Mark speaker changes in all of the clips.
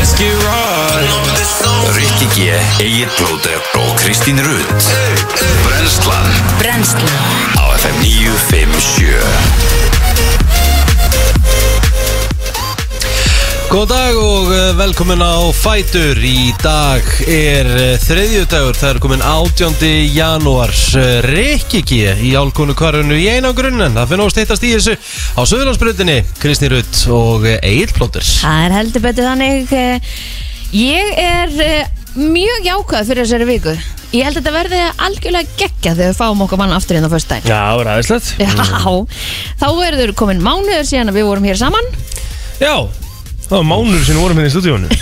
Speaker 1: ekki ráð
Speaker 2: Rikki G, Egil Blóter og Kristín Rutt Brenslan
Speaker 3: Brennslan
Speaker 2: á FM 957
Speaker 1: Góð dag og eh, velkomin á Fætur Í dag er eh, þriðjudagur, það er komin 18. janúar eh, Rikki G í álkonu kvarunu í einangrun En það finnst hittast í þessu á Söðurlandsbrutinni Kristín Rutt og Egil Plóters
Speaker 3: Það er heldur betur þannig eh, Ég er eh, mjög jákvæð fyrir þessari viku Ég held að þetta verði algjörlega geggja þegar við fáum okkar mann aftur inn á föstudaginn
Speaker 1: Já, það var aðeinslegt
Speaker 3: Já,
Speaker 4: Mm.
Speaker 3: þá verður komin mánuður síðan að við vorum hér saman
Speaker 1: Já, það var mánur sem vorum hérna í stúdíónu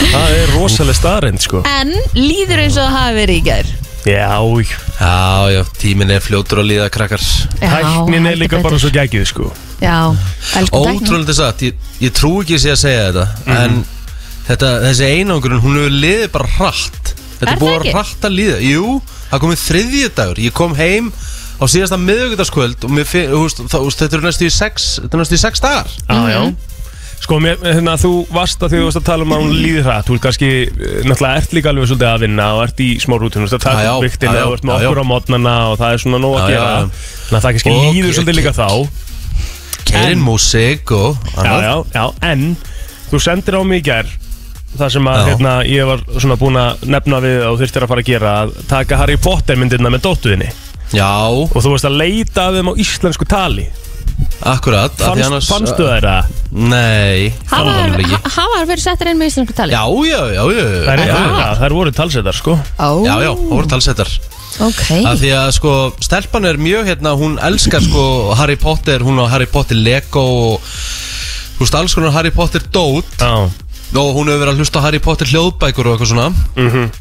Speaker 1: Það er rosalega staðrind sko
Speaker 3: En líður eins og það hafi verið í gær
Speaker 1: Já, já, já, tíminn er fljótur að líða krakkar
Speaker 3: Já,
Speaker 4: Tæknin er
Speaker 3: heldur
Speaker 4: líka
Speaker 3: betur.
Speaker 4: bara svo geggið sko
Speaker 3: Já, elskum tæknin
Speaker 1: Ótrúlega satt, ég, ég trú ekki að sé að segja þetta
Speaker 4: Mhm.
Speaker 1: En þetta, þessi einangrun, hún hefur liðið bara hratt
Speaker 3: Er
Speaker 1: Þetta
Speaker 3: það
Speaker 1: er búið
Speaker 3: ekki?
Speaker 1: að hratt að líða Jú, það komið þriðji dagur Ég kom heim á síðasta miðvikudaskvöld Og mér finn, þú veist, þá- þú veist, þetta eru næstu í sex Þetta eru næstu í sex dagar
Speaker 4: ah, já.
Speaker 3: Mhm.
Speaker 4: Sko, mér, hérna, þú varst að því þú varst að tala um að hún líði hratt Þú ert kannski, eh, náttúrulega ert líka alveg svolítið að vinna og ert í smá rútun Þú ert
Speaker 1: Já,
Speaker 4: að taka
Speaker 1: já,
Speaker 4: upp viktina
Speaker 1: já,
Speaker 4: og ert með
Speaker 1: já,
Speaker 4: okkur
Speaker 1: já.
Speaker 4: á mótnana og það er svona nóg
Speaker 1: Já,
Speaker 4: að
Speaker 1: já,
Speaker 4: gera
Speaker 1: já.
Speaker 4: Þannig að það kannski
Speaker 1: Og-
Speaker 4: líður svolítið líka þá
Speaker 1: Keirinn músík og
Speaker 4: Já,
Speaker 1: annað
Speaker 4: já, já, en þú sendir á mig í gær Það sem að
Speaker 1: Já.
Speaker 4: hérna, ég var svona búin að nefna við og þurftir að fara að gera að taka Harry Potter myndirna með dóttuðinni
Speaker 1: já
Speaker 4: og þú varst að leita að þeim á íslensku tali
Speaker 1: Akkurat, af því
Speaker 4: Fannst,
Speaker 1: annars- uh,
Speaker 4: Fannstu þær það?
Speaker 1: Nei, það var alveg ekki
Speaker 3: Hafa það verið settir inn með íslensku tali?
Speaker 1: Já, já, já, já,
Speaker 4: Það er
Speaker 1: já,
Speaker 4: það, það voru talsetar sko
Speaker 3: Ó,
Speaker 1: já, já, það voru talsettar
Speaker 3: ok
Speaker 1: Af því að sko, stelpan er mjög hérna, hún elskar sko Harry Potter, hún á Harry Potter Lego og þú veist, alls konar Harry Potter dót
Speaker 4: Já,
Speaker 1: og hún hefur verið að hlusta á Harry Potter hljóðbækur og eitthvað svona
Speaker 4: Mhm.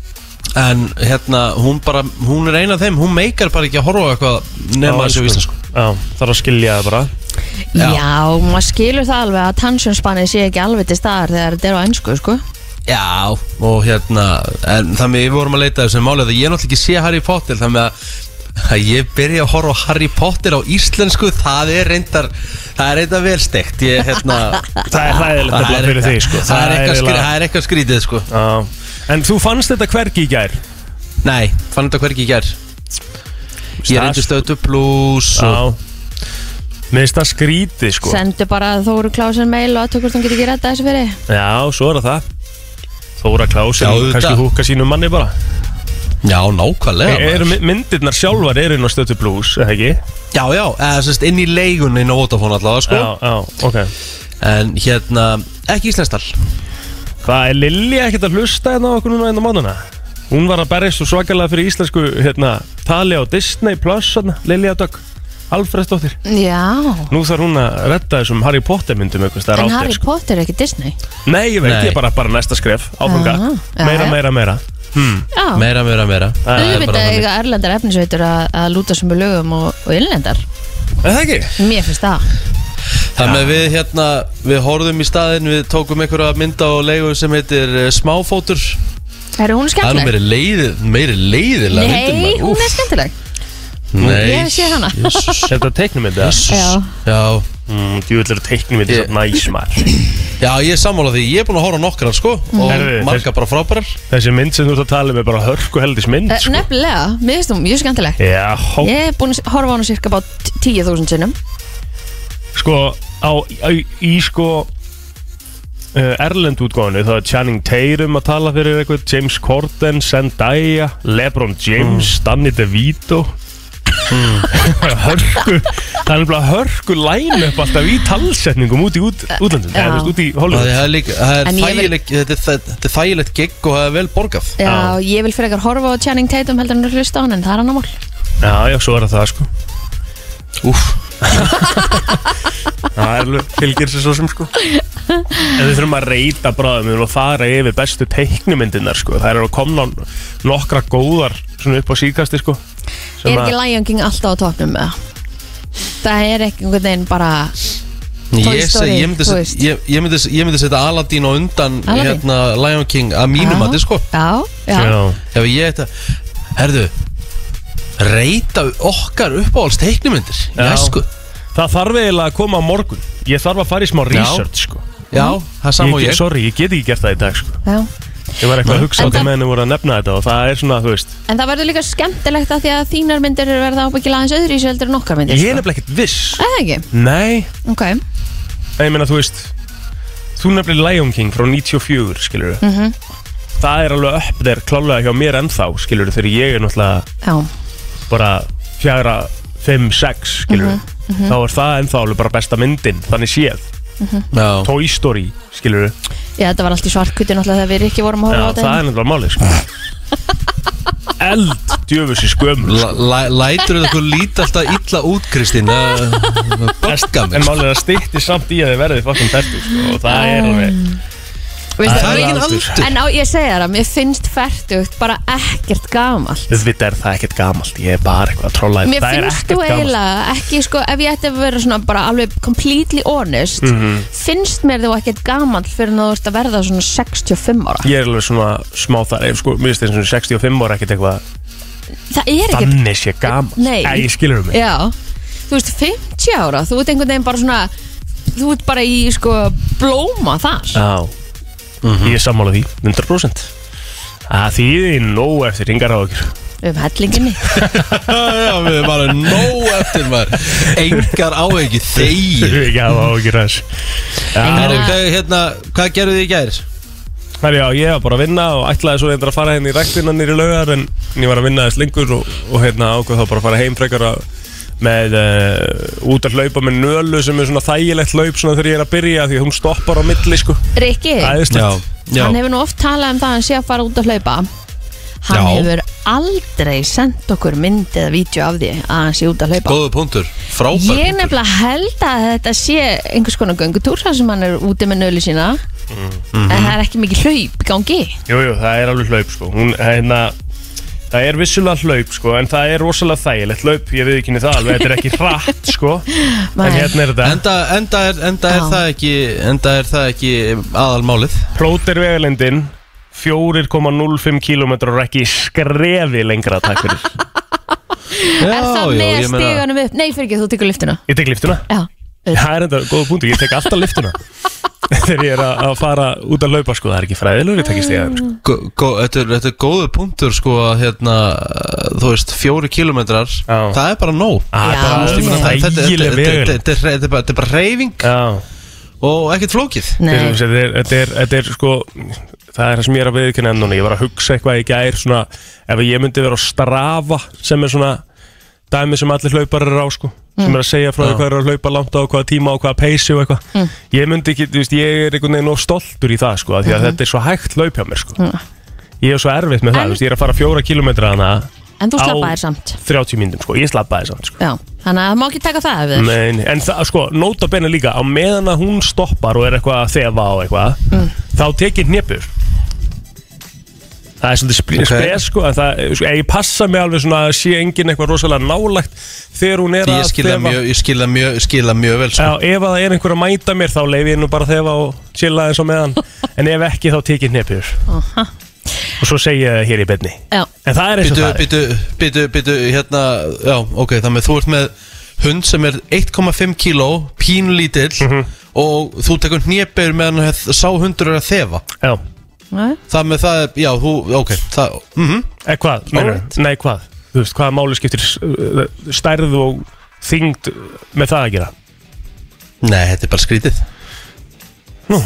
Speaker 1: en hérna, hún bara, hún er eina af þeim, hún meikar bara ekki að horfa á eitthvað nema þessu vísna sko
Speaker 4: Já, það er að skilja það bara
Speaker 3: Já, maður skilur það alveg að tannsjónspannið sé ekki alveg til staðar þegar þetta er á ennsku, sko
Speaker 1: Já, og hérna en þannig við vorum að leita að þessu málið að ég náttúrulega ekki sé Harry Potter þannig að, að ég byrja að horfa á Harry Potter á íslensku, það er reyndar það er reyndar vel steikt ég, hérna,
Speaker 4: Það er hræðilegt
Speaker 1: það,
Speaker 4: nefnilega
Speaker 1: er,
Speaker 4: fyrir þig sko
Speaker 1: það, er eitthvað skri,
Speaker 4: eiginlega-
Speaker 1: það er eitthvað skrítið sko.
Speaker 4: Já En þú fannst þetta hvergi í gær
Speaker 1: Nei, fann þetta hvergi í gær Ég reyndi stötu pluss
Speaker 4: Já
Speaker 1: og,
Speaker 4: Mér finnst það skrítið sko
Speaker 3: Sendu bara að Þóru Klásen mail og að tökust hún getur ekki redda þessu fyrir
Speaker 4: Já, svo er það Þóra
Speaker 1: Já,
Speaker 4: Klásin,
Speaker 1: auðvitað.
Speaker 4: kannski húka sínum manni bara
Speaker 1: Já, nákvæmlega
Speaker 4: e
Speaker 1: maður.
Speaker 4: Eru my- myndirnar sjálfar eru inn á stötu blues, eða ekki?
Speaker 1: Já, já, eða sérst inn í leigun inn á Vodafone allavega sko.
Speaker 4: Já, já, ok
Speaker 1: En hérna, ekki íslenstal
Speaker 4: Hvað er Lilja ekkert að hlusta hérna á okkur núna hérna á mánuna? Hún var að berja svo svakalega fyrir íslensku hérna, tali á Disney Plus hérna, Lilja Dögg Alfredsdóttir
Speaker 3: Já,
Speaker 4: Nú þarf hún að redda þessum Harry Potter myndum einhvers staðar
Speaker 3: en
Speaker 4: átt
Speaker 3: Harry
Speaker 4: sko.
Speaker 3: Potter er ekki Disney
Speaker 4: Nei, ég veit,
Speaker 1: Nei.
Speaker 4: ég er bara, bara næsta skref áfanga,
Speaker 3: Aha, Ah, já,
Speaker 4: meira,
Speaker 3: já.
Speaker 4: meira, meira Hmm.
Speaker 3: Já,
Speaker 1: Meira, meira, meira
Speaker 4: Það er bara
Speaker 3: auðvitað
Speaker 4: þannig.
Speaker 3: eiga erlendar efnisveitur að, að lúta sem lögum og, og innlendar
Speaker 4: Er það ekki?
Speaker 3: Mér finnst það
Speaker 1: Þannig að við hérna, við horfðum í staðinn, við tókum einhverja mynda á leigu sem heitir eh, Smáfótur
Speaker 3: Er hún
Speaker 1: Það er nú
Speaker 3: skemmtileg?
Speaker 1: meiri, leiði, meiri leiðilega myndin
Speaker 3: Nei,
Speaker 1: maður.
Speaker 3: hún er
Speaker 1: Úff.
Speaker 3: skemmtileg Ég
Speaker 1: Nei,
Speaker 3: sé hana.
Speaker 1: jesús,
Speaker 4: Er þetta teiknumyndi?
Speaker 3: Já.
Speaker 1: jesús. Já.
Speaker 4: Mm, Djúvill eru teiknumyndi
Speaker 1: Ég-
Speaker 4: svo næs maður
Speaker 1: Já, ég er sammála því, ég er búin að horfa á nokkrar sko og
Speaker 4: Herðu,
Speaker 1: margar bara frábærar
Speaker 4: Þessi mynd sem þú ert að tala um er bara hörku heldis mynd
Speaker 3: Eh,
Speaker 4: sko.
Speaker 3: Nefnilega, mér finnst hún mjög skemmtileg
Speaker 4: Já,
Speaker 3: Ég er búin að horfa á hana cirka bát 10.000 sinnum
Speaker 4: sko á, á, í sko uh, Erlend útgóðinu þá er Channing Tatum að tala fyrir eitthvað James Corden, Zendaya Lebron James, Danny DeVito hörku það er nefnilega hörku line up alltaf í talsetningum út í út,
Speaker 1: Eh,
Speaker 4: útlandum
Speaker 3: Já.
Speaker 4: það er út í
Speaker 1: Það
Speaker 4: Hollywood
Speaker 1: er líka, það er
Speaker 3: En ég vil-
Speaker 1: þægileg, þetta, er, þæ- þetta er þægilegt gig og það er vel borgað
Speaker 3: Já,
Speaker 4: Já.
Speaker 3: ég vil frekar horfa á Channing Tatum heldur en að hlusta á hann en það er annar mál
Speaker 4: já já svo er það það sko
Speaker 1: Úf,
Speaker 4: það er alveg fylgir sér svo sem sko en við þurfum að reyta bráðum við þurfum að fara yfir bestu teiknumyndirnar sko það eru að komna nokkra góðar svona upp á síkasti sko sem
Speaker 3: Er
Speaker 4: að-
Speaker 3: ekki Lion King alltaf á topnum með það? Það er ekki einhvern veginn bara Toy
Speaker 1: ég, seg,
Speaker 3: Story,
Speaker 1: ég, myndi
Speaker 3: þú
Speaker 1: set,
Speaker 3: veist.
Speaker 1: ég, ég, myndi, ég myndi setja Aladdin á undan
Speaker 3: Aladdin?
Speaker 1: hérna, Lion King að mínum að þið sko
Speaker 3: Já, já,
Speaker 4: Já.
Speaker 1: Ef ég ætta Herðu Reyta okkar uppáhalds teiknumyndir
Speaker 4: Já.
Speaker 1: Jæsku
Speaker 4: Það þarf eiginlega að koma á morgun Ég þarf að fara í smá research sko
Speaker 1: Já, það er sama og
Speaker 4: Ég-
Speaker 1: ég
Speaker 4: Sorry, ég get ekki gert það í dag sko.
Speaker 3: Já.
Speaker 4: Ég var eitthvað að hugsa á
Speaker 3: En
Speaker 4: því
Speaker 3: það-
Speaker 4: meðan þið voru að nefna þetta og það er svona, þú veist
Speaker 3: En það verður líka skemmtilegt að því að þínar myndir eru verða ábyggilega aðeins öðru í sjöldur en okkar myndir sko.
Speaker 4: Ég er nefnilega ekkert viss
Speaker 3: Er það ekki?
Speaker 4: Nei,
Speaker 3: Ok
Speaker 4: en ég meina, þú veist Þú nefnilega Lion King frá 94, skilur við
Speaker 3: Mhm.
Speaker 4: Það er alveg upp þér klálega hjá mér ennþá, skilur við Þegar ég er náttúrulega
Speaker 3: Já
Speaker 4: bara fjara, fimm, sex, skilur við
Speaker 3: Mhm.
Speaker 4: Þá er það ennþá alveg bara besta myndin, þannig séð
Speaker 1: Já,
Speaker 4: Toy Story, skilur við
Speaker 3: Já, þetta var allt í svarkutin alltaf þegar við ekki vorum að
Speaker 4: Já,
Speaker 3: horfa á
Speaker 4: það er náttúrulega málið, sko Eld, sko. djöfusi skömmur
Speaker 1: L- læ- lætur þetta okkur líta alltaf illa út, Kristín Það það böggar
Speaker 4: En
Speaker 1: mig sko.
Speaker 4: málið er að stýtti samt í að þið verðið fokkin tertu sko, og það er alveg
Speaker 3: Veistu,
Speaker 1: Það er
Speaker 3: ég-
Speaker 1: engin aldur
Speaker 3: En á, ég segja það, mér finnst færtugt bara ekkert gamal
Speaker 4: Þetta er það ekkert gamalt, ég er bara eitthvað að trolla þér.
Speaker 3: Mér
Speaker 4: Það er
Speaker 3: finnst þú
Speaker 4: ekkert gamalt.
Speaker 3: eiginlega ekki, sko, ef ég ætti að vera svona bara alveg completely honest
Speaker 4: Mhm.
Speaker 3: finnst mér þú ekkert gamal fyrir en þú ert að verða svona 65 ára
Speaker 4: Ég er alveg svona smá þar, ég sko, mér finnst þetta eins og 65 ára ekkert eitthvað
Speaker 3: Það er ekkert
Speaker 4: Þannig sé gamalt
Speaker 3: Nei.
Speaker 4: Æ, ég skilur mig
Speaker 3: Já, þú veist, 50 ára þú ert einhvern veginn bara svona þú ert bara í sko blóma þar
Speaker 4: Já,
Speaker 1: Mhm.
Speaker 4: ég er sammála því, 100% Það þýði nóg eftir yngar á okkur
Speaker 3: um hellinginni
Speaker 1: Já, við erum bara nóg eftir maður Engar á ekki þegir
Speaker 4: Ég hafa á okkur aðeins
Speaker 1: Herru, hvað, hérna, hvað gerðu þið í gær?
Speaker 4: Herri, já, ég var bara að vinna og ætlaði svo reyndar að fara henni í ræktina nýri laugar en ég var að vinna þess lengur og, og hérna ákveð þá bara að fara heim frekar að með uh, út að hlaupa með nölu sem er svona þægilegt hlaup svona þegar ég er að byrja því að hún stoppar á milli sko
Speaker 3: Rikki,
Speaker 1: Já,
Speaker 4: Æðislegt
Speaker 1: já
Speaker 3: hann hefur nú oft talað um það að hann sé að fara út að hlaupa hann
Speaker 1: Já.
Speaker 3: hefur aldrei sendt okkur mynd eða vídeo af því að hann sé út að hlaupa
Speaker 1: Góðu punktur, frábær
Speaker 3: Ég
Speaker 1: punktur.
Speaker 3: nefnilega held að þetta sé einhvers konar göngutúr þar sem hann er úti með nölu sína
Speaker 4: Mhm.
Speaker 3: en
Speaker 1: Mhm.
Speaker 3: það er ekki mikið hlaup í gangi
Speaker 4: Jú, jú, það er alveg hlaup sko hún, hérna, Það er vissulega hlaup sko en það er rosalega þægilegt hlaup ég við ekki niður það alveg, þetta er ekki hratt sko
Speaker 3: Nei.
Speaker 4: en hérna er þetta
Speaker 1: Enda, enda, er, enda, er
Speaker 3: Já.
Speaker 1: það ekki, enda er það ekki aðalmálið
Speaker 4: Plóter vegalendin 4,05 km og ekki skrefi lengra takk fyrir
Speaker 1: Já,
Speaker 3: Er það
Speaker 1: já,
Speaker 3: með
Speaker 1: ég meina-
Speaker 3: stíganum upp? Nei, fyrir ekki, þú tekur lyftuna
Speaker 4: Ég tek liftuna
Speaker 3: Já, auðvitað.
Speaker 4: Það er enda góða punktu, ég tek alltaf liftuna Þegar ég er að að fara út að laupa sko, það er ekki fræðilegur, ég tek í stíðan
Speaker 3: Mm.
Speaker 4: sko.
Speaker 1: Gó- gó- Þetta er, þetta er góðu punktur sko að hérna, þú veist, fjóri kilometrar
Speaker 4: Já.
Speaker 1: það er bara nóg
Speaker 4: Það Ah, er
Speaker 3: Já,
Speaker 4: bara
Speaker 3: ég meina,
Speaker 1: Þetta- þetta- þetta-
Speaker 4: þægileg
Speaker 1: þetta-
Speaker 4: vegalendin
Speaker 1: þetta- þetta- þetta er bara- þetta er bara reyfing
Speaker 4: Já,
Speaker 1: og ekkert flókið
Speaker 4: Þeir,
Speaker 3: Nei,
Speaker 4: þetta, er, þetta, er, þetta er sko það er það sem ég er að viðkynna enn núna ég var að hugsa eitthvað í gær svona, ef ég myndi vera á strafa sem er svona dæmi sem allir hlaupar eru á sko, sem er að segja frá því hvað eru að hlaupa langt á, hvaða tíma á, hvaða peysi og eitthvað,
Speaker 3: Mm.
Speaker 4: ég myndi ekki, þú veist, ég er einhvern veginn of stoltur í það sko, af því að
Speaker 3: Mhm.
Speaker 4: þetta er svo hægt hlaup hjá mér sko ég er svo erfitt með
Speaker 3: Mm.
Speaker 4: það,
Speaker 3: En-
Speaker 4: þú veist, ég er að fara fjóra kilometra hana
Speaker 3: en þú slappaðir
Speaker 4: á
Speaker 3: samt
Speaker 4: 30 myndum sko, ég slappaði samt sko
Speaker 3: Já, þannig að það má ekki taka það af þér
Speaker 4: Nei, nei, en það, sko, nota bene líka á meðan að hún stoppar og er eitthvað að þefa og eitthvað þá tekið hnipur Það er svolítið spes,
Speaker 1: Ok.
Speaker 4: spes sko, en það, sko, ég passa mig alveg svona að sé enginn eitthvað rosalega nálægt þegar hún er
Speaker 1: ég
Speaker 4: að
Speaker 1: skila
Speaker 4: þefa
Speaker 1: mjög, ég skila mjög, skila mjög vel
Speaker 4: Já,
Speaker 1: sko.
Speaker 4: ef að það er einhver að mæta mér þá leif ég nú bara að þefa og chilla eins og meðan en ef ekki þá tekið hnipur
Speaker 1: Ah.
Speaker 3: Aha.
Speaker 4: og svo segi ég það hér í beinni
Speaker 3: Já,
Speaker 4: En það er eins og
Speaker 1: Býtu,
Speaker 4: það er
Speaker 1: býtu, býtu, býtu, hérna Já, ok, þannig að þú ert með hund sem er 1,5 kíló pínlítill
Speaker 4: Mhm.
Speaker 1: og þú tekur hnébeur meðan hef- sá hundur er að þefa
Speaker 4: Já,
Speaker 3: Nei.
Speaker 1: Það með það, er, já, þú, ok það, mm
Speaker 4: eða Mhm. Eh, hvað?
Speaker 1: Alright.
Speaker 4: Right. Nei, hvað? Þú veist, hvaða máli skiptir uh, stærð og þyngd með það að gera?
Speaker 1: Nei, þetta er bara skrítið
Speaker 4: Nú.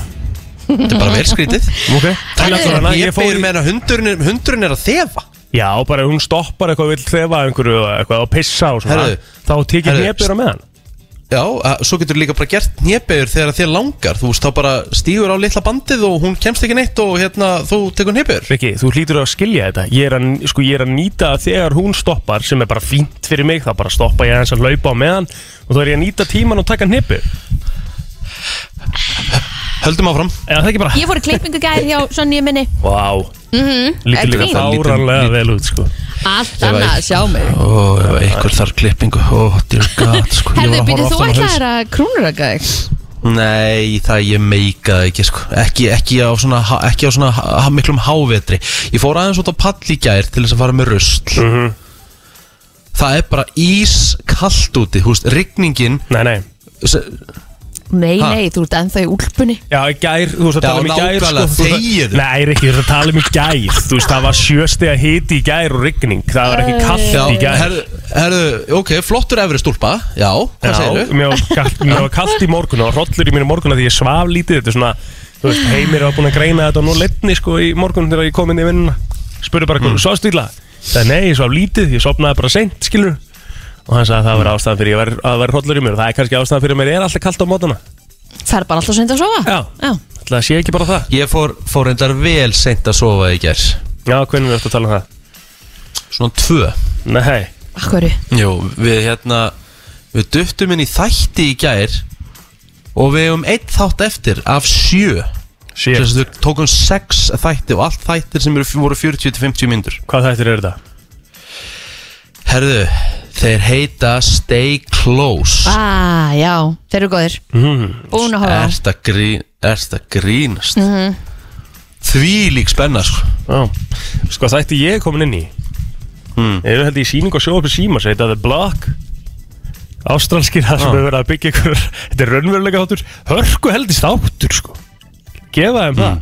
Speaker 1: Þetta er bara vel skrítið
Speaker 4: Ok,
Speaker 1: Þannig
Speaker 4: þannig
Speaker 1: að
Speaker 4: að ég
Speaker 1: hnébeur
Speaker 4: fór í
Speaker 1: meðan að hundurinn er, hundurinn er að þefa
Speaker 4: Já, bara ef hún stoppar eitthvað vill þefa einhverju og eitthvað og pissa og svona
Speaker 1: Herðu,
Speaker 4: Þá tekið
Speaker 1: herðu,
Speaker 4: hnebjur á meðan
Speaker 1: Já, að, svo getur líka bara gert hnébeur þegar þér langar Þú veist, þá bara stígur á litla bandið og hún kemst ekki neitt og hérna, þú tekur hnébeur
Speaker 4: Rikki, þú hlýtur að skilja þetta ég er að, sko, ég er að nýta að þegar hún stoppar sem er bara fínt fyrir mig, þá bara stoppa ég aðeins að laupa á meðan og þá er ég að nýta tíman og taka hnebjur
Speaker 1: Höldum áfram
Speaker 4: Eða það ekki bara,
Speaker 3: Ég fór í klippingu gær hjá Sonja minni
Speaker 4: vá wow. mm -hmm. Lítur
Speaker 3: ekki
Speaker 4: líka
Speaker 3: fínt.
Speaker 4: fáranlega vel út, sko
Speaker 3: Allt annað að sjá mig
Speaker 1: Ó, ef einhver þarf klippingu Ó, dear god sko, ég var
Speaker 3: Herðu,
Speaker 1: að
Speaker 3: byrju,
Speaker 1: horfa
Speaker 3: þú
Speaker 1: aftan á
Speaker 3: ætlaðir
Speaker 1: haus.
Speaker 3: að krúnuraka þig
Speaker 1: Nei, það ég meikaði ekki sko. ekki, ekki á svona, ha- ekki á svona ha, ha- miklum hávetri Ég fór aðeins út á pall í gær til þess að fara með rusl
Speaker 4: Mhm.
Speaker 1: Það er bara ískalt úti húst, Rigningin
Speaker 4: Nei, nei,
Speaker 1: se-
Speaker 3: Nei,
Speaker 1: Ha?
Speaker 3: nei, þú ert ennþá í úlpunni
Speaker 4: Já, í gær, þú veist að
Speaker 1: Já,
Speaker 4: tala um í gær sko.
Speaker 1: nákvæmlega, þegiðu.
Speaker 4: Nei, Rikki, þú veist að tala um í gær Þú veist, það var sjöstega hiti í gær og rigning Það var ekki
Speaker 1: Já,
Speaker 4: kallt í gær
Speaker 1: herðu, herðu, ok, flottur efri stúlpa Já, hvað
Speaker 4: Já,
Speaker 1: segirðu?
Speaker 4: mér var kalt- mér var kallt í morgun og hrollur í mér í morgun af því ég svaf lítið Þetta er svona, þú veist, heimir var búin að greina þetta og nú letni sko í morgun þegar ég kom inn í vinnuna Spurði bara, mm. svo stíla Það er nei, ég svaf lítið, ég sopnaði bara seint, skilur Og hann sagði að það var ástæðan fyrir ég var, að vera hrollur í mér og það er kannski ástæðan fyrir að mér er alltaf kallt á mótana
Speaker 3: Fer bara alltaf senda að sofa
Speaker 4: Já. Það sé ekki bara það
Speaker 1: Ég fór, fór endar vel seint að sofa í gær
Speaker 4: Já, hvernig er þetta að tala um það?
Speaker 1: Svona tvö
Speaker 4: Nei,
Speaker 3: Akkur
Speaker 1: Jú, við hérna Við duttum inn í þætti í gær Og við hefum einn þátt eftir Af sjö
Speaker 4: sé,
Speaker 1: Þess að við tókum sex þætti og allt þættir sem eru, voru 40-50 myndur
Speaker 4: hvað þættir eru þetta?
Speaker 1: Herðu, þeir heita Stay Close
Speaker 3: ah, Já, þeir eru góðir
Speaker 4: Mm.
Speaker 3: Búin að horfa á.
Speaker 1: Erst að grín, erst að grínast mm
Speaker 3: Mhm.
Speaker 1: -hmm. Því lík spenna sko.
Speaker 4: Já, sko þætti ég komin inn í
Speaker 1: Hmm.
Speaker 4: Ég held ég í sýning og sjóðupi síma sem heita The Block Ástralskir það sem
Speaker 1: Já.
Speaker 4: hefur verið að byggja ykkur Þetta er raunveruleika þáttur Hörku heldist áttur sko Gefa
Speaker 1: Hmm.
Speaker 4: þeim það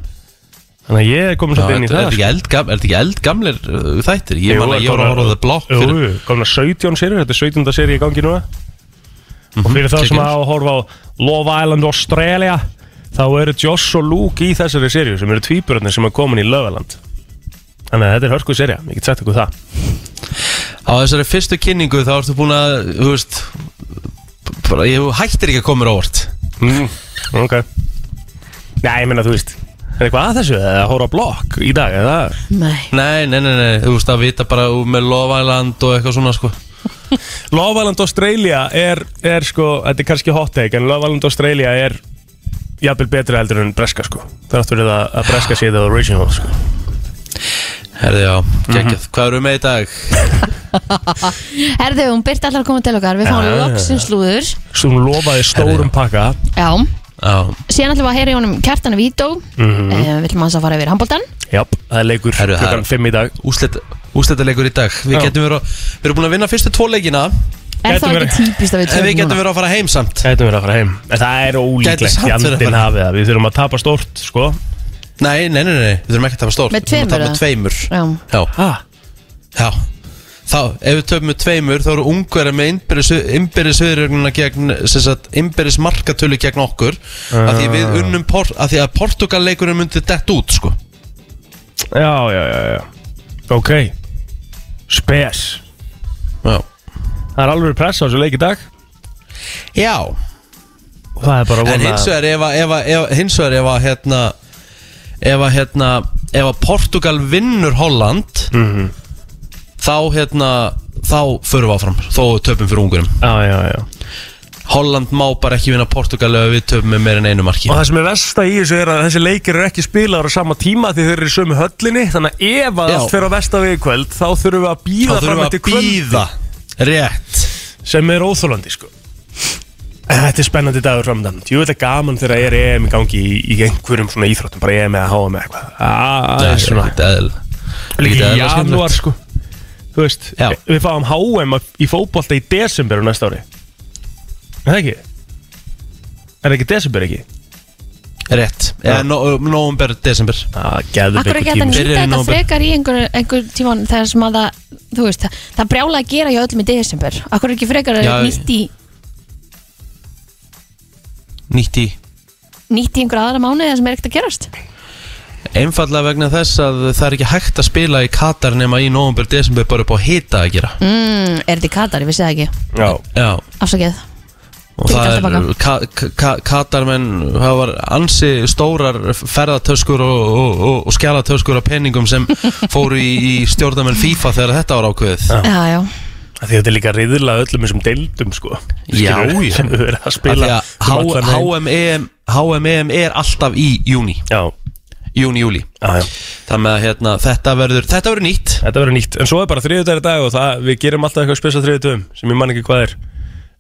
Speaker 4: Þannig að ég er komin
Speaker 1: Já,
Speaker 4: svolítið inn í
Speaker 1: Er
Speaker 4: það
Speaker 1: þetta ekki
Speaker 4: sko.
Speaker 1: eldgam- er þetta ekki eldgamlir uh, þættir? Ég
Speaker 4: Jú,
Speaker 1: man að ég var að
Speaker 4: komin
Speaker 1: horfa á The Block fyrir
Speaker 4: Jú, komin að 17 serið, þetta er 17. serið í gangi núna
Speaker 1: Mhm,
Speaker 4: Og fyrir það sem
Speaker 1: kekja.
Speaker 4: að horfa á Love Island Australia Þá eru Joss og Luke í þessari serið Sem eru tvíburarnir sem er komin í Love Island Þannig að þetta er hörku serið, ég get sagt ykkur það
Speaker 1: Á þessari fyrstu kynningu þá ertu búin að, þú veist bara, Ég hættir ekki að koma mér á orð
Speaker 4: Mm, ok Nei, ég meina þú veist Er eitthvað að þessu? Eða að hóra á blokk í dag? Eða
Speaker 3: Nei
Speaker 1: Nei, nei, nei, nei, þú veist að vita bara úr með Lovæland og eitthvað svona sko
Speaker 4: Mhm. Love Island Australia er, er sko Þetta er kannski hot take En Love Island Australia er Jafnvel betra heldur en breska sko Þrátt fyrir að, að breska sé það original sko Mm.
Speaker 1: Herði já, geggjað, hvað eru með í dag?
Speaker 3: Herðu, hún byrti allar að koma til okkar Við fáum
Speaker 4: Já.
Speaker 3: loksins slúður
Speaker 4: Svo hún lofaði stórum pakka
Speaker 3: Já
Speaker 1: Já,
Speaker 3: Síðan ætlum við að heyra í honum kjartana vító mm
Speaker 4: Mhm.
Speaker 3: -hmm. Við ætlum aðeins að fara yfir handbóltan
Speaker 4: Jáp, það er leikur
Speaker 1: Herru, það er-
Speaker 4: klukkan 5 í dag
Speaker 1: úslet, úsletaleikur í dag Við
Speaker 4: Já.
Speaker 1: getum verið, að- við erum búin að vinna fyrstu tvo leikina
Speaker 3: Er það
Speaker 4: Gæti
Speaker 3: ekki
Speaker 4: verið-
Speaker 3: típist að við
Speaker 1: En við
Speaker 3: tökum
Speaker 1: getum
Speaker 3: núna?
Speaker 1: verið að fara heim samt
Speaker 4: Gætum við að fara heim En það er
Speaker 1: Gæti
Speaker 4: ólíklegt
Speaker 1: samt verið að
Speaker 4: Jandinn
Speaker 1: fara.
Speaker 4: hafið það Við þurfum að tapa stórt sko
Speaker 1: Nei, nei, nei, nei, nei, við þurfum ekki að tapa stórt
Speaker 3: Með
Speaker 1: Við þurfum að tapa með tveimur
Speaker 3: Já.
Speaker 1: Já,
Speaker 4: Ha?
Speaker 1: já Þá, ef við töfum með tveimur þá eru ungverðar með innbyrðis, innbyrðis viðrögnuna gegn, sem sagt, innbyrðis markatölu gegn okkur uh. að því
Speaker 4: Ah.
Speaker 1: við unnum, por, að því að Portugalleikurinn myndi dett út, sko
Speaker 4: Já, já, já, já Ok Spes
Speaker 1: Já,
Speaker 4: Það er alveg press á þessu leik í dag
Speaker 1: já.
Speaker 4: og það er bara að
Speaker 1: en
Speaker 4: vona
Speaker 1: hins vegar ef að, ef að, ef, hins vegar ef að, hérna ef að, hérna, ef að Portugal vinnur Holland
Speaker 4: Mhm.
Speaker 1: þá, hérna, þá förum við áfram, þó við töpum fyrir ungurum
Speaker 4: Já, já, já
Speaker 1: Holland má bara ekki vinna Portugal ef við töfum með meir en einu marki
Speaker 4: Og það sem er versta í þessu er að þessi leikir eru ekki spilaður á sama tíma því þau eru í sömu höllinni þannig að ef að
Speaker 1: Já.
Speaker 4: allt fer á versta við í kvöld þá þurfum við að
Speaker 1: Þá
Speaker 4: býða
Speaker 1: þurfum
Speaker 4: fram
Speaker 1: við að
Speaker 4: eftir kvöld
Speaker 1: býða Rétt
Speaker 4: sem er óþólandi sko En þetta er spennandi dagur framdann Jú, þetta er gaman þegar er EM í gangi í, í einhverjum svona íþróttum, bara EM eða HM eða eitthvað Ah,
Speaker 1: Það er
Speaker 4: Það er svona
Speaker 1: ekkert eðl
Speaker 4: Líka í
Speaker 1: eðlilega skemmtilegt.
Speaker 4: janúar sko Þú veist,
Speaker 1: Já.
Speaker 4: við fáum HM í fótbolta í desember á næsta ári Er það ekki? Er það ekki desember ekki?
Speaker 1: Rétt Eða no, november, desember
Speaker 4: Það geður
Speaker 3: Akkur ekki hægt að
Speaker 1: Byrjun
Speaker 3: nýta þetta
Speaker 1: nóvember.
Speaker 3: frekar í einhver, einhver tíman þegar sem að það, þú veist, það, það brjála að gera hjá öllum í desember. Akkur ekki frekar
Speaker 1: Já,
Speaker 3: að nýtt í,
Speaker 1: Nýtt í
Speaker 3: nýtt í einhver aðra mánuði sem er ekkert að gerast.
Speaker 1: Einfallega vegna þess að það er ekki hægt að spila í Katar nema í november, desember bara upp á hita að gera
Speaker 3: Mm, er þetta í Katar, ég vissi það ekki.
Speaker 4: Já,
Speaker 1: Já
Speaker 3: Afsakið.
Speaker 1: Og
Speaker 3: Tekið
Speaker 1: það
Speaker 3: allt
Speaker 1: er,
Speaker 3: tilbaka.
Speaker 1: ka, ka, ka- Katarmenn hafa var ansi stórar ferðartöskur og, og, og, og skjálatöskur af penningum sem fóru í, í stjórnamenn FIFA þegar þetta var ákveðið
Speaker 4: Já.
Speaker 3: Já, já.
Speaker 4: af því þetta er líka riðla öllum þessum deildum sko
Speaker 1: Já,
Speaker 4: Skilurðu,
Speaker 1: já.
Speaker 4: Sem við verðum að
Speaker 1: Af því
Speaker 4: spila um
Speaker 1: að
Speaker 4: allan
Speaker 1: H- E
Speaker 4: heim.
Speaker 1: HMEM HMEM er alltaf í júni
Speaker 4: Já,
Speaker 1: Júni, júli
Speaker 4: já, já
Speaker 1: Þannig að hérna, þetta verður Þetta verður nýtt
Speaker 4: Þetta verður nýtt En svo er bara þriðudagur í dag og það, við gerum alltaf eitthvað spesa þriðutugum sem ég man ekki hvað er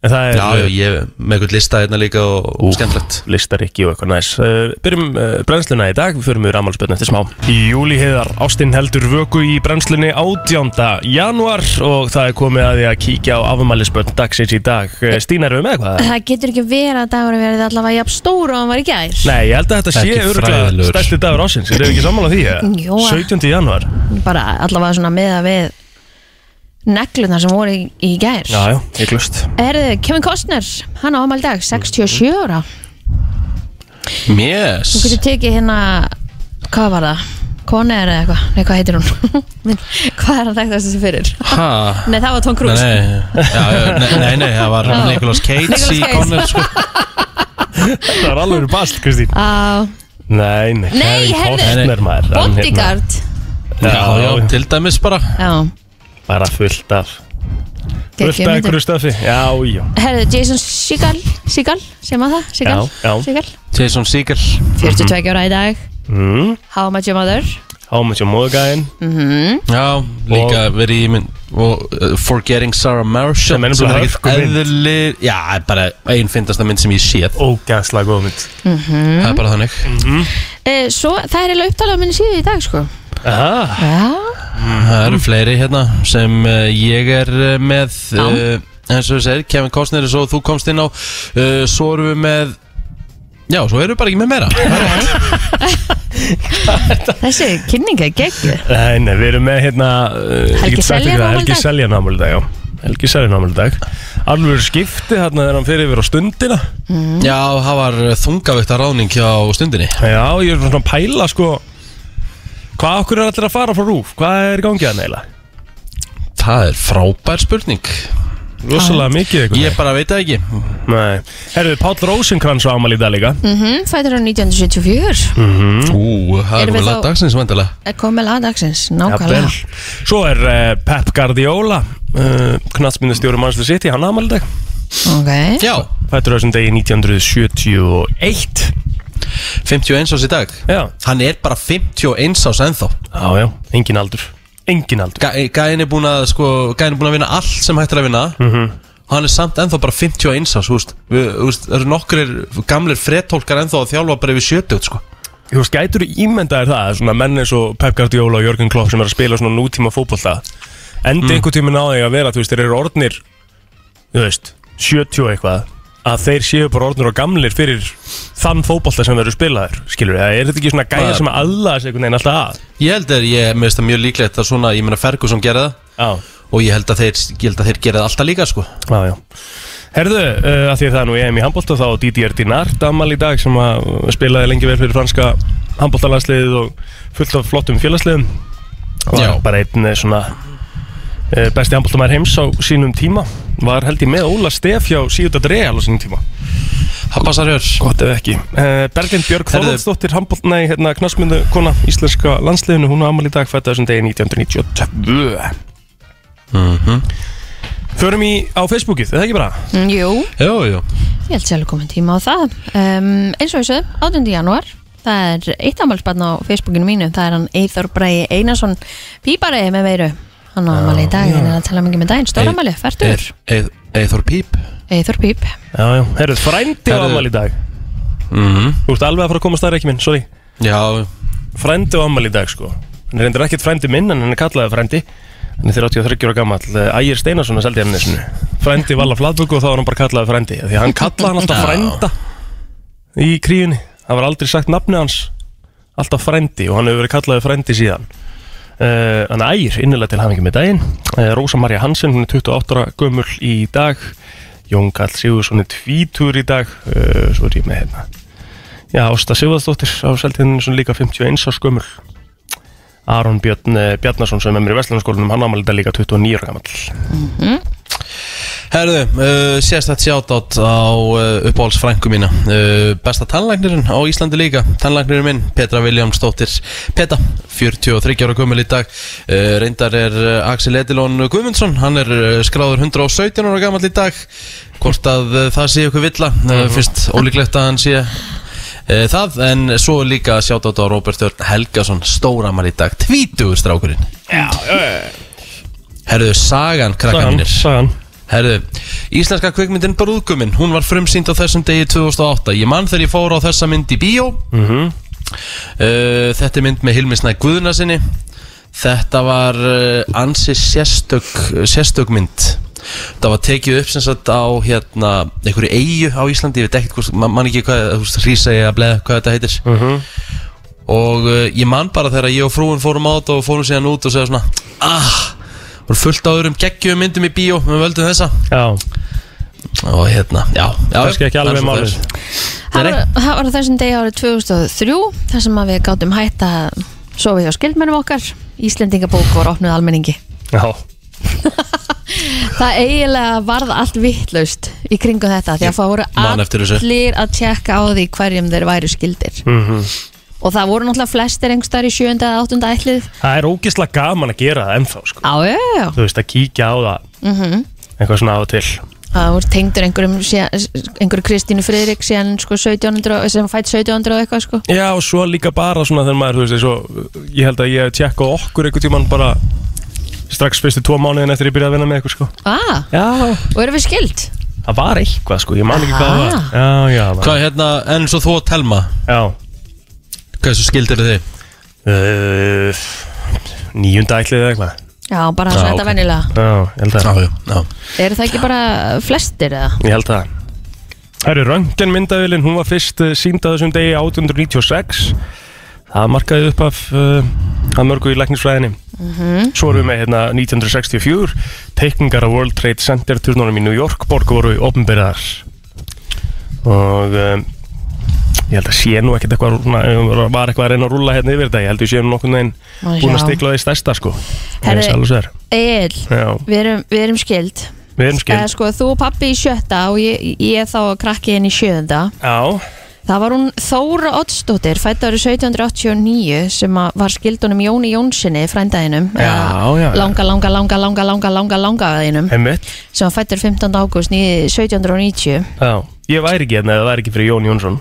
Speaker 4: En það er eh,
Speaker 1: Já, já, ég með einhvern lista hérna líka og Úf. skemmtilegt
Speaker 4: listarikki og eitthvað næs uh, Byrjum uh, brennsluna í dag, við förum við rammalspötn eftir smá Júli heiðar, Ástinn heldur vöku í brennslunni 18. januar og það er komið að því að kíkja á afmælisbötn dagsins í dag Eh, Stína, erum við með eitthvað?
Speaker 3: Það getur ekki verið að dagur verið allavega jafn stór og hann var í gær
Speaker 4: Nei, ég held að þetta sé
Speaker 1: Ekki
Speaker 4: örgulega
Speaker 1: fræðilegur.
Speaker 4: stærsti dagur ásins, er þau ekki sammála því? eh? eða?
Speaker 3: Jú, að-
Speaker 4: 17. januar
Speaker 3: Bara allavega svona með að við neglunar sem voru í, í gær
Speaker 4: Já, já, ég glust
Speaker 3: Erðu, Kevin Costner, hann á ámæli í dag 67 ára
Speaker 1: Mjess
Speaker 3: Þú getur tekið hérna, hvað var það? Conner eða eitthvað, nei hvað heitir hún? Minn, hvað er hann þekktast þessi fyrir?
Speaker 1: Ha?
Speaker 3: Nei það var Tom
Speaker 1: Nei,
Speaker 3: Cruise
Speaker 1: já, já, nei, nei, nei, það var Nicolas Cage
Speaker 3: Nicolas
Speaker 1: í
Speaker 3: Cage.
Speaker 1: Connor sko.
Speaker 4: Það er alveg bast, Kristín
Speaker 3: Á,
Speaker 4: Nei, nei,
Speaker 3: Ah. Nei, heyrðu.
Speaker 4: maður hann hérna-
Speaker 3: Bodyguard
Speaker 1: Já, já, til dæmis bara
Speaker 3: Já,
Speaker 4: Bara fullt af Fullt
Speaker 3: geggjum
Speaker 4: af
Speaker 3: myndir
Speaker 4: einhverju stöfi Já, já
Speaker 3: Herðu, Jason Segal, Segal, segir maður það? Segal,
Speaker 4: Já, já.
Speaker 3: Segal
Speaker 1: Jason Segel
Speaker 3: 42 ára í dag
Speaker 4: mm.
Speaker 3: How I Met Your Mother Mhm,
Speaker 4: Hámið sér móðgæðin
Speaker 1: Já, líka verið í minn og, uh, Forgetting Sarah Marshall
Speaker 4: Sem er
Speaker 1: sem
Speaker 4: nefnilega
Speaker 1: er ekkert
Speaker 4: hörkumynd.
Speaker 1: eðli Já, er bara einn fyndasta mynd sem ég séð
Speaker 4: Ógæðslega góð mynd Mhm.
Speaker 1: Það er bara þannig
Speaker 3: e, mhm. Svo það er eiginlega upptalað á minni síðu í dag sko
Speaker 4: Aha
Speaker 3: Já,
Speaker 1: Það eru fleiri hérna sem uh, ég er uh, með
Speaker 3: Já.
Speaker 1: uh, eins og þú segir, Kevin Costner er svo þú komst inn á uh, svo erum við með Já, svo erum við bara ekki með meira
Speaker 3: þessi kynninga geggjur
Speaker 4: Nei, nei, við erum með hérna uh, ég
Speaker 3: Helgi
Speaker 4: get sagt
Speaker 3: Seljan
Speaker 4: ykkur það,
Speaker 3: afmæli í
Speaker 4: Helgi
Speaker 3: dag.
Speaker 4: Seljan ámæli dag, já Helgi Seljan ámæli dag Alveg skipti hérna þegar hann fyrir yfir á stundina
Speaker 3: Mm.
Speaker 1: Já, það var eh, þungavægt að ráðning hjá stundinni
Speaker 4: Já, ég er svona að pæla sko Hvað okkur er allir að fara frá rúf? Hvað er í gangi að neila?
Speaker 1: Það er frábær spurning
Speaker 4: Rosalega mikið eitthvað
Speaker 1: Ég bara veit það ekki
Speaker 4: Nei Herðu, Páll Rósinkrans á ámæli í dag líka Mhm.
Speaker 3: mm -hmm, Fætur á 1974
Speaker 1: Ú, það er
Speaker 3: Erum við
Speaker 1: komið
Speaker 3: þá-
Speaker 1: lagdagsins vandilega
Speaker 3: Er komið lagdagsins,
Speaker 4: Jafnvel.
Speaker 3: nákvæmlega
Speaker 4: Svo er uh, Pep Guardiola uh, Knatsmyndastjóri Manchester City Hann ámæli dag
Speaker 3: Ok
Speaker 1: Já,
Speaker 4: Fættur á þessum degi 1971
Speaker 1: 51 ás í dag
Speaker 4: Já,
Speaker 1: Hann er bara 51 ás ennþá
Speaker 4: já, já, engin aldur Engin aldur
Speaker 1: Gæ- Gæinn er búin að sko, Gæinn er búin að vinna allt sem hægt er að vinna
Speaker 4: Mm. Mhm.
Speaker 1: Hann er samt ennþá bara 51 ás þú veist. Við- þú veist, Það eru nokkrir gamlir frettólkar ennþá að þjálfa bara yfir 70 sko.
Speaker 4: Þú veist, gætur ímyndaðir það Svona menn eins og Pep Guardiola og Jörgen Klopp sem er að spila svona nútíma fótbolta Endi
Speaker 1: Mm.
Speaker 4: einhvern tíminn á því að vera Þú veist, þeir eru orðnir Þú veist, 70 og eitthvað Að þeir séu bara orðnir og gamlir fyrir Þann fótbolta sem þeir eru spilaðir Skilur við, er þetta ekki svona gæja
Speaker 1: Maður.
Speaker 4: sem að alla þessi einhvern veginn alltaf að
Speaker 1: Ég held að ég mér finnst það mjög líklegt að svona Ég meina Ferguson gera það
Speaker 4: Já,
Speaker 1: Og ég held að þeir, ég held að þeir gera það alltaf líka sko.
Speaker 4: Já, já. Herðu, uh, að því að það er nú EM í handbólta þá Didier Dinard amal í dag sem að uh, spilaði lengi vel fyrir franska handbóltalansliðið og fullt af flottum félagsliðum og
Speaker 1: Já.
Speaker 4: bara einn eh, svona uh, besti handbóltamæður heims á sínum tíma var held ég með Óla Stef hjá Síuta Dreal á sínum tíma
Speaker 1: Það passar hér
Speaker 4: gott ef ekki uh, Berglind Björg
Speaker 1: Herðu.
Speaker 4: Þorvaldsdóttir handbólt, nei, hérna knastmyndu kona íslenska landsliðinu hún á amal í dag fætti þessum degi 1992
Speaker 1: Mhm.
Speaker 4: Förum í á Facebookið, er það ekki bara?
Speaker 3: Mm, Jú,
Speaker 1: Jú, jú
Speaker 3: ég held sér alveg komin tíma á það um, Eins og þessu, 18. januar Það er eitt ámælsbarn á Facebookinu mínu Það er hann Eithor Bragi Einarsson Pípari með veiru Hann á ámæli í dag, hann er að tala mikið með daginn Stóra ámæli, færtur
Speaker 1: Eith- Eith- Eithor Píp
Speaker 3: Eithor Píp
Speaker 4: Já, já, herru, frændi á
Speaker 1: Herru.
Speaker 4: ammali í dag
Speaker 1: Mhm.
Speaker 4: Þú ert alveg að fara að komast þar ekki minn, sorry
Speaker 1: Já,
Speaker 4: Frændi á ammali í dag, sko Hann er reyndir ekkert frændi minn, en hann er kallaði frændi Hann er 33 ára gammal Ægir Steinarsson að seldi hann þessinu Frændi valla fladböku og þá var hann bara kallaði frændi af Því að hann kallaði hann alltaf
Speaker 1: Já.
Speaker 4: frænda Í kríunni, það var aldrei sagt nafni hans Alltaf frændi og hann hefur verið kallaði frændi síðan Uh, Þannig að ægir innilega til hafingi með daginn uh, Rósa Marja Hansen, hún er 28 ára gömul í dag Jón Karl Sigursson er tvítur í dag uh, Svo er ég með hérna Já, Ásta Sigurðardóttir á seldiðinu sem líka 51 árs gömul Aron Björn eh, Bjarnason sem er með mér í Vestlandskólanum hann ámæli þetta líka 29 ára gamall
Speaker 1: Herðu, uh, sérstætt sjátátt á uh, uppáhaldsfrængu mína uh, Besta tannlæknirinn á Íslandi líka Tannlæknirinn minn, Petra Viljámsdóttir Peta, 43 ára gömul í dag uh, Reyndar er uh, Axel Edilon Guðmundsson Hann er uh, skráður 117 ára gamall í dag Hvort að uh, það sé ykkur villa uh,
Speaker 4: Mhm.
Speaker 1: Fyrst ólíklegt að hann sé uh, það En svo líka sjátátt á Róbert Örn Helgason Stóramar í dag, tvítugur strákurinn
Speaker 4: Já,
Speaker 1: Herðu, Sagan krakka
Speaker 4: sagan,
Speaker 1: mínir
Speaker 4: sagan
Speaker 1: Herðu, íslenska kvikmyndin Brúðguminn, hún var frumsýnd á þessum degi 2008. Ég man þegar ég fór á þessa mynd í bíó. Mhm. uh, þetta er mynd með Hilmi Snæk Guðunarsinni. Þetta var uh, ansi sérstök, sérstök mynd. Það var tekið upp sem sagt á hérna, einhverju eigu á Íslandi, ég veit ekkert hvort, man, man ekki hvað, þú veist, Hrísæja, bleð, hvað þetta heitir.
Speaker 4: Mhm.
Speaker 1: Og uh, ég man bara þegar ég og frúin fórum át og fórum síðan út og segja svona, ah, voru fullt á öðrum geggjum myndum í bíó, við völdum þessa.
Speaker 4: Já,
Speaker 1: Og hérna, já, já
Speaker 4: kannski ekki
Speaker 1: það
Speaker 4: alveg
Speaker 1: er
Speaker 4: málið
Speaker 1: svo
Speaker 3: Það
Speaker 1: Nei,
Speaker 3: var, það var á þessum degi árið 2003 þar sem að við gátum hætt að sofa hjá skildmennum okkar Íslendingabók var opnuð almenningi
Speaker 4: Já,
Speaker 3: Það eiginlega varð allt vittlaust í kringum þetta því að það voru
Speaker 1: man eftir þessu.
Speaker 3: allir að tjekka á því hverjum þeir væru skildir
Speaker 4: Mhm.
Speaker 3: og það voru náttúrulega flestir engstar í sjönda eða áttunda ætlið
Speaker 4: það er ógislega gaman að gera það ennþá sko.
Speaker 3: Á, já, já, já,
Speaker 4: Þú veist, að kíkja á það Eitthvað svona á og til
Speaker 3: Mhm. það voru tengdur einhverjum, síðan- einhverju Kristínu Friðrik síðan sko 1700, sem fætt 1700 og eitthvað sko
Speaker 4: Já, og svo líka bara svona þegar maður, þú veist, eins og Ég held að ég hef tjekkað okkur einhvern tímann bara Strax fyrstu tvo mánuðin eftir ég byrjaði að vinna með eitthvað sko
Speaker 3: ah,
Speaker 4: Já,
Speaker 3: Og eru við skild?
Speaker 4: það var eitthvað sko, ég man ekki hvað það var Já, já, það var
Speaker 1: Hvað hérna, enn svo þú og Telma,
Speaker 4: Já,
Speaker 1: hversu skildir þið?
Speaker 4: uh, nýjunda ætlið eða eitthvað
Speaker 3: Já, bara svona
Speaker 1: Já,
Speaker 3: þetta
Speaker 1: ok.
Speaker 3: venjulega
Speaker 4: Já, ég held að
Speaker 1: já, já.
Speaker 3: Eru það ekki bara flestir eða?
Speaker 4: Ég held það Herru, Röntgen myndavillin, hún var fyrst uh, sínd að þessum degi 1896 Það markaði upp af uh, að mörgu í læknisfræðinni
Speaker 3: Mm.
Speaker 4: Svo erum við með hérna 1964 Teikningar af World Trade Center turnunum í New York Borg voru ofnbyrðar Og um, ég held að sé nú ekkert eitthvað svona, eh, var eitthvað að reyna að rúlla hérna yfir þetta Ég held að ég sé nú nokkuð neginn
Speaker 3: Má
Speaker 4: búin að
Speaker 3: sjá.
Speaker 4: stikla því stærsta sko
Speaker 3: Herru,
Speaker 4: Ég sjálfur sér.
Speaker 3: Egil,
Speaker 4: Já,
Speaker 3: við erum, við erum skild
Speaker 4: við erum
Speaker 3: eða,
Speaker 4: skil
Speaker 3: sko, Þú og pappi í sjötta og ég, ég þá krakki inn í sjöunda
Speaker 4: Já,
Speaker 3: Það var hún Þóra Oddsdóttir fætt árið 1789 sem að var skildunum Jóni Jónssoni frændaðinum
Speaker 4: Já, já, já.
Speaker 3: langa, langa, langa, langa, langa, langa, langa aðinum
Speaker 4: einmitt
Speaker 3: sem var fættur 15. ágúst 1790
Speaker 4: Já, ég væri ekki hérna eða það væri ekki fyrir Jón Jónsson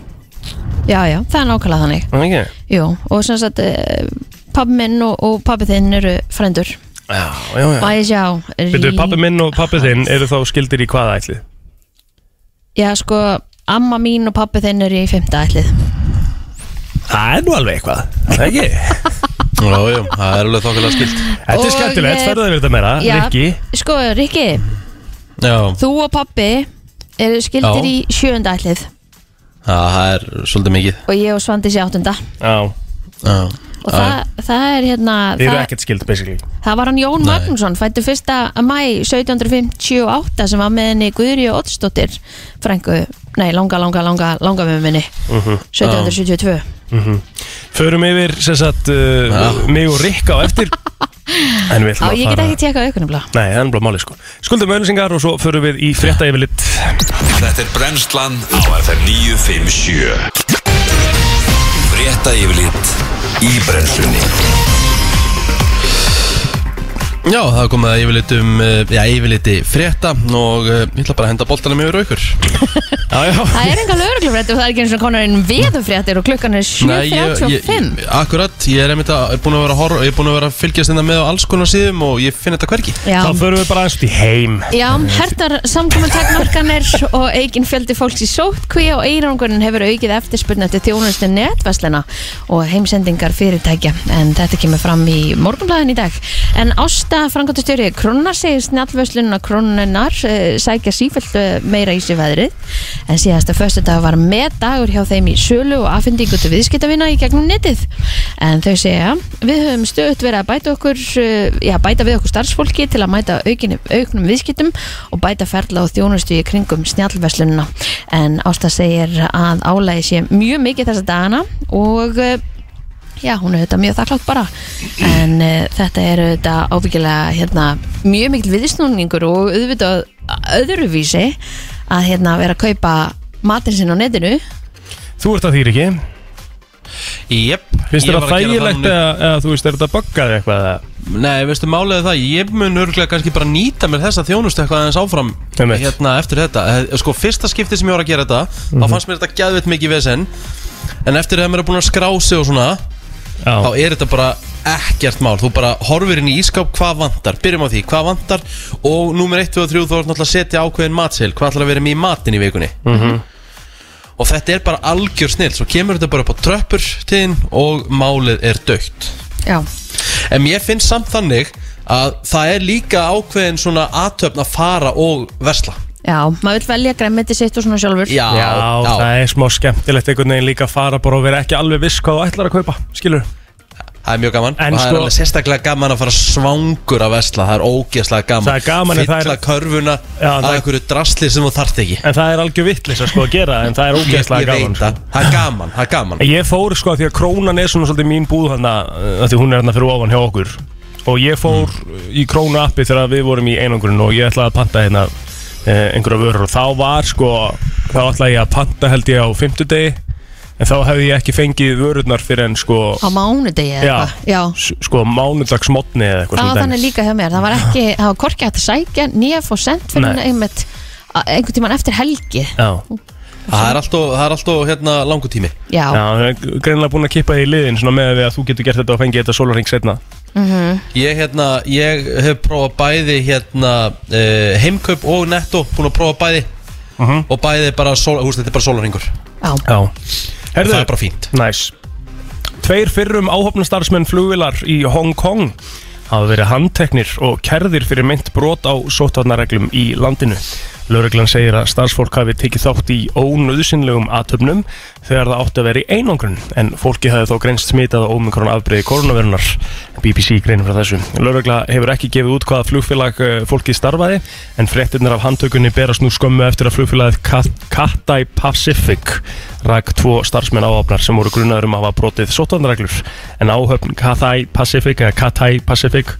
Speaker 3: Já, já, það er nákvæmlega þannig
Speaker 4: Það ekki?
Speaker 3: Jú, og sem sagt pappi minn og, og pappi þinn eru frændur
Speaker 4: Já, já, já
Speaker 3: Má ég sjá
Speaker 4: Veitu,
Speaker 3: rí-
Speaker 4: pappi minn og pappi þinn eru þá skildir í hvaða ætlið?
Speaker 3: Já, sko, amma mín og pappi þinn eru í fymta ætlið
Speaker 4: Það er nú alveg eitthvað Það ekki?
Speaker 1: Já, já, það er alveg þokkilega skilt
Speaker 4: Þetta
Speaker 3: Og
Speaker 4: er skemmtilegt,
Speaker 3: ég-
Speaker 4: ferðu það við þetta meira,
Speaker 3: Já,
Speaker 4: Rikki
Speaker 3: Sko, Rikki,
Speaker 1: Já,
Speaker 3: þú og pappi eru skildir
Speaker 1: Já.
Speaker 3: í sjöunda ætlið
Speaker 1: það er svolítið mikið
Speaker 3: og ég og Svandís í áttunda
Speaker 4: Já,
Speaker 1: Já,
Speaker 3: og það, það er hérna
Speaker 4: þið eru
Speaker 3: það,
Speaker 4: ekkert skild basically
Speaker 3: það var hann Jón
Speaker 1: Nei.
Speaker 3: Magnússon fættu 1. mæ 1758 sem var með henni Guðri og Oddsdóttir frængu, nei, langa, langa, langa langa með minni,
Speaker 1: Mhm.
Speaker 3: 1772
Speaker 4: Mhm. Förum yfir, sem sagt, uh,
Speaker 1: Já.
Speaker 4: mig og Rikka á eftir En við
Speaker 3: Já,
Speaker 4: ætlum
Speaker 3: ég get
Speaker 4: að fara
Speaker 3: ekki tekað ykkur nefnilega
Speaker 4: Nei, það er bara máli sko Skuldum auðlýsingar og svo förum við í frétta yfirlitt
Speaker 2: Þetta er brennslan á FM 957 Frétta yfirlit í brennslunni
Speaker 1: já það er komið að yfirlit um, eh, já, yfirliti frétta og eh, ég ætla bara að henda boltanum yfir á ykkur
Speaker 4: Já, já
Speaker 3: Það er enga lögreglufréttir og það er ekki eins og konar einn veðufréttir og klukkan er
Speaker 1: Nei, ég- ég-
Speaker 3: 7.35
Speaker 1: Akkurat, ég er einmitt að, búin að vera að horfa, ég er búin að vera að fylgjast þetta með á alls konar síðum og ég finn þetta hvergi
Speaker 3: Já,
Speaker 4: Þá förum við bara aðeins út í heim
Speaker 3: Já, hertar samkomintakmarkanir og eigin fjöldi fólks í sótkví og eirangurinn hefur aukið eftirspurn eftir þjónustu netverslana og heimsendingar fyrirtækja en þetta kemur fram í morgunblæðin í dag en Ásta Frankóttustjóri Krónar segir snjallverslununa Krónunar sækja sífælt meira í sig veðrið en síðasta föstudag var með dagur hjá þeim í sölu og afhendingu til viðskiptavina í gegnum netið en þau segja við höfum stöðut verið að bæta okkur eh, já, bæta við okkur starfsfólki til að mæta aukinni, auknum viðskiptum og bæta ferla og þjónustu í kringum snjallverslunina en Ásta segir að álægi sé mjög mikið þessa dagana og eh, já, hún er auðvitað mjög þakklátt bara en uh, þetta er auðvitað ábyggilega hérna, mjög mikil viðsnúningur og auðvitað öðruvísi að hérna vera að kaupa matinn sinn á netinu
Speaker 4: Þú ert að þýr ekki
Speaker 1: Jep,
Speaker 4: Finnst
Speaker 1: ég
Speaker 4: þér
Speaker 1: var að
Speaker 4: það
Speaker 1: gera
Speaker 4: þægilegt
Speaker 1: núna.
Speaker 4: eða, eða þú veist, er þetta buggaði eitthvað eða?
Speaker 1: Nei, veistu málega það, ég mun örglega kannski bara nýta mér þessa þjónustu eitthvað aðeins áfram
Speaker 4: Einmitt.
Speaker 1: hérna eftir þetta Eh, Sko, fyrsta skipti sem ég var að gera þetta
Speaker 4: Mhm.
Speaker 1: þá fannst mér þetta gæðvitt mikið vesen en eftir það mér er búin að skrá sig og svona
Speaker 4: Já,
Speaker 1: þá er þetta bara ekkert mál Þú bara horfir inn í ískáp hvað vantar Byrjum á því, hvað vantar Og númer 1, 2 og 3 þú ert náttúrulega að setja ákveðin matseil Hvað ætlar að vera með í matin í vikunni Og þetta er bara algjör snill Svo kemur þetta bara upp á tröppur tíðin Og málið er dögt
Speaker 3: já,
Speaker 1: En mér finnst samt þannig að það er líka ákveðin svona aðtöfn að fara og versla
Speaker 3: já, maður vil velja græmiti sitt og svona sjálfur
Speaker 1: Já,
Speaker 4: Já, það er smá skemmtilegt einhvern veginn líka að fara bara og vera ekki alveg viss hvað þú ætlar að kaupa, skilur
Speaker 1: það er mjög gaman
Speaker 4: En
Speaker 1: og það er
Speaker 4: sko-
Speaker 1: alveg sérstaklega gaman að fara svangur að versla það er ógeðslega gaman
Speaker 4: Það er gaman en
Speaker 1: fylla
Speaker 4: það er-
Speaker 1: körfuna
Speaker 4: Já,
Speaker 1: að
Speaker 4: það-
Speaker 1: einhverju drasli sem þú þarft ekki
Speaker 4: En það er algjör vittlis að sko að gera það, en það er
Speaker 1: Ég, ég
Speaker 4: ógeðslega gaman
Speaker 1: veit það, það er gaman, það er gaman
Speaker 4: En Ég fór sko að því að krónan er svona svolítið mín búð hann að því hún er hann fyrir ofan hjá okkur og ég fór
Speaker 1: Mm.
Speaker 4: í krónu appi þegar við vorum í einangrun og ég ætlaði að panta hérna eh, einhverja vörur og þá var sko þá ætlaði ég að panta held ég á fimmtudegi en þá hefði ég ekki fengið vörurnar fyrir en sko
Speaker 3: á mánudegi eða
Speaker 4: Já.
Speaker 3: eitthvað já,
Speaker 4: s- sko mánudagsmotni eða eitthvað
Speaker 3: það var
Speaker 4: svona
Speaker 3: þannig
Speaker 4: dæmis.
Speaker 3: líka hjá mér það var ekki, það var korki hægt að sækja nýja fór sent fyrir
Speaker 4: Nei.
Speaker 3: henni einmitt a- einhvern tíman eftir helgi
Speaker 4: Já,
Speaker 1: Það er alltof, það er alltof hérna, langu tími
Speaker 3: já,
Speaker 4: já, það er greinlega búin að kippa því í liðin svona með því að þú getur gert þetta og fengið þetta sólarring setna
Speaker 5: Mhm.
Speaker 1: Ég, hérna, ég hef prófað bæði hérna, uh, heimkaup og netto búin að prófa bæði
Speaker 4: Mhm.
Speaker 1: og bæði bara, sól, húst, þetta er bara sólarringur
Speaker 3: já,
Speaker 4: Já
Speaker 1: og
Speaker 4: Herðu,
Speaker 1: það er bara fínt
Speaker 4: Næs. Tveir fyrrum áhopnastarfsmenn flugvilar í Hong Kong hafa verið handteknir og kerðir fyrir mynd brot á sóttvarnareglum í landinu. Lögreglan segir að starfsfólk hafi tekið þátt í ónöðsynlegum aðtöfnum þegar það átti að vera í einangrun en fólki hafi þó greinst smitað á ómikrona afbreyði koronavirunar. BBC greinir frá þessu. Lögregla hefur ekki gefið út hvaða flugfélag eh, fólkið starfaði en fréttirnar af handtökunni berast nú skömmu eftir að flugfélagið Kat- Cathay Pacific rak tvo starfsmenn áhafnar sem voru grunaður um að hafa brotið sótvandarreglur en áhöfn Cathay Pacific eða Cathay Pacific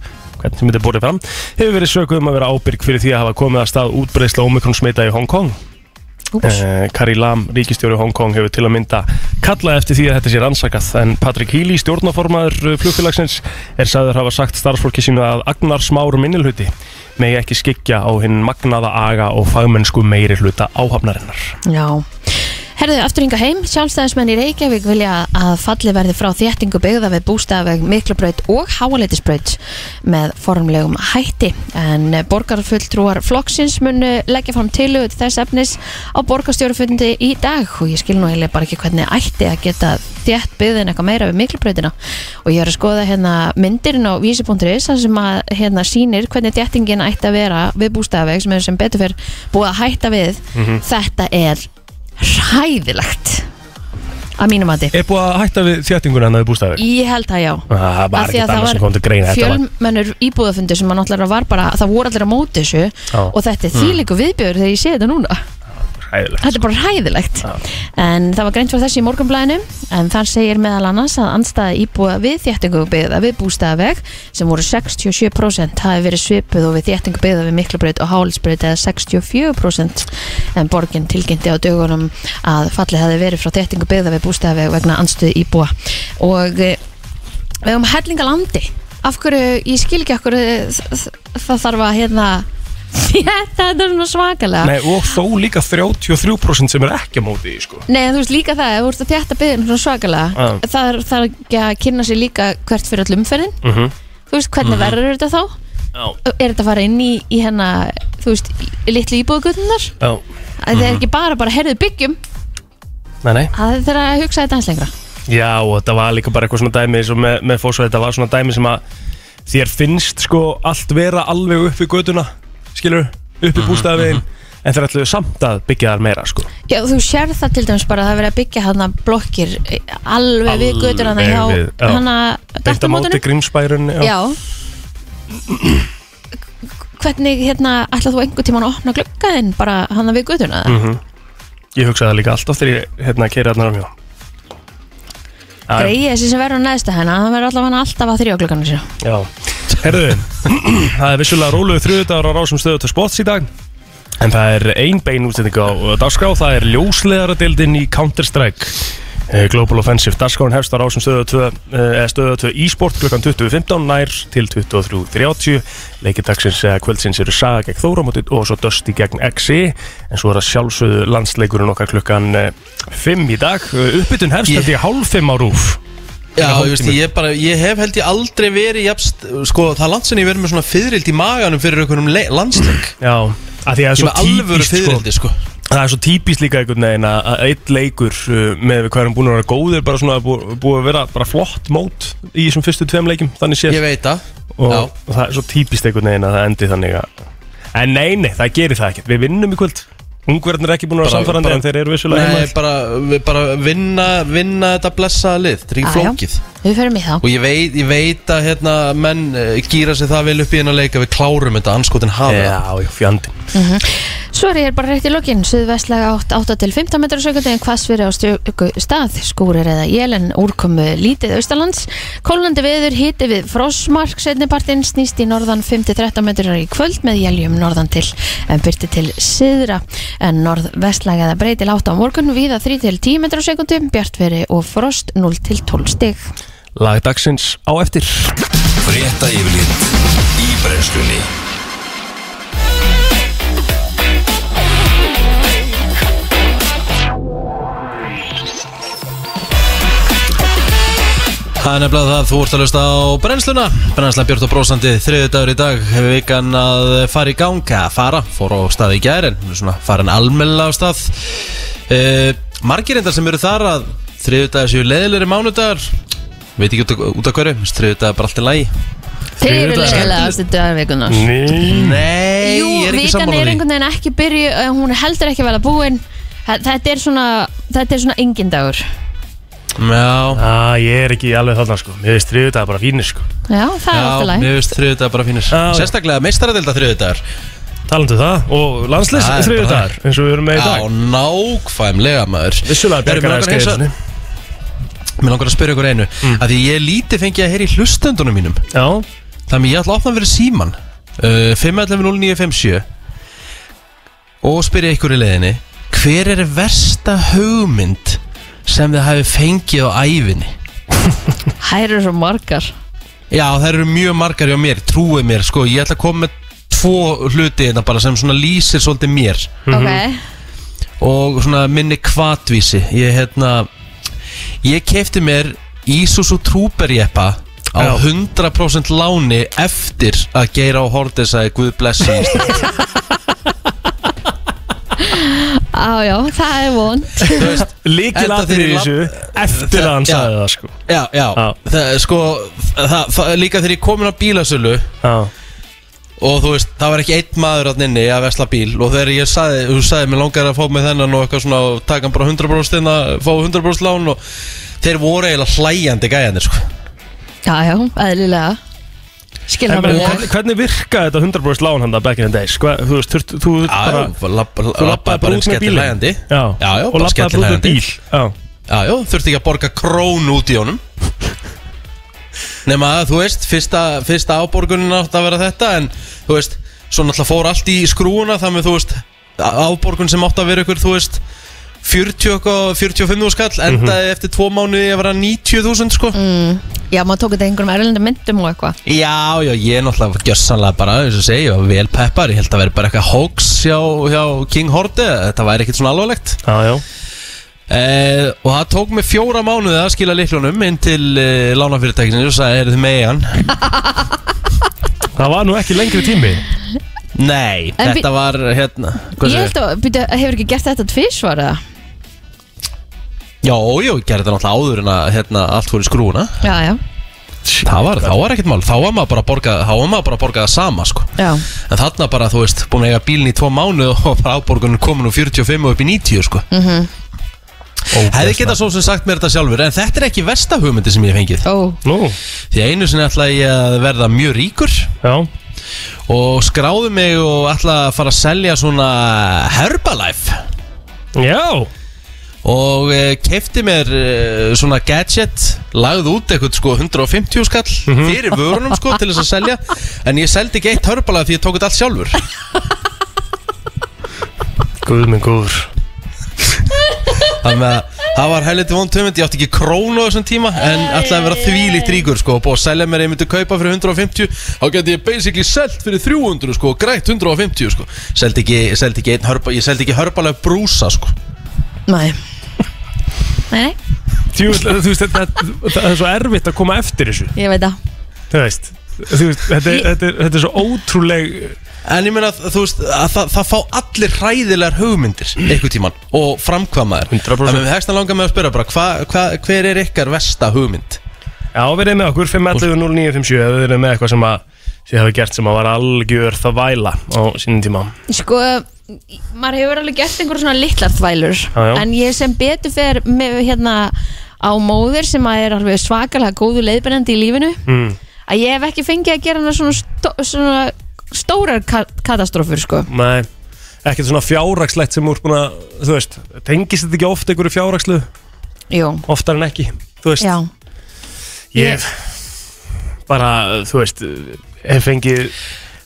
Speaker 4: hvernig sem þetta er borðið fram hefur verið sökuð um að vera ábyrg fyrir því að hafa komið að stað útbreysla Omikron smita í Hong Kong
Speaker 3: úps,
Speaker 4: Eh, Carrie Lam, ríkistjóri Hong Kong, hefur til að mynda kallað eftir því að þetta sé rannsakað en Patrick Healy, stjórnaformaður flugfélagsins er sagður hafa sagt starfsfólki sínu að agnar smáru minnilhuti megi ekki skikja á hinn magnaða aga og fagmennsku meiri hluta áhafnarinnar
Speaker 3: já Herðu, aftur hinga heim, sjálfstæðismenn í Reykjavík vilja að falli verði frá þéttingu byggða við bústafeg Miklabraut og Háaleitisbraut með formlegum hætti. En borgarfulltrúar flokksins munu leggja fram tilhugð þess efnis á borgarstjórufundi í dag og ég skil nú eiginlega bara ekki hvernig ætti að geta þétt byggðin eitthvað meira við Miklabrautina og ég er að skoða hérna myndirinn á vísi.is þar sem að hérna sýnir hvernig þéttingin ætti að vera við bústafeg sem er sem betur fyrr búið að hætta við. Þetta er hræðilegt að mínum mati
Speaker 4: Er búið að hætta við Ah, þjættinguna en það er bústæður?
Speaker 3: ég held að já
Speaker 4: Það
Speaker 3: Af
Speaker 4: var
Speaker 3: því að
Speaker 4: ekkert
Speaker 3: það
Speaker 4: annað
Speaker 3: var
Speaker 4: sem kom til greina þetta var-
Speaker 3: fjölmennur íbúðafundur sem að náttúrulega var bara það voru allir að móti þessu
Speaker 4: Já. Mm.
Speaker 3: og þetta er þýlíku viðbjör þegar ég sé þetta núna
Speaker 4: Hræðilegt. sko.
Speaker 3: þetta er bara hræðilegt en það var greint fyrir þessi í morgunblæðinu en þar segir meðal annars að anstæða íbúða við þéttingu byggða við bústæðaveg sem voru 67% hafi verið svipuð og við þéttingu byggða við miklabraut og hálsbraut eða 64% en borgin tilkynnti á dögunum að fallið hafi verið frá þéttingu byggða við bústæðaveg vegna anstuð íbúa og eh, við höfum hellinga landi af hverju, ég skil ekki af hverju þ- þ- það þarf að hérna þetta er svona svakalega
Speaker 4: Nei, og þó líka 33% sem er ekki á móti því, sko.
Speaker 3: Nei, en þú veist líka það, ef þú ert að þjætta byggðin svona svakalega,
Speaker 4: Já.
Speaker 3: það er, það er ekki að kynna sér líka hvert fyrir all umferðin
Speaker 4: Mhm.
Speaker 3: þú veist, hvernig verður þetta þá?
Speaker 4: Já.
Speaker 3: Er þetta að fara inn í, í hérna þú veist, í litlu íbúðgötunar?
Speaker 4: Já.
Speaker 3: Það
Speaker 4: Mhm.
Speaker 3: er ekki bara bara herðu byggjum
Speaker 4: Nei, nei.
Speaker 3: það er þeirra að hugsa þetta hans lengra
Speaker 4: Já, og þetta var líka bara eitthvað svona dæmi eins og með, með fórsvæði, þetta var svona dæmi sem að þér finnst, sko, allt vera alveg upp í göduna, skilur, upp
Speaker 3: Mhm,
Speaker 4: í bústæðavegin, en þeir ætluðu samt að byggja þar meira, sko.
Speaker 3: Já, þú sér það til dæmis bara að það er verið að byggja hana blokkir eh, alveg, alveg við
Speaker 4: Alveg
Speaker 3: götur hana hjá
Speaker 4: Mm, við, já.
Speaker 3: hana um
Speaker 4: Beint á móti grímsbærunni.
Speaker 3: Já Hvernig hérna ætlaðu þú einhvern tímann að opna gluggaðinn bara hana við götuna það?
Speaker 4: Mhm. Ég hugsaði það líka alltaf þegar ég, hérna, keiri hérna rámjá.
Speaker 3: greið þessi sem verður næsta hennar hann verður allavega alltaf að þrjá klukkanu sína
Speaker 4: Já, herðu Það er vissulega róluðu þriðudagur á rásum stöðu til spots í dag En það er ein bein útsending á dagskrá Það er ljóslegaradildin í Counter-Strike Eh, Global Offensive Dagskráin hefst á rásum stöðu 2 eða stöðu 2 e-sport klukkan 20.15 nær til 23.30 leikindagsins eða kvöldsins eru Saga gegn Þóramótið og svo Dusty gegn XI en svo er það sjálfsögðu eh, landsleikurinn okkar klukkan 5 í dag Eh, uppbytun hefst
Speaker 1: Ég-
Speaker 4: þetta í hálf 5 á rúf
Speaker 1: Já,
Speaker 4: Svona
Speaker 1: ég, veist,
Speaker 4: hálftími.
Speaker 1: ég, bara, ég hef held ég aldrei verið jafst, sko, það er langt sem ég verið með svona fyrirld í maganum fyrir einhverjum le- landsleik
Speaker 4: Já, að því að það er
Speaker 1: Ég er
Speaker 4: svo
Speaker 1: með alvöru
Speaker 4: típist sko,
Speaker 1: fyrirldi sko.
Speaker 4: Það er svo típist líka einhvern veginn að að einn leikur uh, með við hverjum búin að vera góðir bara svona búið, búið að vera bara flott mót í þessum fyrstu tveim leikum þannig séð
Speaker 1: Ég veit það
Speaker 4: og,
Speaker 1: já.
Speaker 4: og það er svo típist einhvern veginn að það endi þannig að En nei, nei, það gerir það ekkert, við vinnum í kvöld Ungverðin er ekki búin að vera
Speaker 1: Bara-
Speaker 4: samfærandi
Speaker 1: bara-
Speaker 4: en þeir eru vissulega
Speaker 1: Nei,
Speaker 4: heima
Speaker 1: bara, við bara vinna, vinna þetta blessaða lið Þetta er ekki flókið
Speaker 3: Við förum í þá
Speaker 1: Og ég veit, ég veit að hérna, menn eh, gýra sig það vel upp í hennar leika Við klárum þetta, anskotin hafa það.
Speaker 4: Já, já, fjandinn
Speaker 3: Svo er ég bara rétt í lokinn, suðvestlega 8 til 15 metrar sekundi en hvass fyrir á stöku stað, skúrir eða jelen, úrkomu lítið austalands, kólnandi veður, hiti við frosmark, setnipartinn snýst í norðan 5-13 metrar í kvöld með jeljum norðan til en byrti til syðra en norðvestlega eða breytil 8 á morgun, viða 3-10 metrar sekundi, bjartveri og frost 0-12 stig.
Speaker 4: Lag dagsins á eftir
Speaker 2: Frétta yfirlit í brennslunni
Speaker 1: Það er nefnilega það, þú ert að lösta á brennsluna Brennsla Björn og Brósandi, þriðu dagur í dag Hefur vikan að fara í gang Að fara, fór á staði í gær En svona farin almennilega á stað e, Margir endar sem eru þar að Þriðu dagur séu leðilegri mánudagur Veit ekki út, af- út af hverju Þriðu dagur bara allt í lagi
Speaker 3: Þeir eru
Speaker 4: Þriðjudagar.
Speaker 3: leiðilega aðstu dögarvikunar.
Speaker 4: Ný
Speaker 1: Nei,
Speaker 3: Jú,
Speaker 1: ég er ekki
Speaker 3: vikan
Speaker 1: sammála
Speaker 3: er
Speaker 1: því
Speaker 3: einhvern veginn ekki byrju eh, hún er heldur ekki vel að búin Þa- þetta er svona þetta er svona engin dagur
Speaker 1: Já,
Speaker 4: Á, Ah, ég er ekki alveg þarna sko, mér veist þriðu dag bara fínir sko
Speaker 3: já, það er alltaf
Speaker 1: já,
Speaker 3: læg
Speaker 1: mér veist þriðu dagur bara fínir
Speaker 4: Já, já.
Speaker 1: Sérstaklega meistaradelda þriðu dagur
Speaker 4: Talandu um það og landslis
Speaker 1: Það er
Speaker 4: þriðu
Speaker 1: bara
Speaker 4: dagar eins og við erum með í
Speaker 1: Já,
Speaker 4: dag
Speaker 1: nákvæmlega maður
Speaker 4: Vissulega
Speaker 1: Erum við
Speaker 4: bjargar
Speaker 1: langar
Speaker 4: að
Speaker 1: eins að-
Speaker 4: skeiðinni
Speaker 1: Mér langar að spyrja ykkur einu mm. Því ég er lítið fengið að heyra í hlustendunum mínum
Speaker 4: Já,
Speaker 1: Þannig ég ætla að opna fyrir síman uh, 511-0957 Og spyrja ykkur í leiðinni Hver er versta hugmynd Sem þið hafi fengið á ævinni
Speaker 3: þær eru svo margar
Speaker 1: Já, það eru mjög margar hjá mér Trúið mér, sko Ég ætla að koma með tvo hluti þetta bara Sem svona lýsir svolítið mér
Speaker 4: Mhm.
Speaker 3: Mhm.
Speaker 1: og svona minni kvatvísi ég hérna ég kefti mér Isuzu Trooper jeppa á
Speaker 4: Já.
Speaker 1: 100% láni eftir að Geir á Hortes að Guð blessi Ísland.
Speaker 3: ok á já, það er von
Speaker 1: Þú veist,
Speaker 4: líkil
Speaker 1: Enda
Speaker 4: aðrið í
Speaker 1: þeirri
Speaker 4: þessu eftir að hann
Speaker 1: Já.
Speaker 4: sagði það sko
Speaker 1: já, já,
Speaker 4: Já.
Speaker 1: Það, er sko það, það, er líka þegar ég komin á bílasölu
Speaker 4: Já,
Speaker 1: og þú veist, það var ekki einn maður að inni að vesla bíl og þegar ég sagði, þú sagði, mér langar að fá mig þennan og eitthvað svona, og taka hann bara 100% inn að fá 100% lán og þeir voru eiginlega hlæjandi gæjandi sko.
Speaker 3: já, já, eðlilega skil
Speaker 4: en
Speaker 3: það
Speaker 4: menn,
Speaker 3: bara
Speaker 4: hvernig, hvernig virkaði þetta 100% lán hann það back in the days? Hva, þú veist, þurft, þú þurft bara
Speaker 1: Já, lapp-
Speaker 4: Þú
Speaker 1: lappaði
Speaker 4: lappaði
Speaker 1: bara
Speaker 4: bara
Speaker 1: einn
Speaker 4: út með
Speaker 1: skellir
Speaker 4: bílinn
Speaker 1: lægandi
Speaker 4: Já,
Speaker 1: já, já,
Speaker 4: og
Speaker 1: bara
Speaker 4: lappaði
Speaker 1: skellir
Speaker 4: bara út með
Speaker 1: lægandi
Speaker 4: bíl Já,
Speaker 1: Já, já, þurfti ekki að borga krón út í honum Nefna að, þú veist, fyrsta, fyrsta áborgunin átt að vera þetta En, þú veist, svo náttúrulega fór allt í skrúuna Þannig, þú veist, áborgun sem átt að vera ykkur, þú veist 40 og 45 skall
Speaker 4: Mhm.
Speaker 1: Endaði eftir tvo mánuði að vera 90.000, sko
Speaker 3: Mm. já, maður tók þetta í einhverjum erlendu myndum og eitthvað
Speaker 1: Já, já, ég er náttúrulega gjössanlega bara, eins og ég segi, ég var vel peppar Ég held að vera bara eitthvað hoax hjá, hjá King Horde Þetta væri ekkit svona alvarlegt
Speaker 4: já, já
Speaker 1: Eh, og það tók mig fjóra mánuði að skila liklunum inn til eh, lánafyrirtækinu og sagði, er þið með hann?
Speaker 4: Það var nú ekki lengri tími
Speaker 1: Nei,
Speaker 3: En
Speaker 1: þetta var hérna
Speaker 3: ég
Speaker 1: hvað segir?
Speaker 3: held að, byrja, hefur ekki gert þetta tvísvar eða?
Speaker 1: Já, já, ég gerði þetta náttúrulega áður en að hérna, allt fór í skrúna
Speaker 3: já, já,
Speaker 1: Það var, þá var ekkert mál, þá var maður bara að borga, þá var maður bara að borga það sama sko
Speaker 3: já
Speaker 1: En þarna bara, þú veist, búin að eiga bílinn í tvo mánuð og bara áborgunum komin úr 45 og upp í 90 sko
Speaker 6: Mhm.
Speaker 1: Hefði getað svo sem sagt mér þetta sjálfur, en þetta er ekki versta hugmyndi sem ég hef fengið
Speaker 3: ó,
Speaker 4: Nú,
Speaker 1: Því að einu sinni ætlaði ég að verða mjög ríkur
Speaker 4: já
Speaker 1: og skráði mig og ætla að fara að selja svona Herbalife
Speaker 4: Já,
Speaker 1: og e, kefti mér e, svona gadget lagði út eitthvað sko 150 skall
Speaker 4: Mhm.
Speaker 1: fyrir vörunum sko til þess að selja en ég seldi ekki eitt Herbalife því ég tók þetta allt sjálfur
Speaker 4: guð minn góður
Speaker 1: þannig að það var helviti vond tömynd ég átti ekki krónu á þessum tíma en ætlaði að vera þvílíkt ríkur sko og búið að selja mér ég myndi kaupa fyrir 150 þá geti ég basically selt fyrir 300 sko og grætt 150 sko seldi ekki, seldi ekki einn Herbalife ég seldi ekki Herbalife brúsa sko
Speaker 3: næ nei, nei,
Speaker 4: Þú veist, þú veist þetta, það er svo erfitt að koma eftir þessu
Speaker 3: Ég veit það
Speaker 4: Þú veist, þú veist þetta, er- þetta, er- þetta er svo ótrúleg
Speaker 1: En ég meina, þú veist, að það, það fá allir hræðilegar hugmyndir einhvern tíman og framkvæmaður
Speaker 4: 100%.
Speaker 1: Þannig að við hegst að langa með að spyrja bara, hva, hva, hver er ykkar versta hugmynd?
Speaker 4: Já, verið með okkur 511-0957 ef þið eru með eitthvað sem að þið hafa gert sem að var algjör það væla á sínum tíma
Speaker 3: Sko, maður hefur alveg gert einhver svona litlar þvælur
Speaker 4: Já, já.
Speaker 3: En ég sem betur fer með hérna á móður sem að er alveg svakalega góðu leiðbennandi í lífinu
Speaker 4: mm.
Speaker 3: Að ég hef ekki fengið að gera hana svona, stó svona stórar ka katastrófur sko
Speaker 4: Nei, ekkert svona fjárrakslegt sem úr búin að, þú veist, tengist þetta ekki oft einhverju fjárrakslu,
Speaker 3: Jú,
Speaker 4: oftar en ekki Þú veist,
Speaker 3: já
Speaker 4: ég bara, þú veist hef fengið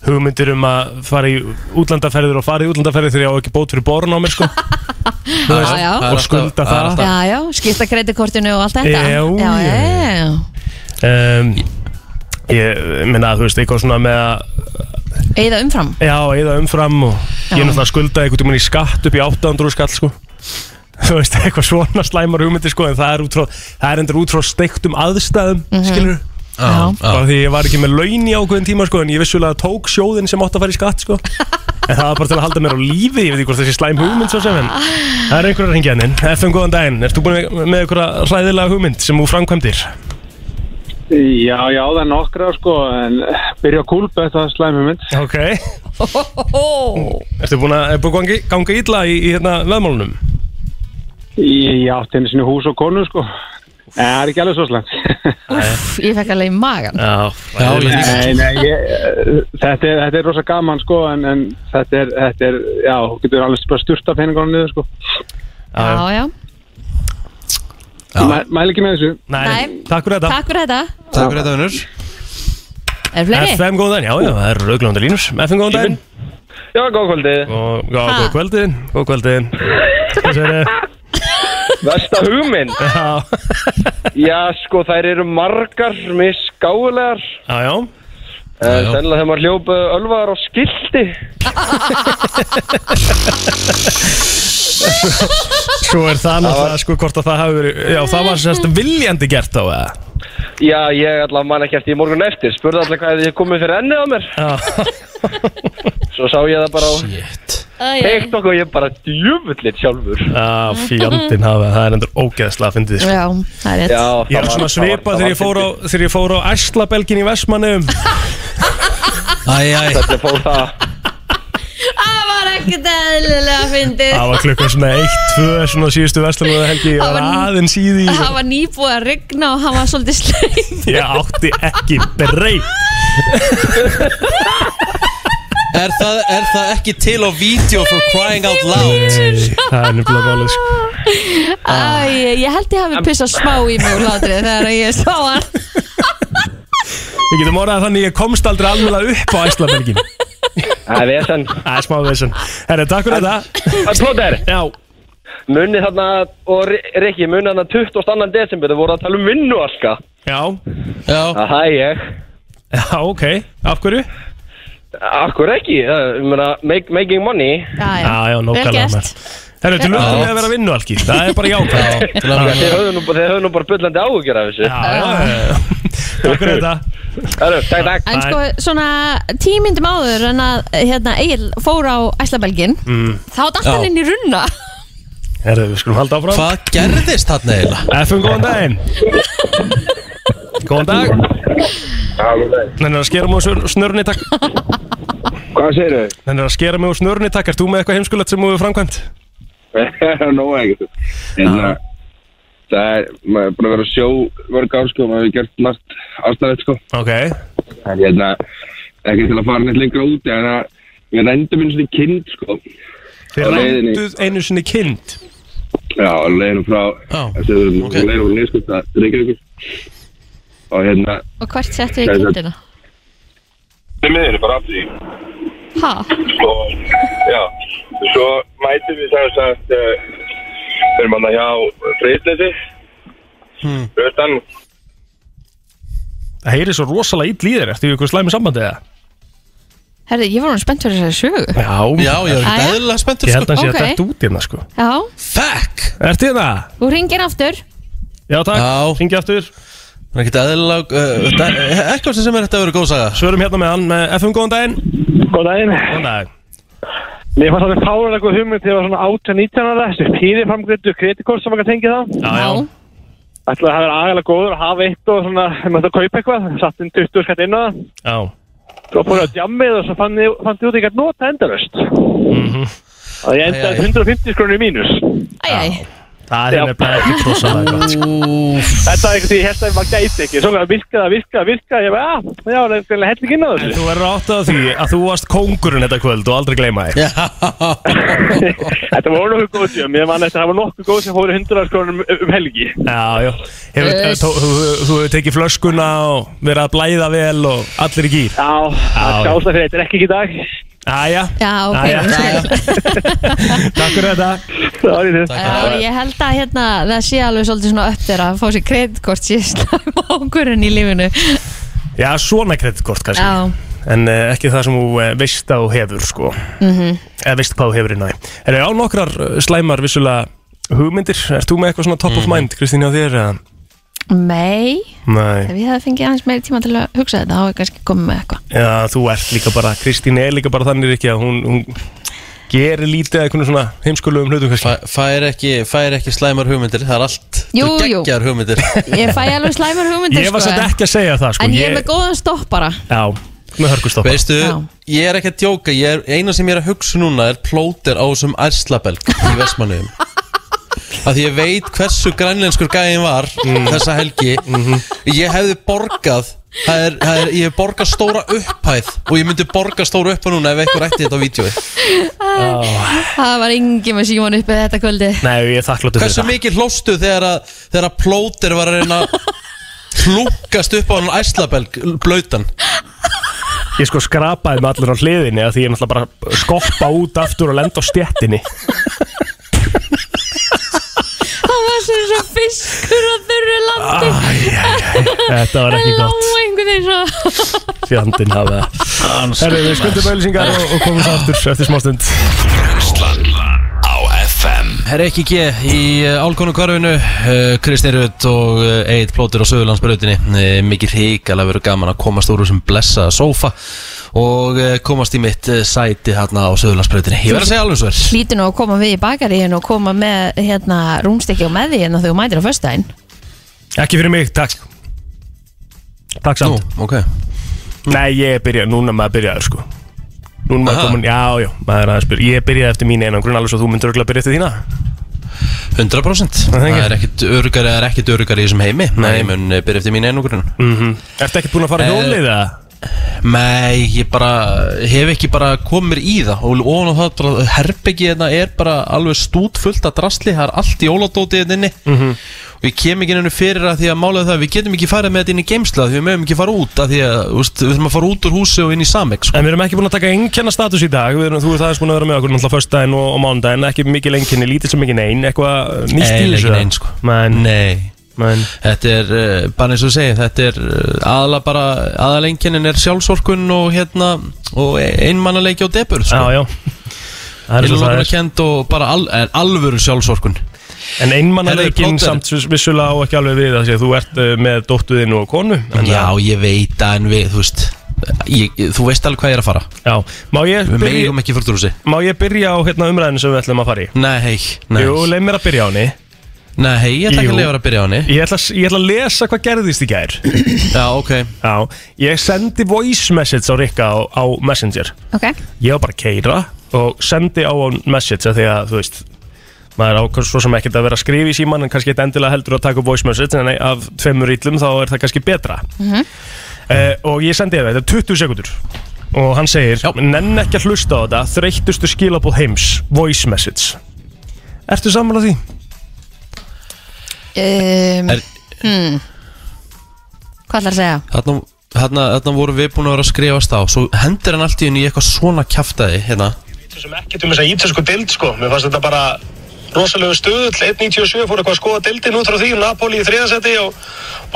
Speaker 4: hugmyndir um að fara í útlandaferðir og fara í útlandaferðir þegar ég á ekki bót fyrir borun á mér sko Þú
Speaker 3: Já, já.
Speaker 1: Það er
Speaker 4: og
Speaker 1: alltaf-
Speaker 4: skulda
Speaker 1: það er
Speaker 4: það
Speaker 1: alltaf-
Speaker 3: Já, já, skipta kreditkortinu og allt þetta
Speaker 4: Já,
Speaker 3: já,
Speaker 4: já.
Speaker 3: já, já.
Speaker 4: um, Ég minna að þú veist, eitthvað svona með að
Speaker 3: Eða umfram
Speaker 4: Já, eða umfram og
Speaker 3: Já.
Speaker 4: ég er náttúrulega skuldaði einhvern tímann í skatt upp í 800 skall sko Þú veist, eitthvað svona slæmar hugmyndir sko en það er, út frá, það er endur út frá steiktum aðstæðum, mm skilur
Speaker 1: Já,
Speaker 4: bara því ég var ekki með laun í ákveðin tíma sko en ég vissulega tók sjóðin sem átt að fara í skatt sko en það var bara til að halda mér á lífi ég veit ekki hvort þessi slæm hugmynd svo sem en það er einhverjar hringjaninn, FM góðan daginn Ertu búin með, með einhverja hræðilega hugmynd sem þú framkvæmdir?
Speaker 7: Já, já, það er nokkra sko, en byrja að kúlpa þetta slæmi mynd.
Speaker 4: Ok,
Speaker 3: oh.
Speaker 4: ertu búin að, er búin að gangi- ganga illa í, í hérna veðmálunum?
Speaker 7: Ég ég átti henni sinni hús og konu sko, en það er ekki alveg svo slæmt.
Speaker 3: Úff, ég fekk alveg í magan
Speaker 4: Já,
Speaker 1: Já, ég líka.
Speaker 7: nei, nei, ég, þetta, er, þetta er rosa gaman sko, en, en þetta, er, þetta er, já, þú getur alveg bara styrta peningunum niður sko.
Speaker 3: Já, já,
Speaker 7: Mæ, mæli ekki með þessu.
Speaker 4: Nei,
Speaker 3: Nei.
Speaker 4: takk fyrir þetta
Speaker 3: takk fyrir þetta
Speaker 1: Takk fyrir þetta, vinnur
Speaker 3: Er fleiri?
Speaker 4: FM góðan daginn, já, já, það eru augljóðandi línur FM góðan daginn
Speaker 7: Já, góð kvöldið.
Speaker 4: og já,
Speaker 3: Ha.
Speaker 4: góð kvöldin, góð kvöldin Hvað segir þið?
Speaker 7: Vesta hugminn.
Speaker 4: Já,
Speaker 7: Já, sko, þær eru margar, misgáðulegar.
Speaker 4: já, já
Speaker 1: Já, já.
Speaker 7: Sennilega þegar maður hljópa ölvaðar á skildi.
Speaker 4: Svo er það náttúrulega, sko, hvort að það hafi verið Já, það var sérst viljandi gert á eða
Speaker 7: Já, ég allavega man ekki eftir í morgun eftir. Spurði allavega hvað þið komið fyrir ennið á mér.
Speaker 4: Já,
Speaker 7: Svo sá ég það bara á
Speaker 1: Shit
Speaker 3: Æ, æ.
Speaker 7: TikTok og ég bara djöfullið sjálfur.
Speaker 4: já fjandinn hafa, það er endur ógeðslega að fyndi þið, sko
Speaker 3: Já, það er rétt
Speaker 7: Já,
Speaker 4: Ég var svona svipað þegar ég fór á, þegar ég fór á Æslabelgin í Vestmannum
Speaker 1: Æj, æj
Speaker 7: Þetta fór það
Speaker 3: Það var ekkert eðlilega fyndið
Speaker 4: Það var klukkan svona 1-2 svona síðustu Vestmannum helgi Ég
Speaker 3: Það
Speaker 4: var
Speaker 3: var ný-
Speaker 4: aðeins í því
Speaker 3: Það var nýbúið að rigna og hann var svolítið sleim
Speaker 4: Ég átti ekki breyt
Speaker 1: er, það- er það ekki til á vídeo for crying out loud?
Speaker 4: Nei, Það er nefnilega málið sko
Speaker 3: Æ, ég held ég hafi pissað smá í mig úr látrið þegar ég sá hann
Speaker 4: Við getum orðað þannig að ég komst aldrei alveg upp á æslabelgin
Speaker 7: Það er vesen
Speaker 4: Það er smá vissin Herra, takk fyrir þetta
Speaker 7: Plóter,
Speaker 4: Já
Speaker 7: munið þarna og Ri- Rikki, munið þarna 22. desember Þau voru að tala um vinnu alltaf
Speaker 4: Já
Speaker 1: Já,
Speaker 7: Það er ég
Speaker 4: Já, ok Af hverju?
Speaker 7: Akkur ekki, það, ég meina, make, making money
Speaker 3: Já,
Speaker 4: Já, já,
Speaker 3: vel
Speaker 4: nókala
Speaker 3: gert
Speaker 4: Herra, til lögum
Speaker 1: Já.
Speaker 4: við að vera vinnu alki Það er bara jákvæð
Speaker 1: já, til að
Speaker 7: Þeir höfðu nú, þeir höfðu nú bara byllandi áhugjur af þessu
Speaker 4: Já, já, já Takk fyrir þetta
Speaker 7: Herru, Takk,
Speaker 3: En
Speaker 7: takk
Speaker 4: Bye.
Speaker 3: sko, svona tímyndum áður en að hérna, Egil fór á Æslabelgin
Speaker 4: Mm.
Speaker 3: þá datt
Speaker 1: Mm. Já.
Speaker 3: hann inn í runna
Speaker 4: Herra, við skulum halda áfram
Speaker 1: Hvað gerðist þarna eiginlega?
Speaker 4: FM, góðan daginn Góðan dag Nennar að skera mig úr snörunni, takk
Speaker 8: Hvað segir þau?
Speaker 4: Nennar að skera mig úr snörunni, takk Ert þú með eitthvað heimskulegt sem þú hefur framkvæmt?
Speaker 8: Nó ekkert En uh, það er, maður er búin að vera á sjó mörg ár sko, maður hefur gert margt ástæðið sko
Speaker 4: Ok
Speaker 8: En hérna, ekki til að fara neitt lengra úti En að við rendum eins og því kind sko
Speaker 4: Þið
Speaker 8: Á leiðinni.
Speaker 4: rænduð einu sinni kind
Speaker 8: Já, og leiðum frá,
Speaker 1: Já,
Speaker 8: þessi við erum
Speaker 1: ok.
Speaker 8: okay. leiðum frá nýskvölda Reykjavíkur Og hérna
Speaker 3: og hvert settu við
Speaker 8: Nei, það-
Speaker 3: kindina?
Speaker 8: Við miður bara aftur í
Speaker 3: Ha?
Speaker 8: og já, svo mætum við sem sagt uh, fyrir manna hjá Freysleysi
Speaker 1: Hmm.
Speaker 8: Röstan,
Speaker 4: Það heyri svo rosalega ill í þér Ertu í ykkur slæmi sambandi eða?
Speaker 3: Herði, ég var hann spennt fyrir þessari sögu
Speaker 4: Já
Speaker 1: já ég er
Speaker 3: Jæja.
Speaker 1: ekki eðlilega spenntur
Speaker 4: Ég
Speaker 1: sko
Speaker 4: held að hann sé
Speaker 3: Ok.
Speaker 4: að þetta út hérna sko
Speaker 3: Já,
Speaker 1: Fuck
Speaker 4: Ertu hérna?
Speaker 3: þú ringir aftur
Speaker 4: Já, takk,
Speaker 1: Já.
Speaker 4: hringi aftur
Speaker 1: Það er ekkert eðlilega uh, það er Ekkert sem er þetta að vera góð saga
Speaker 4: Svörum hérna með hann með FM, góðan daginn
Speaker 7: Góð daginn.
Speaker 4: Góðan dag
Speaker 7: Mér fannst alveg fálega góð hugmynd þegar ég var svona 18-19 ára, þessi fyrirframgrindu kreditkort sem maður kann tengja þá.
Speaker 4: Já, já,
Speaker 7: Ætlaði að það vera agalega góður að hafa eitt og svona, ef maður það kaupa eitthvað, satt inn 20 skatt inn á það.
Speaker 4: já
Speaker 7: Svo fór ég á djammið og svo fann ég, fann ég út að ég gæti nota endalaust.
Speaker 4: Mhm.
Speaker 7: Og ég
Speaker 1: Æ, æ.
Speaker 7: endaði 150 krónir í mínus.
Speaker 3: Æj,
Speaker 4: Það
Speaker 7: Já.
Speaker 4: er nefnilega ekki prosalega gott sko.
Speaker 7: Þetta er eitthvað því ég held að maður gæti ekki. Svo virkaði það, virkaði, virkaði, ég bara, "Ah, já, já, það er eitthvað helling inn á
Speaker 4: En
Speaker 7: þessu.
Speaker 4: þú verður átt að því að þú varst kóngurinn þetta kvöld og aldrei gleyma þig
Speaker 1: Já
Speaker 7: Þetta voru nokkuð góð sem, ég man eftir að það var nokkuð góð sem fóru 100 krónir um, um helgi.
Speaker 4: Já, já Hefur,
Speaker 3: Eh,
Speaker 4: uh, tó, þú, þú hefur tekið flöskuna og verið að blæða vel og allir í gýr
Speaker 7: Já, það
Speaker 4: Já.
Speaker 7: er skásta fyrir, þetta er ekki ekki í dag.
Speaker 4: Æja,
Speaker 3: já, ok
Speaker 4: Jæja. takk fyrir þetta
Speaker 7: Það var í þetta.
Speaker 3: Já, ég held að hérna, það sé alveg svolítið svona upp þeirra að fá sér kreditkort síðan ákvörðin í lífinu
Speaker 4: Já, svona kreditkort kannski
Speaker 3: Já,
Speaker 4: En uh, ekki það sem þú uh, veist að þú hefur sko
Speaker 3: Mhm.
Speaker 4: Eða veist hvað þú hefur inn á því Er það á nokkrar eh, slæmar vissulega hugmyndir? Er þú með eitthvað svona top of
Speaker 1: Mm.
Speaker 4: mind, Kristín, á þér? eða?
Speaker 3: mei,
Speaker 4: Nei,
Speaker 3: ef ég hefði fengið aðeins meiri tíma til að hugsa þetta, þá hefði ég kannski komið með eitthvað
Speaker 4: já, þú ert líka bara Kristín er líka bara þannig ekki að hún, hún gerir lítið að einhvern svona heimskulegum hlutum kannski
Speaker 1: Fæ- Fær ekki, fær ekki slæmar hugmyndir Það er allt
Speaker 3: Jú,
Speaker 1: Það er
Speaker 3: jú.
Speaker 1: geggjar hugmyndir
Speaker 3: Ég fæ alveg slæmur hugmyndir
Speaker 4: Ég var
Speaker 3: sko,
Speaker 4: satt ekki að segja það sko
Speaker 3: En ég er með góðan stopp bara
Speaker 4: Já, með hörgustoppa
Speaker 1: Veistu,
Speaker 3: Já.
Speaker 1: ég er ekki að djóka ég er, Eina sem ég er að hugsa núna er plóter á þessum ærslabelg í Vestmanniðum Af því ég veit hversu grænlenskur gæðin var
Speaker 4: Mm.
Speaker 1: þessa helgi
Speaker 4: Mhm.
Speaker 1: Ég hefði borgað það er, það er, Ég hef borgað stóra upphæð Og ég myndi borga stóra upphæð núna ef eitthvað ætti þetta á vídjói
Speaker 3: Það var engin með síman uppið þetta kvöldi
Speaker 4: Nei, ég er þakkláttur fyrir
Speaker 1: Hversu
Speaker 4: það
Speaker 1: mikið hlóstu þegar að, þegar að plóter var að reyna að Hlúkast upp á hann ærslabelg Blautan
Speaker 4: Ég sko skrapaði með allir á hliðinni af Því ég náttúrulega bara skoppa út aftur og lenda á stjettinni
Speaker 3: Það var sem svo fiskur á þurru landi
Speaker 4: Þetta var
Speaker 3: Það
Speaker 4: ekki
Speaker 3: lág
Speaker 4: gott
Speaker 3: einhvern veginn svo
Speaker 4: Fjandinn hafa það Herri, við skuldum auðlýsingar og, og komum svo aftur eftir smástund
Speaker 2: Brennslan á FM
Speaker 1: Herra ekki ekki í álkonu kvarfinu Kristinn Rutt og Eid Plótur á Söðurlandsbrautinni Eh, Mikið hrikalega verið gaman að komast úr þessum blessaða sófa og eh, komast í mitt eh, sæti hérna á Söðurlandsbrautinni Ég verð að segja alveg svo er
Speaker 3: Hlýtur nú að koma við í bakaríðin og koma með hérna rúmstykki og með því hérna þegar þú mætir á föstudaginn
Speaker 4: Ekki fyrir mig, takk Takk
Speaker 1: Nú,
Speaker 4: samt
Speaker 1: ok
Speaker 4: Nei, ég er byrjað, núna maður byrjaður sko Núna maður
Speaker 1: Aha.
Speaker 4: komin, já, já, maður er aðeins byrjað Ég byrjaði eftir mín einangrun alveg svo þú myndir örgulega byrja eftir þína
Speaker 1: 100%
Speaker 4: Það
Speaker 1: Það
Speaker 4: er ekki.
Speaker 1: er ekkit örugari, það er ekkit örugari í þessum heimi Nei, ég mun eh, byrja eftir mín einogrun
Speaker 4: mm -hmm. Ertu ekki búin að fara
Speaker 1: Eh,
Speaker 4: hjólið eða?
Speaker 1: Nei, ég bara hef ekki bara komið mér í það og ofan á það bara herbyggi hérna er bara alveg stútfullt að drasli það er allt í óladóti hérna inni
Speaker 4: Mhm.
Speaker 1: og ég kem ekki henni fyrir að því að málega það við getum ekki farið með þetta inn í geimsla því við mögum ekki fara út að því að þú veist, við þurfum að fara út úr húsi og inn í sameik sko.
Speaker 4: En við erum ekki búin að taka engjanna status í dag við erum, Þú ert aðeins búin að vera með okkur náttúrulega föstudaginn og, og mánudaginn Ekki mikil enginni, lítið sem engin ein Eitthvað uh, nýtt í
Speaker 1: Nei,
Speaker 4: þessu
Speaker 1: ekki neinn, sko.
Speaker 4: Men,
Speaker 1: Nei,
Speaker 4: men,
Speaker 1: þetta er uh, bara eins og segja, þetta er uh, aðalega bara, aðalenginin er sjálfsorkun og hérna, og einmannaleiki og debur
Speaker 4: já,
Speaker 1: sko.
Speaker 4: já Það er
Speaker 1: Ég
Speaker 4: svo það
Speaker 1: lóknar að
Speaker 4: er
Speaker 1: kend og bara al, er alvöru sjálfsorkun
Speaker 4: En
Speaker 1: Herðu,
Speaker 4: einmannaleikinn
Speaker 1: Plóter.
Speaker 4: samt viss- vissulega á ekki alveg við Þessi, Þú ert uh, með dóttuðinn og konu en,
Speaker 1: Já, ég veit það en við, þú veist ég, Þú veist alveg hvað ég er að fara
Speaker 4: já. Má, ég
Speaker 1: Við
Speaker 4: byrja,
Speaker 1: megum ekki fyrir drúsi
Speaker 4: má ég byrja á hérna, umræðinu sem við ætlum að fara í?
Speaker 1: Nei, hei, nei
Speaker 4: Jú, leið mér að byrja á henni
Speaker 1: Nei, hei, ég ætla ekki
Speaker 4: Jú.
Speaker 1: að lefa að byrja á henni
Speaker 4: Ég ætla, að s- ég ætla að lesa hvað gerðist í gær
Speaker 1: Já, ok
Speaker 4: Já, ég sendi voice message á Rikka á, á Messenger
Speaker 3: Ok,
Speaker 4: ég var bara að keira og sendi á hann message af því að þú veist maður ákvæmst svo sem ekkert að vera að skrifa í síman en kannski eitthvað endilega heldur að taka voice message en nei, af tveimur ítlum þá er það kannski betra mm og ég sendi það, þetta er 20 sekundur og hann segir,
Speaker 1: Já.
Speaker 4: nenn ekki að hlusta á þetta þreyttustu skilabóð heims, voice message Ertu sammála því?
Speaker 3: um,
Speaker 1: Er-
Speaker 3: hmm. Hvað ætlar að segja?
Speaker 1: Þarna, þarna, þarna voru við búin að vera að skrifast á Svo hendur hann allt í henni í eitthvað svona kjaftaði Hérna
Speaker 9: Svo sem ekkert um þess að ítölsku dild sko, mér fannst þetta bara um rosalegu stuðull, 1.97 fór eitthvað að skoða dildin út frá því, Napoli í þriðasetti og,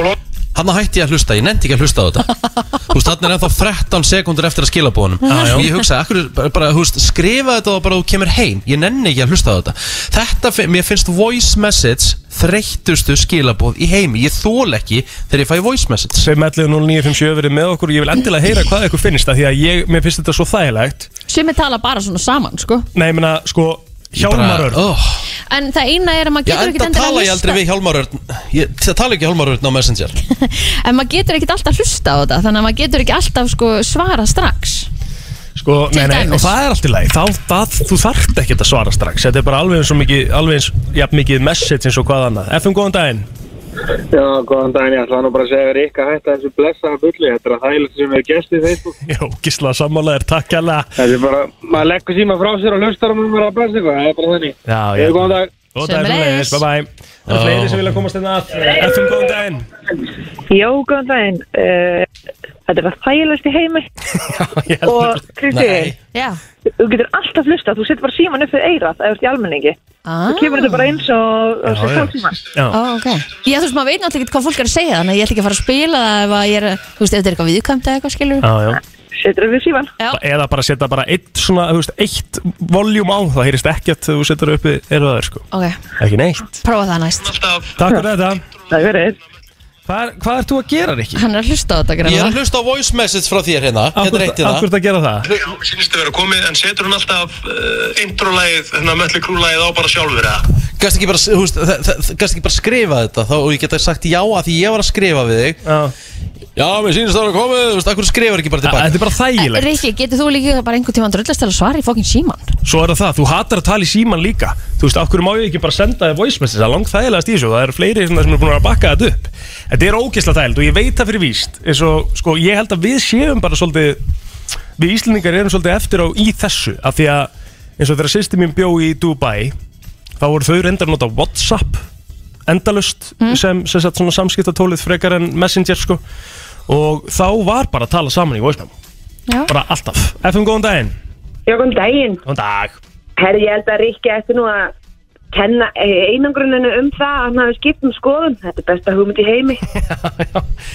Speaker 9: og
Speaker 1: hann hætti ég að hlusta, ég nefndi ekki að hlusta á þetta Þú veist, hann er ennþá 13 sekundur eftir að skila búinum og ég hugsaði, akkur, bara, bara, þú veist, skrifa þetta og bara þú kemur heim, ég nenni ekki að hlusta á þetta Þetta, fin- mér finnst voice message þreyttustu skilabóð í heimi, ég þól ekki þegar ég fæ voice message
Speaker 4: sem 11.0957 verið með okkur og ég vil endilega heyra hvað ykkur finnst að því að ég, mér finnst þetta svo þægilegt
Speaker 3: Sumi tala bara svona saman, sko
Speaker 4: Nei, ég meina, sko, Hjálmar Örn
Speaker 1: oh,
Speaker 3: En það eina er að maður
Speaker 1: Já,
Speaker 3: getur ekkert
Speaker 1: enda
Speaker 3: endilega
Speaker 1: tala ég aldrei við Hjálmar Örn Ég það tala ekki Hjálmar Örn á Messenger
Speaker 3: En maður getur ekkert alltaf hlusta á þetta Þannig að maður getur ekki alltaf sko, svara strax
Speaker 4: sko,
Speaker 3: til
Speaker 4: nei, nei,
Speaker 3: dæmis.
Speaker 4: og það er allt í lagi þá, það, þú þarft ekki að svara strax þetta er bara alveg eins og mikið, alveg eins jafn mikið message eins og hvað annað FM, góðan daginn
Speaker 7: Já, góðan daginn, ég ætla nú bara að segja Rikka hætta þessu blessaða bulli, þetta er að þægilegt sem hefur gæst í Facebook.
Speaker 4: Jó, gísla sammálaðir, takk alveg
Speaker 7: Þetta er bara, maður leggur síma frá sér og hlustar og maður er að blessa eitthvað, það er bara þannig.
Speaker 4: Já,
Speaker 7: Ég er góðan dag.
Speaker 4: Góðan daginn,
Speaker 3: Sömuleiðis.
Speaker 4: bye bye Það er fleiri sem vilja komast inn að FM, góðan daginn
Speaker 10: Jó, góðan daginn. Uh, þetta er bara þægilegst í heimi
Speaker 4: Ég held
Speaker 10: og
Speaker 4: þetta-
Speaker 10: Kristi,
Speaker 3: Já
Speaker 10: þú getur alltaf hlustað, þú setur bara síman upp fyrir eirað ef þú ert í almenningi.
Speaker 3: ah,
Speaker 10: Þú kemur þetta bara eins og og
Speaker 4: Já,
Speaker 10: sem
Speaker 4: já.
Speaker 10: fólksíman.
Speaker 4: Já,
Speaker 3: Ó, ok Já, þú veist, maður veit náttúrulega ekkert hvað fólk er að segja Þannig að ég ætla ekki að fara að spila það ef að ég er Þú veist, ef þetta er eitthvað viðkvæmt eða eitthvað skilur
Speaker 4: já, já
Speaker 10: Setur þetta fyrir síman.
Speaker 3: Já,
Speaker 4: eða bara setja bara eitt svona, þú veist, eitt voljúm á, það heyrist ekkert þegar þú setur uppi erfaður, sko.
Speaker 3: ok,
Speaker 4: Ekki neitt.
Speaker 3: prófa það næst
Speaker 4: Takk fyrir þetta.
Speaker 10: Það er verið.
Speaker 4: Hvað, er- hvað ert þú að gera, Rikki?
Speaker 3: Hann er að hlusta á þetta
Speaker 1: Ég er
Speaker 3: grannlega
Speaker 1: að hlusta á voice message frá þér hérna Hérna er eitt í
Speaker 4: Akkur
Speaker 1: það
Speaker 4: að gera það?
Speaker 9: Já, sínstu vera komið en setur hún alltaf uh, intro-lægið, hérna möllu krúlægið á bara sjálfur eða?
Speaker 1: Gast ekki bara, þú veist, þa- þa- þa- gast ekki bara skrifa þetta þá, og ég geta sagt já að því ég var að skrifa við þig
Speaker 4: Já.
Speaker 1: Já, mér sýnist það að koma, þú veist, akkur skrifar ekki bara
Speaker 4: Þetta
Speaker 1: tilbaka
Speaker 4: er bara þægilegt.
Speaker 3: Rikki, getur þú líka bara einhvern tíma dröllast til að svara í fókin síman?
Speaker 4: Svo er það það, þú hatar að tala í síman líka. Þú veist, akkur má ég ekki bara senda þér voice message, það er langt þægilegast í þessu. Það eru fleiri svona sem er búin að bakka þetta upp. Þetta er ógeðslega þægilegt og ég veit það fyrir víst. Eins og, sko, ég held að við séum bara svolítið, við Íslendingar erum svolítið eftir á í þessu. Af því að, eins og þegar sýsti mín bjó í Dubai, þá voru þau reyndar að nota WhatsApp endalust sem, sem sagt, svona samskiptatólið frekar en Messenger, sko. Og þá var bara að tala saman í voice memo.
Speaker 3: Já.
Speaker 4: Bara alltaf. FM, góðan daginn.
Speaker 11: Já, góðan daginn.
Speaker 4: Góðan dag.
Speaker 11: Herri, ég held að Ríkki ætti nú að kenna eh, einangruninu um það að hann hafi skipt um skoðun. Þetta er besta hugmynd í heimi.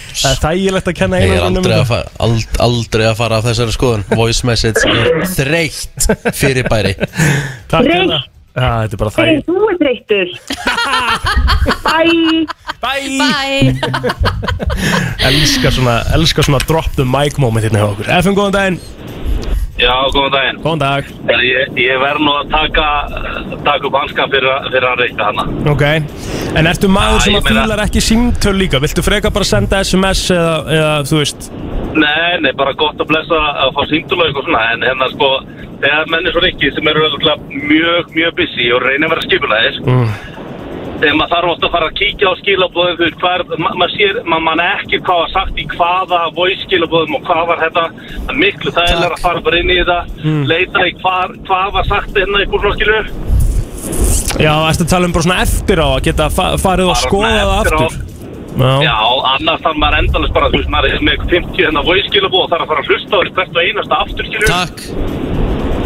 Speaker 4: Það er þægilegt að kenna
Speaker 1: Ég er
Speaker 4: einangrunum
Speaker 1: aldrei
Speaker 4: um
Speaker 1: að, fara, ald, aldrei að fara af þessari skoðun Voice message er þreytt fyrir bæri
Speaker 4: þetta. Takk
Speaker 11: Þreytt.
Speaker 4: hérna. Já, þetta er bara
Speaker 11: Þegar
Speaker 4: þægilegt.
Speaker 11: þú er þreyttur. Bye!
Speaker 4: Bæ!
Speaker 3: Bye
Speaker 4: Elskar svona, elskar svona drop the mic moment hérna hjá okkur. FM, góðan daginn.
Speaker 12: Já, góðan daginn.
Speaker 4: Góðan dag.
Speaker 12: Er, ég, ég verð nú að taka, taka upp hanskan fyrir, að- fyrir að reyta hana.
Speaker 4: Ok. En ertu maður
Speaker 12: Já,
Speaker 4: sem
Speaker 12: ég
Speaker 4: að
Speaker 12: meina-
Speaker 4: fílar ekki símtöl líka? Viltu freka bara senda SMS eða, eða þú veist?
Speaker 12: Nei, nei, bara gott að blessa að fá símtúla og eitthvað svona, en hérna sko, þegar menn er svo rikki sem eru örugglega mjög, mjög busy og reyna að vera skipulæðis,
Speaker 4: Mm.
Speaker 12: þegar maður þarf ofta að fara að kíkja á skilabóðum, þú veist, hvað er, ma- maður sér, maður mann ekki hvað var sagt í hvaða voice skilabóðum og hvað var þetta, það er miklu þægilega að fara bara inn í þetta,
Speaker 4: Hmm.
Speaker 12: leita í hvað, hvað var sagt hérna í svona skilur.
Speaker 4: Já, ertu að tala um bara svona eftir á að geta fa farið og
Speaker 12: Bara
Speaker 4: skoða
Speaker 12: svona
Speaker 4: það
Speaker 12: eftir á.
Speaker 4: aftur? Já.
Speaker 12: Já, annars þarf maður endalist bara, þú veist, maður er með 50 hérna voice skilabóð og þarf að fara að hlusta á þessu hvert og einasta aftur skilur,
Speaker 1: Takk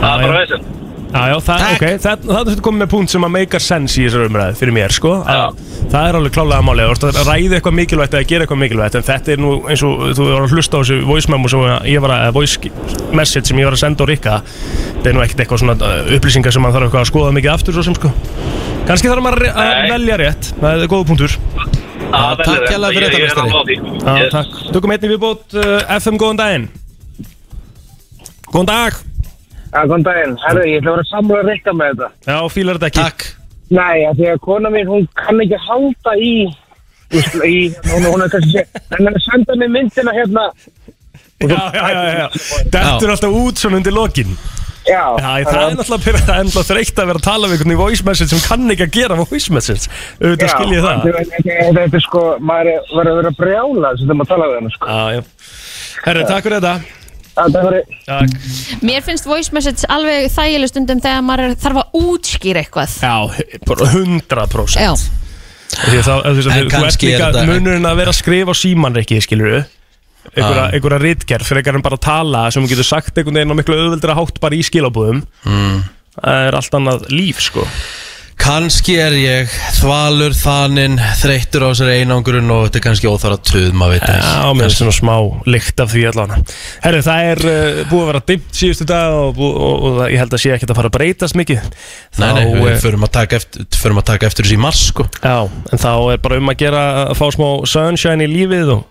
Speaker 12: það
Speaker 4: já.
Speaker 12: er bara vesen.
Speaker 4: Já, já, það,
Speaker 1: Takk.
Speaker 4: ok, það, það er þetta komið með punkt sem að make a sense í þessar umræði fyrir mér, sko að, Það er alveg klálega málið, þú ert að ræða eitthvað mikilvægt eða gera eitthvað mikilvægt en þetta er nú eins og þú var að hlusta á þessu voice memo sem ég var að, eða voice message sem ég var að senda á Rikka það er nú ekkert eitthvað svona uh, upplýsingar sem maður þarf eitthvað að skoða mikið aftur svo sem sko Kanski þarf maður að- að
Speaker 12: Nei.
Speaker 4: velja rétt, það er góða punktur
Speaker 12: Já,
Speaker 1: takk hérlega fyrir þetta, meistari.
Speaker 4: Já, takk Tökum einnig viðbót uh, FM, góðan daginn Góðan dag
Speaker 7: Já, góðan daginn. Herru, ég ætla að vera sammála Rikka með þetta.
Speaker 4: Já, fílar þetta ekki
Speaker 1: Takk
Speaker 7: Nei, af því að kona mín, hún kann ekki halda í, í, í hún, hún er kannski sé, en hann senda mér myndina hérna,
Speaker 4: Já, já, já, já. Dettur alltaf út svona undir lokin
Speaker 7: já,
Speaker 4: Já, ég- það er náttúrulega pyrra- það er náttúrulega þreytt að vera að tala við einhvern í voice message sem kann ekki að gera voice message auðvitað
Speaker 7: Já,
Speaker 4: skil ég það
Speaker 7: þetta er- þetta er- Þetta er sko, maður er- verður að vera brjála sem það maður tala við hennar sko.
Speaker 4: Já, já Herri, takk fyrir þetta
Speaker 7: Það er verið,
Speaker 4: Takk.
Speaker 3: Mér finnst voice message alveg þægileg stundum þegar maður er- þarf að útskýra eitthvað
Speaker 4: Já, bara 100%
Speaker 3: Já,
Speaker 4: Því að þá- þú veist
Speaker 1: En
Speaker 4: að þú- þú ert
Speaker 1: kannski er
Speaker 4: líka
Speaker 1: þetta-
Speaker 4: munurinn að vera að skrifa á síman ekki, skilur við einhverja,
Speaker 1: Ah.
Speaker 4: einhverja rítgerð, frekar en bara að tala sem þú getur sagt einhvern veginn á miklu auðveldra hátt bara í skilabúðum mm. Það er allt annað líf, sko
Speaker 1: Kanski er ég þvalur, þaninn, þreyttur á þessari einangrun og þetta er kannski óþara töð, maður veit ekki.
Speaker 4: Já, mér er svona smá lykt af því allan Herri, það er uh, búið að vera dimmt síðustu dag og, og, og, og ég held að sé ekkert að fara að breytast mikið eh,
Speaker 1: Nei, nei, við förum að taka eftir, förum að taka eftir þessi í mars, sko
Speaker 4: Já, en þá er bara um að gera að fá smá sunshine í lífið og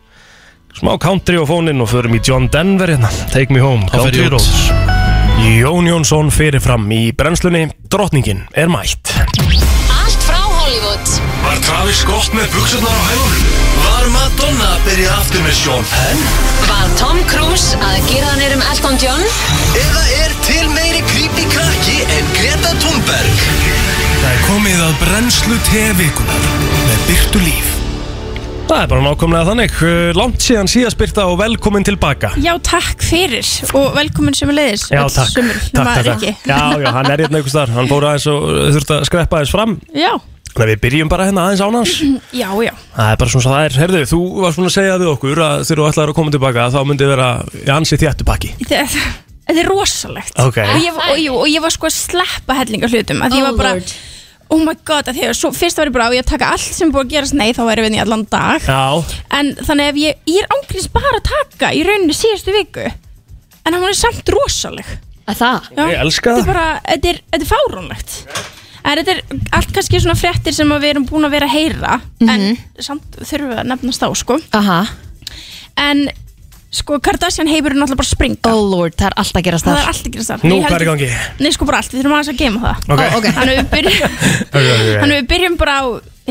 Speaker 4: smá country á fóninn og förum í John Denver hérna Take me home,
Speaker 1: Þá fer
Speaker 4: country
Speaker 1: ég út.
Speaker 4: roads Jón Jónsson fyrir fram í brennslunni Drottningin er mætt
Speaker 13: Allt frá Hollywood
Speaker 2: Var Travis Scott með buksurnar á hælunum? Var Madonna að byrja aftur með Sean Penn?
Speaker 13: Var Tom Cruise að gera hann erum um Elton John?
Speaker 2: Eða er til meiri creepy krakki en Greta Thunberg?
Speaker 14: Það er komið að brennslu tevikunar með byrtu líf.
Speaker 4: Það er bara nákvæmlega þannig Uh, Langt síðan síðast byrta og velkomin tilbaka
Speaker 6: Já, takk fyrir og velkomin sem leiðis
Speaker 4: Já, takk,
Speaker 6: Sumur,
Speaker 4: takk, takk, takk.
Speaker 6: Riki.
Speaker 4: Já, já, hann er hérna einhvers þar Hann fór aðeins og uh, þurfti að skreppa aðeins fram
Speaker 6: Já,
Speaker 4: Þannig að við byrjum bara hérna aðeins án hans
Speaker 6: já, já
Speaker 4: Það er bara svona svo það er Herðu, þú varst svona að segja við okkur að þegar þú ætlaður að koma tilbaka þá myndi vera í ansi þjættu pakki
Speaker 6: Það, það er rosalegt
Speaker 4: Ok.
Speaker 6: og, ég, og, jú, og ég var sko að sleppa hellinga hlutum að því ég
Speaker 13: Oh,
Speaker 6: var bara
Speaker 13: Lord.
Speaker 6: Oh my god, að því að svo, fyrst var ég bara á ég að taka allt sem er búið að gerast Nei, þá væri við í allan dag
Speaker 4: Já
Speaker 6: En þannig ef ég, ég er ángriðs bara að taka í rauninni síðustu viku En hann er samt rosaleg
Speaker 3: Að það?
Speaker 6: Já,
Speaker 4: Ég elska
Speaker 6: þetta er
Speaker 4: það.
Speaker 6: bara, þetta er, þetta er fáránlegt En þetta er allt kannski svona fréttir sem að við erum búin að vera að heyra En samt þurfum við að nefnast á sko
Speaker 3: Mhm. Aha.
Speaker 6: En sko Kardashian heimur er náttúrulega bara að springa
Speaker 3: Oh lord, það er allt að gerast
Speaker 6: Það
Speaker 3: þar
Speaker 6: er allt að gerast þar
Speaker 4: Nú,
Speaker 6: Ég held-
Speaker 4: hvað er í gangi?
Speaker 6: Nei sko bara allt, við þurfum aðeins að geima það
Speaker 3: Oh,
Speaker 4: Ok. Ó, ok.
Speaker 6: Þannig að við byrjum, þannig að við byrjum bara á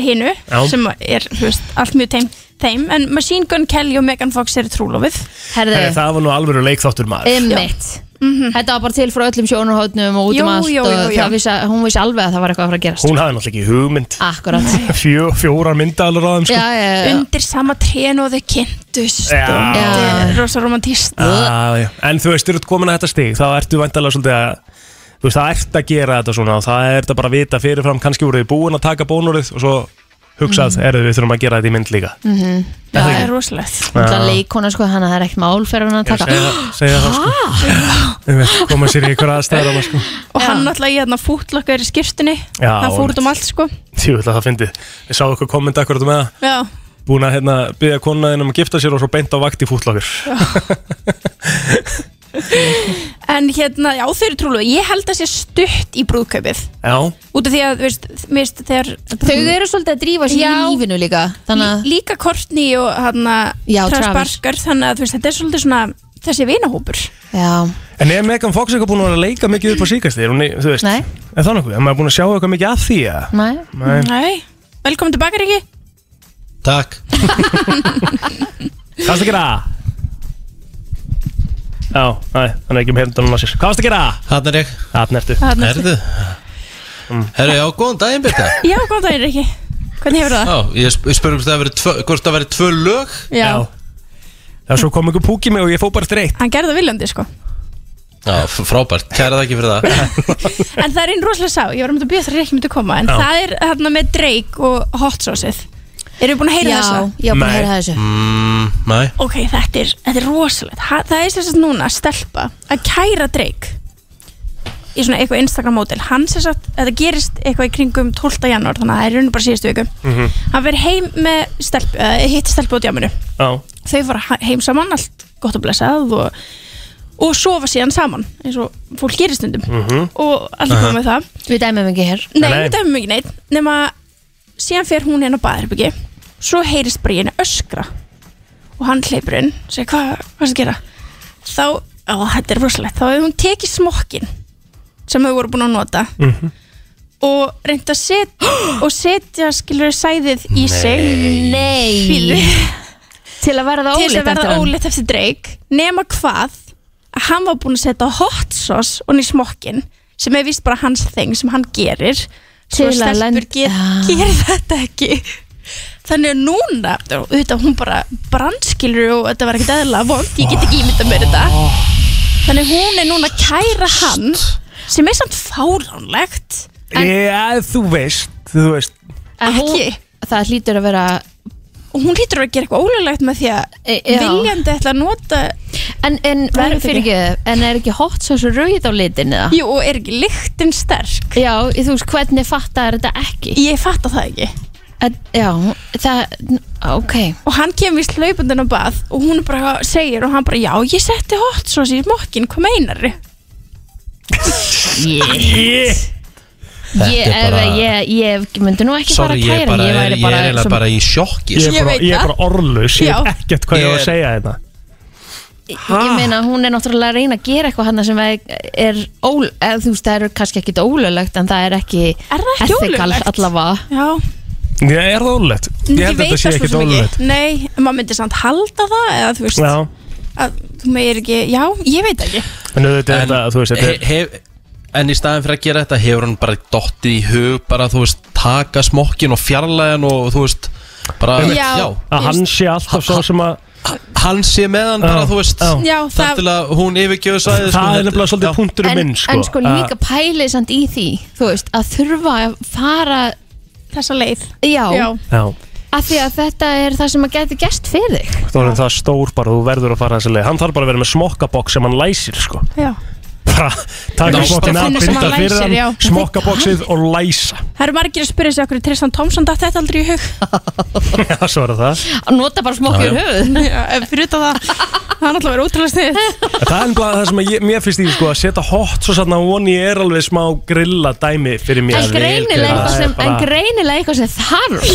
Speaker 6: hinu
Speaker 4: Já.
Speaker 6: Sem er þú veist, allt mjög teim, þeim En Machine Gun Kelly og Megan Fox eru trúlofið
Speaker 4: Herðu, það var nú alveg leikþáttur maður
Speaker 3: Einmitt Þetta var bara til frá öllum sjónarhóttnum og út
Speaker 6: Jú,
Speaker 3: um allt
Speaker 6: jú,
Speaker 3: og
Speaker 6: jú, jú.
Speaker 3: það vissi, hún vissi alveg að það var eitthvað að fara að gerast
Speaker 4: Hún hafði náttúrulega ekki hugmynd
Speaker 3: Akkurat
Speaker 4: Fjó, Fjórar myndalur á þeim sko
Speaker 6: Undir sama trénu og þau kynntust
Speaker 4: Já.
Speaker 6: og Þetta er rosa romantist
Speaker 4: Ah, Já, já. En þú veist, eru komin að þetta stig þá ertu vandalega svolítið að þú veist, það ert að gera þetta svona og það ert að bara vita fyrirfram, kannski voruð þið búin að taka bónurið og svo hugsað, mm. við þurfum að gera þetta í mynd líka
Speaker 3: Mhm.
Speaker 4: Er það
Speaker 3: Það
Speaker 4: ekki?
Speaker 3: er
Speaker 6: rosalegt
Speaker 4: Já.
Speaker 3: Það er leikona sko, þannig að það er ekkert mál fyrir hann að
Speaker 4: Ég er að
Speaker 3: taka
Speaker 4: segja- segja það, sko. Þú veist, koma sér í ykkur aðstæður á maður sko
Speaker 6: Og hann náttúrulega í hérna fútlokkaður í skiptunni
Speaker 4: Já,
Speaker 6: Það fór út um allt sko
Speaker 4: Jú, ætla það fyndi, ég sá okkur kommenta akkurat með það
Speaker 6: Já,
Speaker 4: búin að hérna, byggja konaðin um að gifta sér og svo beint á vakt í fútlagur
Speaker 6: en hérna, já þau eru trúlega Ég held að sé stutt í brúðkaupið
Speaker 4: Já,
Speaker 6: Út af því að, þú veist, mist, þegar
Speaker 3: Þau eru svolítið að drífa sig í lífinu líka þannig að-
Speaker 6: Líka Kortni og hann
Speaker 3: Já, Travis.
Speaker 6: Barker Þannig að þú veist, þetta er svolítið svona Þessi vinahópur
Speaker 3: Já
Speaker 4: en er Megan Fox eitthvað búin að vera að leika mikið upp á síkast þér, þú veist
Speaker 3: Nei.
Speaker 4: Er það nokkuð, er maður búin að sjá eitthvað mikið af því að
Speaker 3: Nei.
Speaker 4: Nei.
Speaker 6: Nei. Velkomin tilbaka, Riki
Speaker 1: Takk
Speaker 4: Hvað varst að gera? Já, næ, hann er ekki um heyrndunum að sér Hvað varst að gera?
Speaker 1: Hann er ég
Speaker 4: Hann ertu
Speaker 6: Þarna ertu.
Speaker 1: Herðu Herðu, Mm. já, góðan daginn, Birta
Speaker 6: Já, góðan daginn, Riki Hvernig hefur það?
Speaker 1: Já, ég sp- ég spurði um hvort það væri tvö- hvort það væri tvö lög
Speaker 6: Já.
Speaker 4: Það svo kom einhver púk í mig og ég fó bara streitt
Speaker 6: Hann gerði það viljandi, sko
Speaker 1: Já, f- frábært, kæra það ekki fyrir það
Speaker 6: En það er einn rosalega sá, ég var um að bíða það Riki myndi koma En
Speaker 1: Já.
Speaker 6: það er hérna með Drake og Hot Sauce-ið Erum við búin að heyra
Speaker 3: Já,
Speaker 6: þessu?
Speaker 3: ég var búin að heyra þessu.
Speaker 1: mm, Nei
Speaker 6: Ok, þetta er, þetta er rosalegt ha, Það er sérst núna stelpa að kæra Drake í svona eitthvað Instagram mótil hann sérst að þetta gerist eitthvað í kringum 12. janúar þannig að það er raunum bara síðustu viku
Speaker 4: Mhm.
Speaker 6: hann verið heim með stelp, uh, hitti stelpu á djáminu
Speaker 4: Já
Speaker 6: þau fara ha- heim saman, allt gott og blessað og, og sofa síðan saman eins og fólk gerir stundum
Speaker 4: mhm.
Speaker 6: og allir
Speaker 3: Aha.
Speaker 6: koma með það
Speaker 3: Við dæmum ekki hér
Speaker 6: Nei, við dæmum ekki neitt nema síðan fer hún inn á baðherbyggi svo heyrist bara í henni öskra og hann hleypur inn og segir hvað hva er að gera þá, á þetta er rosalegt þá hefur hún tekið smokkin sem þau voru búin að nota og reynda að setja og setja skilur sæðið í sig
Speaker 3: Nei.
Speaker 6: til að verða til
Speaker 3: ólétt
Speaker 6: að
Speaker 3: eftir
Speaker 6: verða
Speaker 3: hann.
Speaker 6: ólétt eftir Drake nema hvað að hann var búin að setja hot sauce onni í smokkin sem er vist bara hans þeng sem hann gerir svo
Speaker 3: Til að
Speaker 6: stelpur
Speaker 3: lenda-
Speaker 6: ger, gerir þetta ekki þannig að núna auðvitað hún bara brandskilur og þetta var ekkert eðla vond, ég get ekki ímynda mér þetta þannig að hún er núna að kæra hann sem er samt fáránlegt
Speaker 4: Já, eh, þú veist, þú veist
Speaker 6: en ekki
Speaker 3: Það hlýtur að vera E-
Speaker 6: hún hlýtur að gera eitthvað ólulegt með því að
Speaker 3: já.
Speaker 6: viljandi ætla að nota
Speaker 3: En, en
Speaker 6: Það er
Speaker 3: verður
Speaker 6: þetta
Speaker 3: fyrir
Speaker 6: ekki.
Speaker 3: ekki, en er ekki hot sauce rauð á litin eða?
Speaker 6: Jú, og er ekki lyktin sterk?
Speaker 3: Já, ég- þú veist, hvernig fattar þetta ekki?
Speaker 6: Ég fatta það ekki
Speaker 3: en, Já, það, ok
Speaker 6: Og hann kemur vist hlaupundin á bað Og hún bara segir og hann bara Já, ég setti hot sauce í smokkin, hvað meinar
Speaker 3: Yeah.
Speaker 1: Þetta
Speaker 3: Ég,
Speaker 1: er
Speaker 3: ef,
Speaker 1: bara-
Speaker 3: ég, ég myndi nú ekki fara
Speaker 1: Sorry, ég
Speaker 3: að
Speaker 1: er
Speaker 3: kæra
Speaker 1: bara,
Speaker 3: Ég
Speaker 1: ég
Speaker 3: væri
Speaker 1: er eiginlega
Speaker 3: bara,
Speaker 1: bara í sjokki sko.
Speaker 4: Ég er
Speaker 3: Ég
Speaker 4: bara,
Speaker 3: veit
Speaker 4: ég er
Speaker 3: það.
Speaker 4: bara orðlaus, ég
Speaker 3: Já.
Speaker 4: veit ekkert hvað ég var
Speaker 1: Ég-
Speaker 4: að segja hérna. þetta
Speaker 3: ég, ég meina hún er náttúrulega að reyna að gera eitthvað hann sem er, er ól, eða, þú veist, það er kannski ekkit ólöglegt en það er ekki Er það
Speaker 6: ekki ólöglegt?
Speaker 3: Allavega
Speaker 6: Já,
Speaker 4: Ég er það ólegt Ég held að þetta sé ekkert ólegt
Speaker 6: Nei, en maður myndi samt halda það Eða þú veist
Speaker 4: Já,
Speaker 6: að, Þú meir ekki, já, ég veit ekki
Speaker 4: en auðvitað er þetta, þú veist,
Speaker 1: he,
Speaker 4: þetta er
Speaker 1: hef, En í staðin fyrir að gera þetta hefur hann bara dottið í hug bara þú veist taka smokkin og fjarlæðan og þú veist bara
Speaker 4: Einmitt.
Speaker 6: Já,
Speaker 4: að hann sé alltaf svo sem að
Speaker 1: hann sé með hann bara
Speaker 4: Já,
Speaker 1: þú veist
Speaker 4: já.
Speaker 6: Já,
Speaker 1: þar
Speaker 6: það-
Speaker 1: til að hún sko, yfirgjöðu sæði
Speaker 4: Það er nefnilega svolítið punkturinn minn, sko
Speaker 3: En sko líka pælið samt í því Þú veist, að þurfa að fara
Speaker 6: Þessa leið
Speaker 3: Já,
Speaker 4: Já,
Speaker 3: af því að þetta er það sem að geti gert fyrir þig
Speaker 4: þá er það stór bara, þú verður að fara þessi leið Hann þarf bara að vera með smokkaboks sem hann læsir, sko
Speaker 6: Já.
Speaker 4: Bara, taka
Speaker 6: Ná,
Speaker 4: smokkin
Speaker 6: bara
Speaker 4: af,
Speaker 6: finna sem hann
Speaker 4: binda fyrir
Speaker 6: læsir, já.
Speaker 4: hann Smokkaboksið og læsa
Speaker 6: Það eru margir að spyrja sig okkur Tristan Thompson datt þetta aldrei í hug
Speaker 4: Já, svo er það
Speaker 3: að nota bara
Speaker 4: smokk yfir Já, já.
Speaker 3: höfuð
Speaker 6: Já, ef fyrir þetta það Það er náttúrulega verið útrúlega snið
Speaker 4: En Það er nefnilega það sem ég, mér finnst í sko, að setja hot svo sann að voni er alveg smá grilla dæmi fyrir mér
Speaker 3: En greinilega eitthvað sem, en
Speaker 4: greinilega
Speaker 3: greinilega eitthvað sem þarf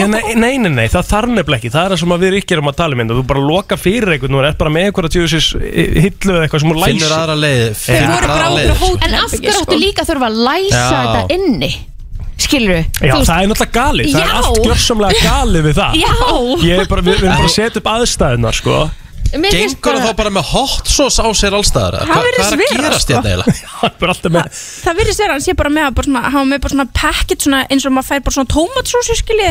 Speaker 4: Já, nei, nei, nei, nei, það þarf nefnilega ekki Það er það sem að við ekki erum að tala um þetta Þú bara loka fyrir einhvern og er bara með einhverja tjóðsins hillu eða eitthvað sem hún
Speaker 1: Finnur
Speaker 4: læsir
Speaker 1: aðra leið, finnur Þeir voru aðra bara leið, okkur sko.
Speaker 3: En af hverju áttu líka að þurfa að læsa
Speaker 4: Já.
Speaker 3: þetta inni Skilur við
Speaker 4: Já, það er náttúrulega galið, það er
Speaker 3: Já.
Speaker 4: allt gjörsamlega galið við það
Speaker 3: Já.
Speaker 4: Ég er bara, við við erum bara að setja upp aðstæðunar, sko
Speaker 3: Mér finnst
Speaker 1: Gengur hann
Speaker 3: bara-
Speaker 1: þá bara með hot sauce á sér allstaðar eða?
Speaker 6: Það
Speaker 1: Hva-
Speaker 6: virðist
Speaker 1: Hvað er
Speaker 6: vera,
Speaker 1: að gerast
Speaker 6: sko.
Speaker 1: hérna eiginlega?
Speaker 4: Það er bara alltaf með
Speaker 6: Það virðist vera að hann sé bara með að bara svona, hafa með bara svona packet svona, eins og maður fær bara svona tómatsósu skilji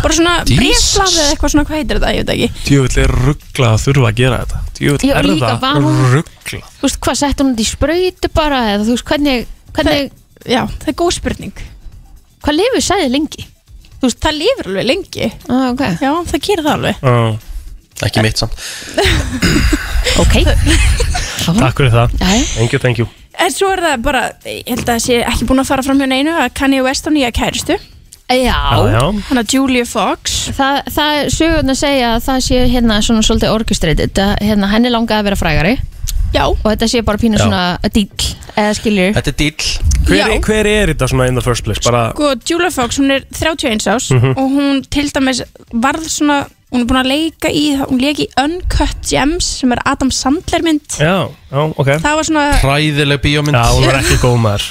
Speaker 6: bara svona
Speaker 4: Jesus.
Speaker 6: breflað eða eitthvað svona hvað heitir þetta, ég veit ekki
Speaker 4: Djöfull er ruggla að þurfa að gera þetta Djöfull
Speaker 3: Já,
Speaker 4: er
Speaker 3: líka var
Speaker 4: það
Speaker 3: hún-
Speaker 4: ruggla
Speaker 3: Þú veist hvað, sett hún þetta í sprautu bara eða þú veist hvernig, hvernig
Speaker 6: Já, það er góð spurning
Speaker 3: Hvað lifur sæði lengi?
Speaker 6: Þú veist, það lifir alveg lengi
Speaker 3: ah, okay.
Speaker 6: Já, það gerir það alveg
Speaker 1: Ekki mitt samt
Speaker 3: Ok
Speaker 4: Takk fyrir það Thank you, thank you
Speaker 6: En svo er það bara, ég held að það sé ekki búin að fara fram hjá neinu að Kanye West á nýja kæristu
Speaker 3: Já
Speaker 4: Já, já.
Speaker 6: Hanna Julia Fox
Speaker 3: Það, það sögurnar segja að það sé hérna svona svolítið orkestreitit hérna henni langaði að vera frægari
Speaker 6: Já
Speaker 3: Og þetta sé bara pínu
Speaker 4: Já.
Speaker 3: svona dýll eða skilur
Speaker 1: Þetta er dýll
Speaker 4: hver,
Speaker 6: Já.
Speaker 4: hver er þetta svona in the first place? Bara,
Speaker 6: Sko, Julia Fox, hún er 31 ás
Speaker 4: Mhm.
Speaker 6: og hún til dæmis varð svona hún er búin að leika í, hún leik í Uncut Gems sem er Adam Sandler mynd
Speaker 4: já, já, ok
Speaker 6: Það var svona,
Speaker 1: Hræðileg bíómynd
Speaker 4: Já, hún var ekki góð maður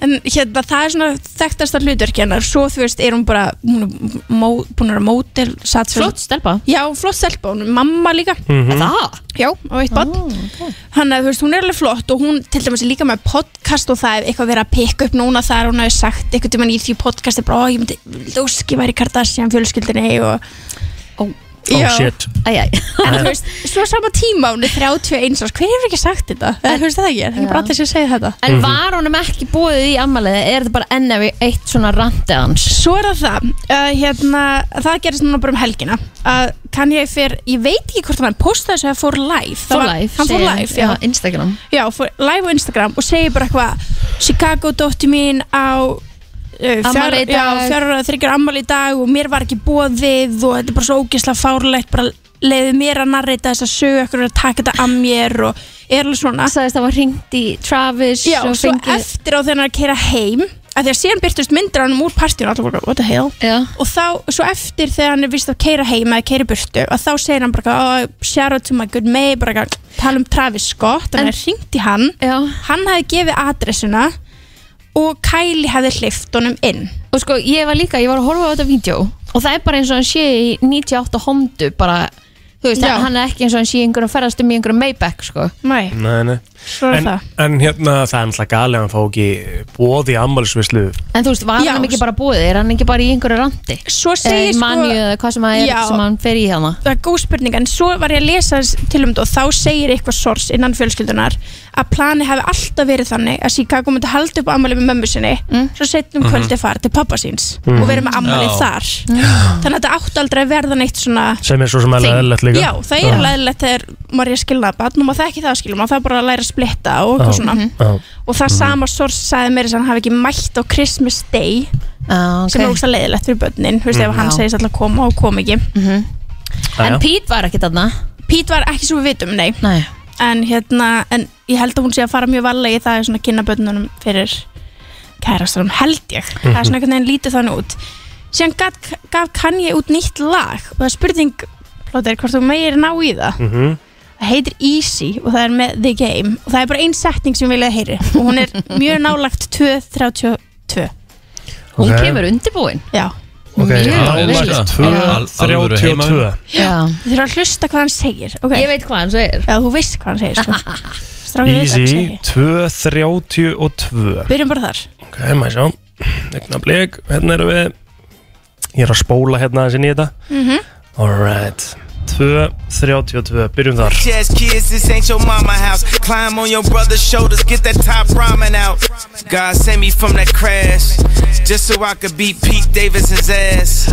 Speaker 6: en hérna, það er svona þekktasta hlutverk hennar, svo þú veist er hún bara, hún er mó, búin að vera mótil, satt
Speaker 3: Flott stelpa
Speaker 6: Já, flott stelpa, hún er mamma líka
Speaker 3: Mhm. Það?
Speaker 6: Já, og eitt bann Þannig að þú veist, hún er alveg flott og hún til dæmis er líka með podcast og það er eitthvað verið að pikka upp núna þar hún hafi sagt eitthvað tímann í því podcasti bara, ó, ég myndi, lóski væri Kardashian fjölskyldinni og Ó,
Speaker 4: Oh shit
Speaker 3: Æj, æj
Speaker 6: En þú veist, svo sama tíma hún er 31 árs, hver hefur ekki sagt þetta? En, þú veist það ekki, það er ekki bara allir sem segja þetta
Speaker 3: En
Speaker 4: Mhm.
Speaker 3: var honum ekki búið í ammaliði? Er þetta bara enn ef eitt svona randi hans?
Speaker 6: Svo er það það, uh, hérna, það gerist núna bara um helgina að kann ég fyrr, ég veit ekki hvort hann postaði þessu að fór live Það
Speaker 3: Fór
Speaker 6: var-
Speaker 3: live,
Speaker 6: Hann fór
Speaker 3: segir
Speaker 6: live, já,
Speaker 3: á Instagram
Speaker 6: já fór live á Instagram og segir bara eitthvað Chicago dóttir mín á uh, fjár-
Speaker 3: Afmæli í
Speaker 6: já,
Speaker 3: dag.
Speaker 6: fjárra að þryggjur ammali í dag og mér var ekki bóðið og þetta er bara svo ógislega fárlegt bara leiði mér að narrita þess að sögu ekkur að taka þetta að mér og er alveg svona
Speaker 3: Sæðist það var hringt í Travis
Speaker 6: Já,
Speaker 3: og
Speaker 6: og svo
Speaker 3: fengið-
Speaker 6: eftir á þegar hann er að keira heim að því að síðan byrtust myndir af honum úr partíun allir bara, what the hell
Speaker 3: Já.
Speaker 6: og þá, svo eftir þegar hann er vist að keira heim eða keira burtu, að þá segir hann bara oh, shout out to my good mate, bara eitthvað, tala um Travis Scott,
Speaker 3: En-
Speaker 6: þannig að hringt í hann
Speaker 3: Já.
Speaker 6: hann hefði gefið adressuna og Kylie hefði hlift honum inn
Speaker 3: Og sko, ég var líka, ég var að horfa á þetta vídeo Og það er bara eins og hann sé í 98 Hondu bara Þú veist,
Speaker 6: Já.
Speaker 3: hann er ekki eins og hann sé í einhverjum ferðastum í einhverjum Maybach, sko
Speaker 6: Nei,
Speaker 4: Nei, nei
Speaker 6: Svo er
Speaker 4: en,
Speaker 6: það.
Speaker 4: en hérna, það er alltaf galið að hann fá ekki bóð í ammælisvislu
Speaker 3: En þú veist, var
Speaker 6: Já.
Speaker 3: hann ekki bara búið? Er hann ekki bara í einhverju randi?
Speaker 6: Svo segir sko-
Speaker 3: Manju Eh, eða hvað sem, að er,
Speaker 6: Já.
Speaker 3: sem hann fer í hérna. hana
Speaker 6: það er góð spurning en svo var ég að lesa þess- til um þetta og þá segir eitthvað sors innan fjölskyldunar að plani hefði alltaf verið þannig að Chicago myndi halda upp ammali með mömmu sinni
Speaker 3: Mm.
Speaker 6: svo setjum
Speaker 4: Mhm.
Speaker 6: kvöldi fara til pappa síns
Speaker 4: Mhm.
Speaker 6: og verið með ammali
Speaker 4: Já.
Speaker 6: þar
Speaker 4: Já.
Speaker 3: Mm.
Speaker 6: þannig að þetta átti aldrei að verða neitt svona
Speaker 4: sem er svo sem alveg
Speaker 6: Þing.
Speaker 4: eðlilegt líka
Speaker 6: Já, það er alveg eðlilegt þegar maður er skilnað og maður þekki það skilum maður það er bara að læra að splitta og eitthvað svona
Speaker 3: Mhm.
Speaker 6: og það sama sors sagði mér þess að hann hafi ekki mætt á Christmas Day
Speaker 3: ah,
Speaker 6: sem er ógst að leiðilegt fyrir börnin þú veist ef
Speaker 3: Mhm.
Speaker 6: hann
Speaker 3: Já. Mhm.
Speaker 6: segist alltaf að koma og kom ekki
Speaker 3: En Pete var ekki þarna
Speaker 6: Pete var ekki svo við vitum, nei,
Speaker 3: nei.
Speaker 6: En, hérna, en ég held að hún sé að fara mjög varlega í það að svona kynna börnunum fyrir kærastanum, held ég það er
Speaker 3: Mhm.
Speaker 6: svona einhvern veginn lítið þannig út síðan gaf, gaf Kanye út nýtt lag og það er spurning plóter, hvort þú meir ná í það
Speaker 4: Mhm.
Speaker 6: það heitir Easy og það er með The Game og það er bara ein setning sem ég vilja að heyri og hún er mjög nálagt 2.32
Speaker 3: Hún kemur undirbúin
Speaker 6: Já
Speaker 1: Ok,
Speaker 6: Mjög
Speaker 1: já,
Speaker 6: vel.
Speaker 1: já. Al- alvöru
Speaker 4: 32.
Speaker 1: heimavinna.
Speaker 6: Já. Þú þurfum að hlusta hvað hann segir okay. Ég veit hvað hann segir Já, þú veist hvað hann segir sko. Strákar veit hvað hann
Speaker 4: Easy,
Speaker 6: segir
Speaker 4: 232
Speaker 6: Byrjum bara þar
Speaker 4: Ok, maður sjá Egnar blik, hérna erum við Ég er að spóla hérna aðeins inn í þetta
Speaker 15: Mhm.
Speaker 4: Alright 232, byrjum þar
Speaker 15: Jazz kids, this ain't your mama house. Climb on your brother's shoulders, get that top ramen out. God sent me from that crash, just so I could beat Pete Davidson's ass.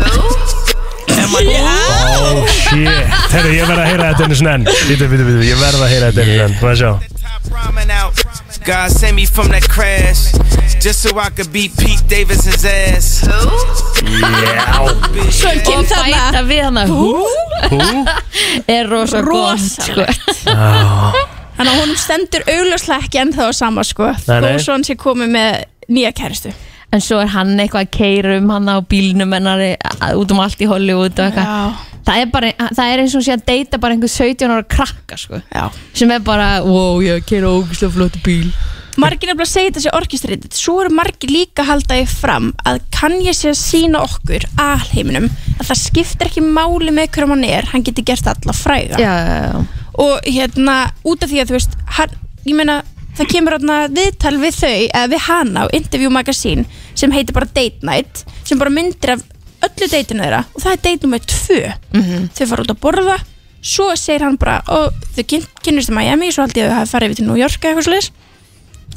Speaker 15: Am I
Speaker 4: Oh shit Herru, ég verð að heyra þetta einu snenn Býtu, býtu, býtu, ég verð að heyra þetta einu snenn Maður sjá
Speaker 15: ramen out? God sent me from that crash, just so I could beat Pete Davidson's ass.
Speaker 4: Já.
Speaker 3: Og bæta við hana hú
Speaker 4: Hú?
Speaker 3: Er rosa góð sko.
Speaker 6: Þannig að honum stendur augljóslega ekki ennþá á sama sko
Speaker 3: Nei, nei.
Speaker 6: Þó svo hann sé komið með nýja kæristu
Speaker 3: En svo er hann eitthvað að keira um hann á bílnum hennar í- að- út um allt í Hollywood og eitthvað Það er, bara, það er eins og sé að deyta bara einhver 17 ára krakka sko
Speaker 6: Já.
Speaker 3: sem er bara, wow, ég keira ógustlega flott bíl
Speaker 6: Margir nefnilega segja þetta sé orkestrætið Svo eru margir líka að halda því fram að kann ég sé að sína okkur alheiminum að það skiptir ekki máli með hverjum hann er hann getur gert alla fræga
Speaker 3: Já, já, já.
Speaker 6: og hérna út af því að þú veist hann, ég meina það kemur hérna viðtal við þau eða við hana á Interview Magazine sem heitir bara Date Night sem bara myndir af öllu deitinu þeirra og það er date nummer tvö
Speaker 13: Mhm.
Speaker 6: þau fara út að borða svo segir hann bara og þau kyn- kynnist í Miami svo held ég að þau hafi farið yfir til New York eða eitthvað sliðis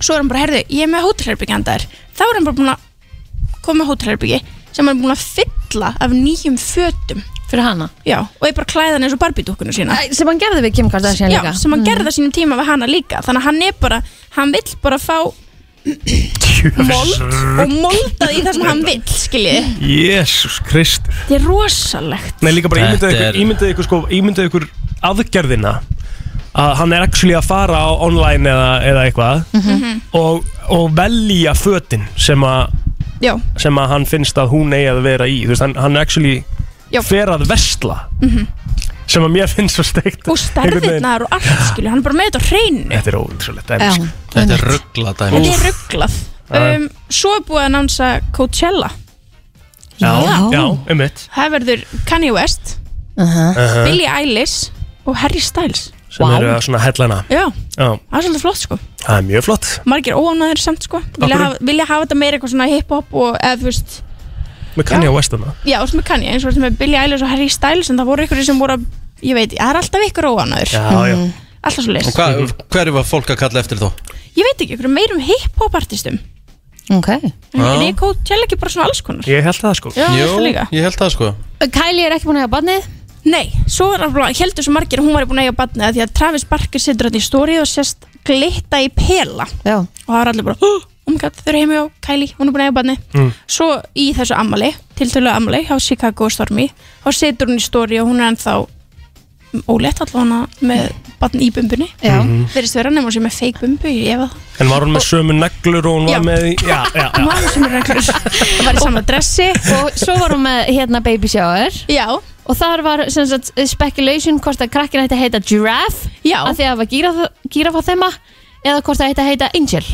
Speaker 6: svo er hann bara, herðu, ég er með hótelherbyggjandaðir þá er hann bara búin að koma með hótelherbyggi sem hann er búin að fylla af nýjum fötum
Speaker 3: fyrir hana
Speaker 6: já, og er bara klæðan eins og barbídukkuna sína
Speaker 3: Æ, sem hann gerði við Kim Kardashian
Speaker 6: Hérna. já,
Speaker 3: líka Mm.
Speaker 6: sem hann gerði það sínum tíma við hana líka þannig að hann er bara, hann vill bara fá mold og moldað í það sem hann vill skiljiði,
Speaker 4: Jésús Kristur
Speaker 6: þetta er rosalegt
Speaker 4: Nei, líka bara
Speaker 1: Þetta
Speaker 4: ímyndaðu ykkur,
Speaker 1: er-
Speaker 4: ímyndaðu ykkur, sko, ímyndaðu ykkur aðgerðina að hann er actually að fara á online eða, eða eitthvað
Speaker 6: Mhm.
Speaker 4: og, og velja fötin sem að
Speaker 6: já,
Speaker 4: sem að hann finnst að hún eigi að vera í þú veist, hann, hann actually
Speaker 6: Já.
Speaker 4: fer að versla
Speaker 6: mhm
Speaker 4: sem að mér finnst svo steikt
Speaker 6: og stærðirnar og allt skilju, hann er bara með þetta á hreinu
Speaker 4: Þetta er ótrúlega
Speaker 6: Já,
Speaker 4: dæmis
Speaker 1: Þetta er ruggla dæmi
Speaker 6: þetta er rugglað
Speaker 4: Já.
Speaker 6: um, svo er búið að nánsa Coachella
Speaker 4: Já,
Speaker 6: Já.
Speaker 4: já, um mitt
Speaker 6: það verður Kanye West
Speaker 4: Uh-huh.
Speaker 6: Billie Eilish og Harry Styles
Speaker 4: sem eru að svona hellana
Speaker 6: já,
Speaker 4: Já,
Speaker 6: það er svolítið flott sko
Speaker 4: það er mjög flott
Speaker 6: margir óanæður samt sko vilja
Speaker 4: Af hverju?
Speaker 6: hafa, vilja hafa þetta meira eitthvað svona hip-hop og eða þú veist
Speaker 4: með Kanye West þarna
Speaker 6: já, þú veist með Kanye eins og þetta með Billie Eilish og Harry Styles en það voru ykkur sem voru að ég veit, það er alltaf ykkur óanæður
Speaker 3: Mm.
Speaker 1: Já, já.
Speaker 6: alltaf svo
Speaker 1: Og hvað, hverju var fólk að kalla eftir þó?
Speaker 6: ég veit ekki, ykkur meirum hip-hop artistum
Speaker 3: ok
Speaker 6: en ég kótt sjálf ekki bara svona alls konar
Speaker 4: Ég held það sko
Speaker 6: Já, ég
Speaker 1: Jú,
Speaker 6: held það líka.
Speaker 1: ég held það sko
Speaker 6: Kylie er ekki búin að eiga badnið? Nei, svo er alveg, heldur svo margir að hún var búin að eiga badnið af því að Travis Barker situr þetta í stóri og sérst glitta í pela
Speaker 3: Já.
Speaker 6: og það er allir bara, oh my god, þau eru heimi á Kylie, hún er búin að eiga badnið
Speaker 3: Mm.
Speaker 6: svo í þessu ammali, tiltölu ammali á Chicago Stormy, þá situr hún í stóri og hún er ennþá ólétt allavega með badn í bumbunni
Speaker 4: Já. Mhm.
Speaker 6: verðist vera nema hún sé með fake bumbu ég efa það
Speaker 4: En var hún með sömu neglur og hún var
Speaker 6: Já.
Speaker 4: með í- Já, já, já
Speaker 6: Hún var með sömu neglur Það var í sama dressi
Speaker 3: Og svo var hún með hérna baby shower
Speaker 6: Já
Speaker 3: Og þar var sem sagt speculation hvort að krakkin ætti að heita giraffe
Speaker 6: Já
Speaker 3: Af því að það var gíraf- gíraffa þemma Eða hvort það ætti að heita angel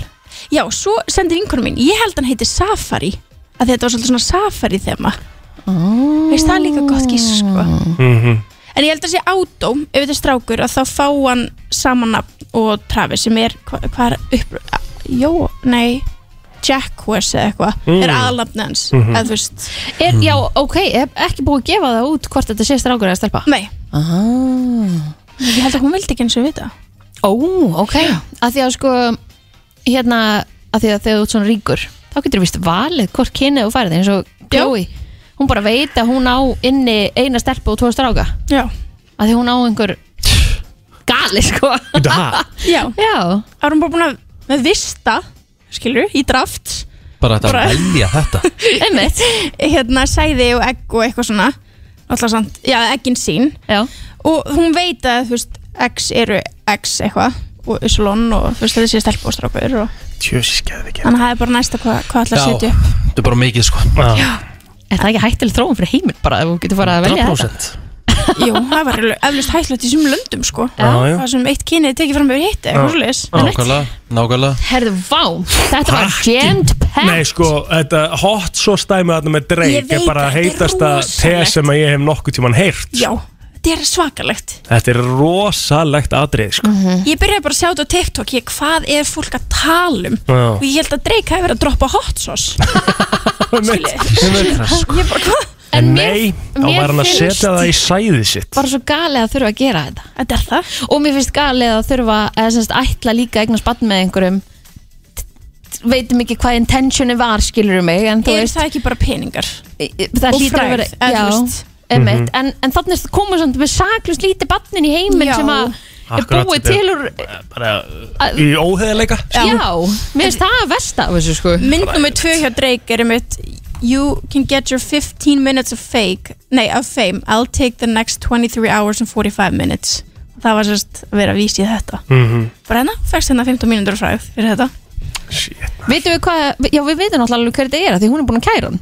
Speaker 6: Já, svo sendir vinkonum mín, ég held hann heiti Safari að þetta var svolítið svona Safari þema oh. veist það er líka gott gísk sko.
Speaker 4: Mhm.
Speaker 6: en ég held að sé átó ef þetta er strákur að þá fá hann saman nafn og Travis sem er hvað hva er upp Jó, nei Jack West eða eitthvað
Speaker 3: Mm.
Speaker 6: er aðlapni hans
Speaker 3: Mhm.
Speaker 6: eða þú veist
Speaker 3: er, Já, ok, er ekki búið að gefa það út hvort þetta sé strákur eða stelpa
Speaker 6: Nei
Speaker 3: Aha.
Speaker 6: Ég held að hún vildi ekki eins og vita
Speaker 3: Ó, ok Af því að sko Hérna, af því að þegar þú ert svona ríkur Þá getur þú vist valið hvort kynið þú færið eins og Chloe Hún bara veit að hún á inni eina stelpa og tvo stráka
Speaker 6: Já
Speaker 3: Af því hún á einhver gali sko
Speaker 4: Bíddu, ha?
Speaker 6: Já, Já. Árum bara búin að með vista skilur, í draft
Speaker 1: Bara þetta
Speaker 6: Bara-
Speaker 1: að velja þetta
Speaker 6: einmitt hérna sæði og egg og eitthvað svona alltaf samt, já, eggin sín
Speaker 3: já.
Speaker 6: og hún veit að, þú veist, eggs eru eggs eitthvað og uslón og þú veist, þessi stelp og strákur og
Speaker 4: Tjössis geðvik
Speaker 6: hann hafði bara næsta hvað hva ætla að setja upp
Speaker 1: þetta er bara mikið sko
Speaker 4: Já,
Speaker 3: Er það ekki hættileg þróun fyrir heiminn bara ef þú getur farið að velja þetta?
Speaker 1: 100%.
Speaker 6: Jú, það var alveg- eflaust hættilegt í sumum löndum sko
Speaker 1: Já, já.
Speaker 6: það sem eitt kynið tekið fram yfir hitt eitthvað svoleiðis
Speaker 1: Nákvæmlega, nákvæmlega
Speaker 3: Herðu, vá, þetta var jammed
Speaker 4: Nei
Speaker 3: packed
Speaker 4: sko, þetta hot sauce dæmi þarna með
Speaker 6: Ég
Speaker 4: dreik
Speaker 6: veit,
Speaker 4: er bara
Speaker 6: þetta er
Speaker 4: heitasta te
Speaker 6: rosalegt.
Speaker 4: sem að ég hef nokkuð tíman heyrt
Speaker 6: já, þetta er svakalegt
Speaker 4: Þetta er rosalegt atrið sko.
Speaker 3: Mhm.
Speaker 6: ég byrjaði bara að sjá þetta á TikTok ég, hvað er fólk að tala um
Speaker 4: Já.
Speaker 6: og ég held að Drake hafi verið að droppa hot sauce
Speaker 4: Skiljið
Speaker 6: ég bara hvað
Speaker 4: En nei, þá
Speaker 3: mér
Speaker 4: var hann að
Speaker 3: finnst-
Speaker 4: setja það í sæðið sitt
Speaker 3: bara svo galið að þurfa að gera þetta
Speaker 6: Þetta er það
Speaker 3: Og mér finnst galið að þurfa eða semst ætla líka að eignast bann með einhverjum T- t- veitum ekki hvað intentioni var skilur mig en þú
Speaker 6: er
Speaker 3: veist
Speaker 6: það ekki bara peningar
Speaker 3: það
Speaker 6: og
Speaker 3: hlýtur að
Speaker 6: frægð,
Speaker 3: vera
Speaker 6: eða
Speaker 3: já,
Speaker 6: þú veist.
Speaker 3: einmitt,
Speaker 6: Mhm.
Speaker 3: en, en þannig að koma samt með saklust lítið barnin í heiminn
Speaker 6: Já.
Speaker 3: sem að er
Speaker 4: Akkurat,
Speaker 3: búið
Speaker 4: þetta er
Speaker 3: til úr
Speaker 4: bara
Speaker 3: Að-
Speaker 4: í sko. óheðleika
Speaker 3: já, mér finnst það að versta af þessu sko
Speaker 6: mynd nummer tvö hjá Drake er um you can get your 15 minutes of fake nei, of fame, I'll take the next 23 hours and 45 minutes það var sérst að vera að vísi í þetta
Speaker 4: Mhm.
Speaker 6: bara hérna, fækst hérna 15 mínútur fræð fyrir þetta
Speaker 3: veitum við hvað, já við veitum náttúrulega alveg hver þetta er af því hún er búin að kæra hann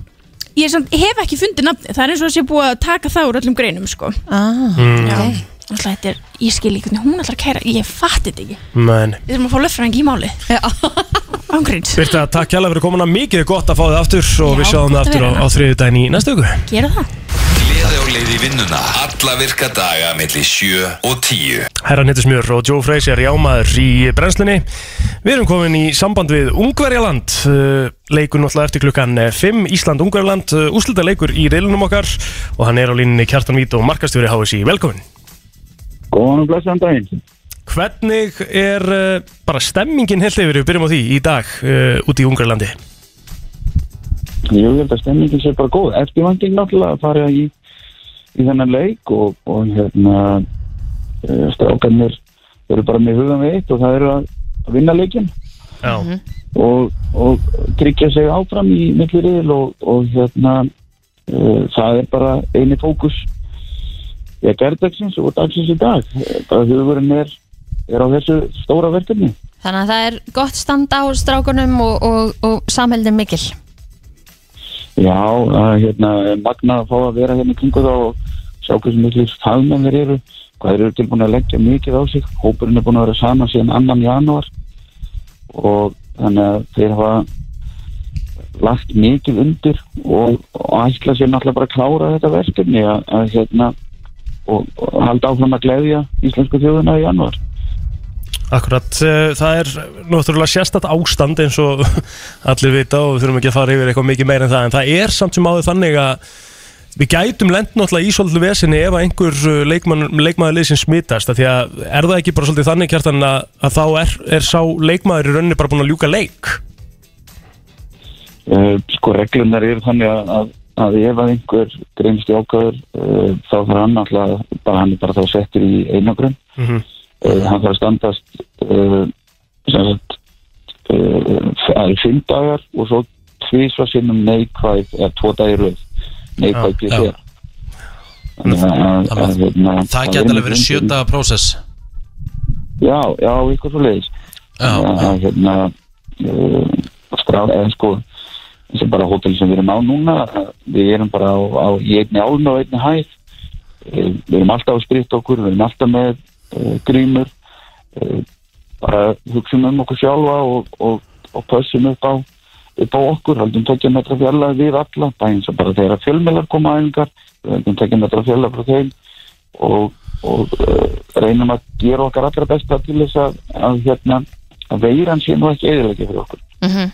Speaker 6: ég samt, hef ekki fundið nafni, það er eins og þessi búið að taka það úr öllum greinum sko
Speaker 3: ah,
Speaker 4: Mm.
Speaker 6: Já. Alltaf, þetta er, ég skil ekki hvernig hún ætlar að kæra ég fatti þetta ekki,
Speaker 4: Men
Speaker 6: við þurfum að fá löffræðing í máli ángríns
Speaker 4: Birta, takk hjálpa fyrir komuna mikið gott að fá þið aftur og við sjáum
Speaker 6: gott
Speaker 4: þið
Speaker 6: að
Speaker 4: aftur á,
Speaker 6: vera
Speaker 4: á þriðju daginn í næstu viku
Speaker 6: gera það
Speaker 2: Gleði og leiði vinnuna Alla virka daga melli 7 og 10
Speaker 4: Herran hittis mjör og Joe Freys er jámaður í brennslunni Við erum komin í samband við Ungverjaland Uh, Leikur náttúrulega eftir klukkan eh, 5 Ísland-Ungverjaland Úslita leikur í reilunum okkar Og hann er á líninni Kjartan Vít og markastjóri HSI Velkomin
Speaker 5: Góðan og blessaðan daginn
Speaker 4: Hvernig er eh, bara stemmingin heilt yfir Við byrjum á því í dag uh, út í Ungverjalandi
Speaker 5: Ég held að stemmingin sé bara góð Eftirvangin náttúrulega að fara í, í þennan leik og, og hérna eh, strákarnir eru bara með hugan við eitt og það eru að að vinna leikin
Speaker 4: Já
Speaker 5: og, og tryggja sig áfram í milliriðil og, og hérna uh, það er bara eini fókus ég gerðdagsins og dagsins í dag Eh, bara hugurinn er, er á þessu stóra verkefni
Speaker 3: þannig að það er gott standa á strákunum og, og, og samheldin mikil
Speaker 5: Já, að, hérna, magna að fá að vera hérna í kringu þá og sjá hversu miklu fagmenn þeir eru hvað þeir eru tilbúin að leggja mikið á sig hópurinn er búin að vera saman síðan annan januar og þannig að þeir hafa lagt mikið undir og, og ætla sér náttúrulega bara að klára þetta verkefni að, að hérna og, og halda áfram að gleðja íslensku þjóðuna í januar
Speaker 4: Akkurat, eh, það er náttúrulega sérstætt ástand eins og allir vita og við þurfum ekki að fara yfir eitthvað mikið meira en það en það er samt sem áður þannig að við gætum lent náttúrulega í svolítið vesinni ef að einhver eh, leikmann, leikmaður liðsin smitast af því að er það ekki bara svolítið þannig kjartan að, að þá er, er sá leikmaður í rauninni bara búin að ljúka leik
Speaker 5: Eh, sko reglunar eru þannig að, að, að ef að einhver greinst í ákvæður uh, þá þarf hann alltaf bara hann er bara þá settur í einagrun
Speaker 4: Mhm.
Speaker 5: uh, hann þarf að standast uh, sem sagt uh, það eru fimm dagar og svo tvísva sinnum neikvæð eða tvo dagir auð neikvæð
Speaker 1: Já, já.
Speaker 5: PCR Þannig að- að- að- hérna,
Speaker 1: Það geti
Speaker 5: er
Speaker 1: alveg verið
Speaker 5: einmitt undir-
Speaker 1: sjöta prósess
Speaker 5: Já, já, eitthvað svo leiðis að hérna uh, strá, eða sko þessi bara hótel sem við erum á núna eh, við erum bara á, á í einni álun og einni hæð Eh, við erum alltaf að spritta okkur, við erum alltaf með uh, grímur uh, bara hugsaum um okkur sjálfa og, og, og pössum upp á upp á okkur, haldum tekja metra fjarlæð við alla, bara eins og bara þegar fjölmjölar koma á æfingar, við haldum tekja metra fjarlæð frá þeim og, og uh, reynum að gera okkar allra besta til þess að, að hérna að veiran sé nú ekki eðilegja fyrir okkur
Speaker 3: Mhm.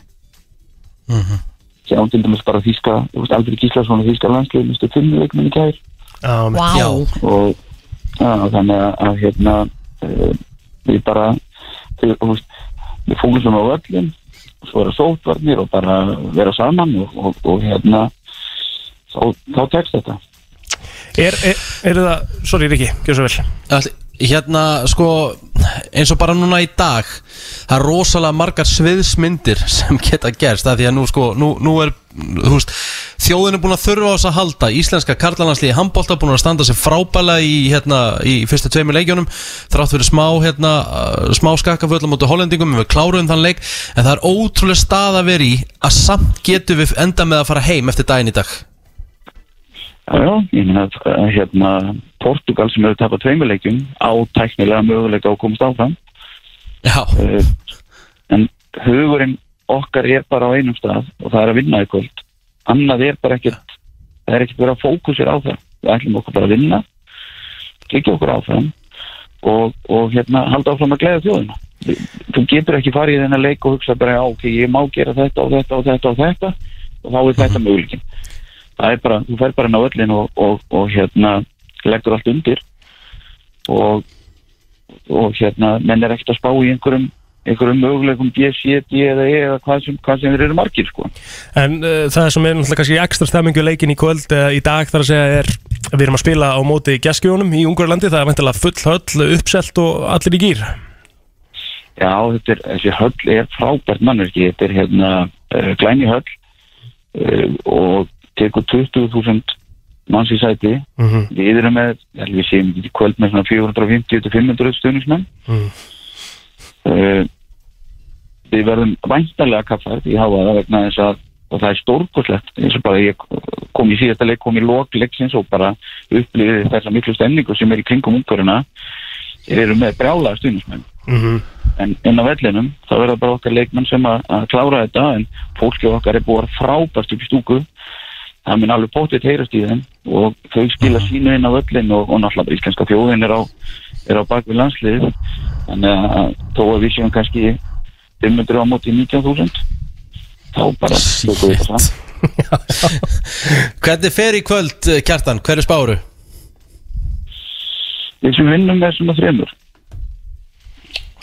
Speaker 5: sem til dæmis bara þýska, þú veist, Alfred Gíslason og þýska landslið, mistu fimm leikmenn í gær
Speaker 4: um,
Speaker 1: Vá. Já.
Speaker 5: og já, þannig að, að hérna uh, við bara við, þú veist, við fólusum á öllin svo vera sótvarnir og bara vera saman og, og, og hérna þá, þá tekst þetta
Speaker 4: Er, er, er það, sorry Riki, gjör svo vel
Speaker 1: Ætli, hérna sko eins og bara núna í dag það er rosalega margar sviðsmyndir sem geta gerst af því að nú sko nú, nú er þú veist, þjóðin er búin að þurfa á þess að halda íslenska karlalandsliði handbólta búin að standa sér frábæla í, hérna, í fyrstu tveimur leikjónum þrátt fyrir smá, hérna, uh, smá skakkaföllum út á hollendingum við kláruðum þann leik en það er ótrúlega stað að vera í að samt getum við enda með að fara heim eftir daginn í dag
Speaker 5: Já, já, ég meina að eh, hérna, Portugal sem hefur tapað tveimileikjum á tæknilega möguleika á að komast áfram. Eh,
Speaker 1: Já.
Speaker 5: en hugurinn okkar er bara á einum stað og það er að vinna í kvöld. Annað er bara ekkert, það er ekkert verið að fókusir á það. Við ætlum okkur bara að vinna, kikja okkur áfram og, og hérna, halda áfram að gleða þjóðina. Þú getur ekki farið í þennan leik og hugsa bara, já, ok, ég má gera þetta og þetta og þetta og þetta og þá er þetta möguleikin það er bara, þú fær bara inn á öllin og, og, og hérna leggur allt undir og, og hérna menn er ekkert að spá í einhverjum einhverjum möguleikum B, C, D eða E eða hvað sem, hvað sem þeir eru margir sko.
Speaker 4: En uh, það sem er náttúrulega kannski ekstra stemmingu leikin í kvöld uh, í dag þar að segja er við erum að spila á móti geskjónum í Ungarlandi það er vantilega full höll uppselt og allir í gýr
Speaker 5: Já, þetta er, þessi höll er frábært mannverki, þetta er hérna uh, glæni höll uh, og tekur 20.000 manns í sæti
Speaker 4: Mhm.
Speaker 5: við erum með, ég held við séum í kvöld með svona 450 til 500 stuðnismenn
Speaker 4: Mm.
Speaker 5: uh, við verðum væntanlega kaffar í háaða vegna þess að og það er stórkoslegt eins og bara ég kom í síðasta leik kom í lok leiksins og bara upplifið þessa miklu stemningu sem er í kringum ungarina þeir eru með brjála stuðnismenn
Speaker 4: Mhm.
Speaker 5: en inn á vellinum þá verða bara okkar leikmenn sem að, að klára þetta en fólki okkar er búið að vera frábært upp í stúku það mun alveg bóttið heyrast í þeim og þau skila sínu inn á völlin og, og náttúrulega bara íslenska fjóðin er á, er á bakvið landslið þannig að þó að við séum kannski 500 á móti 19.000 þá bara tökum við það saman.
Speaker 1: Hvernig fer í kvöld, eh, Kjartan? Hver er spáru?
Speaker 5: við sem vinnum þessum að þremur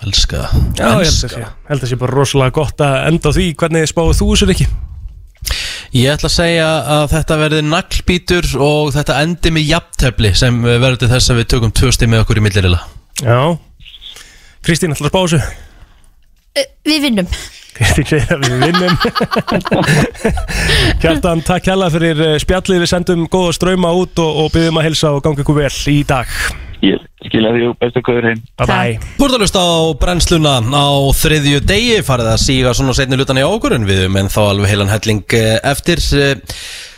Speaker 1: Elska
Speaker 4: Já, ég held að sé, held að sé bara rosalega gott að enda á því hvernig spáðu þú þessu ekki
Speaker 1: Ég ætla að segja að þetta verði naglbítur og þetta endi með jafntefli sem eh, verður til þess að við tökum tvö stig með okkur í millirila
Speaker 4: Já Kristín, ætlar að spá þessu?
Speaker 3: Við vinnum
Speaker 4: Kristín segir að við vinnum Kjartan, takk hella fyrir eh, spjallið Við sendum góða ströyma út og, og byggjum að helsa og gangi ykkur vel í dag
Speaker 5: ég skilja því og bestu kvöður heim
Speaker 4: Bye bye
Speaker 1: Þú ert að hlusta á brennsluna á þriðju degi farið að síga svona setni lutan í ákvörun við um en þá alveg heilan helling eh, eftir eh,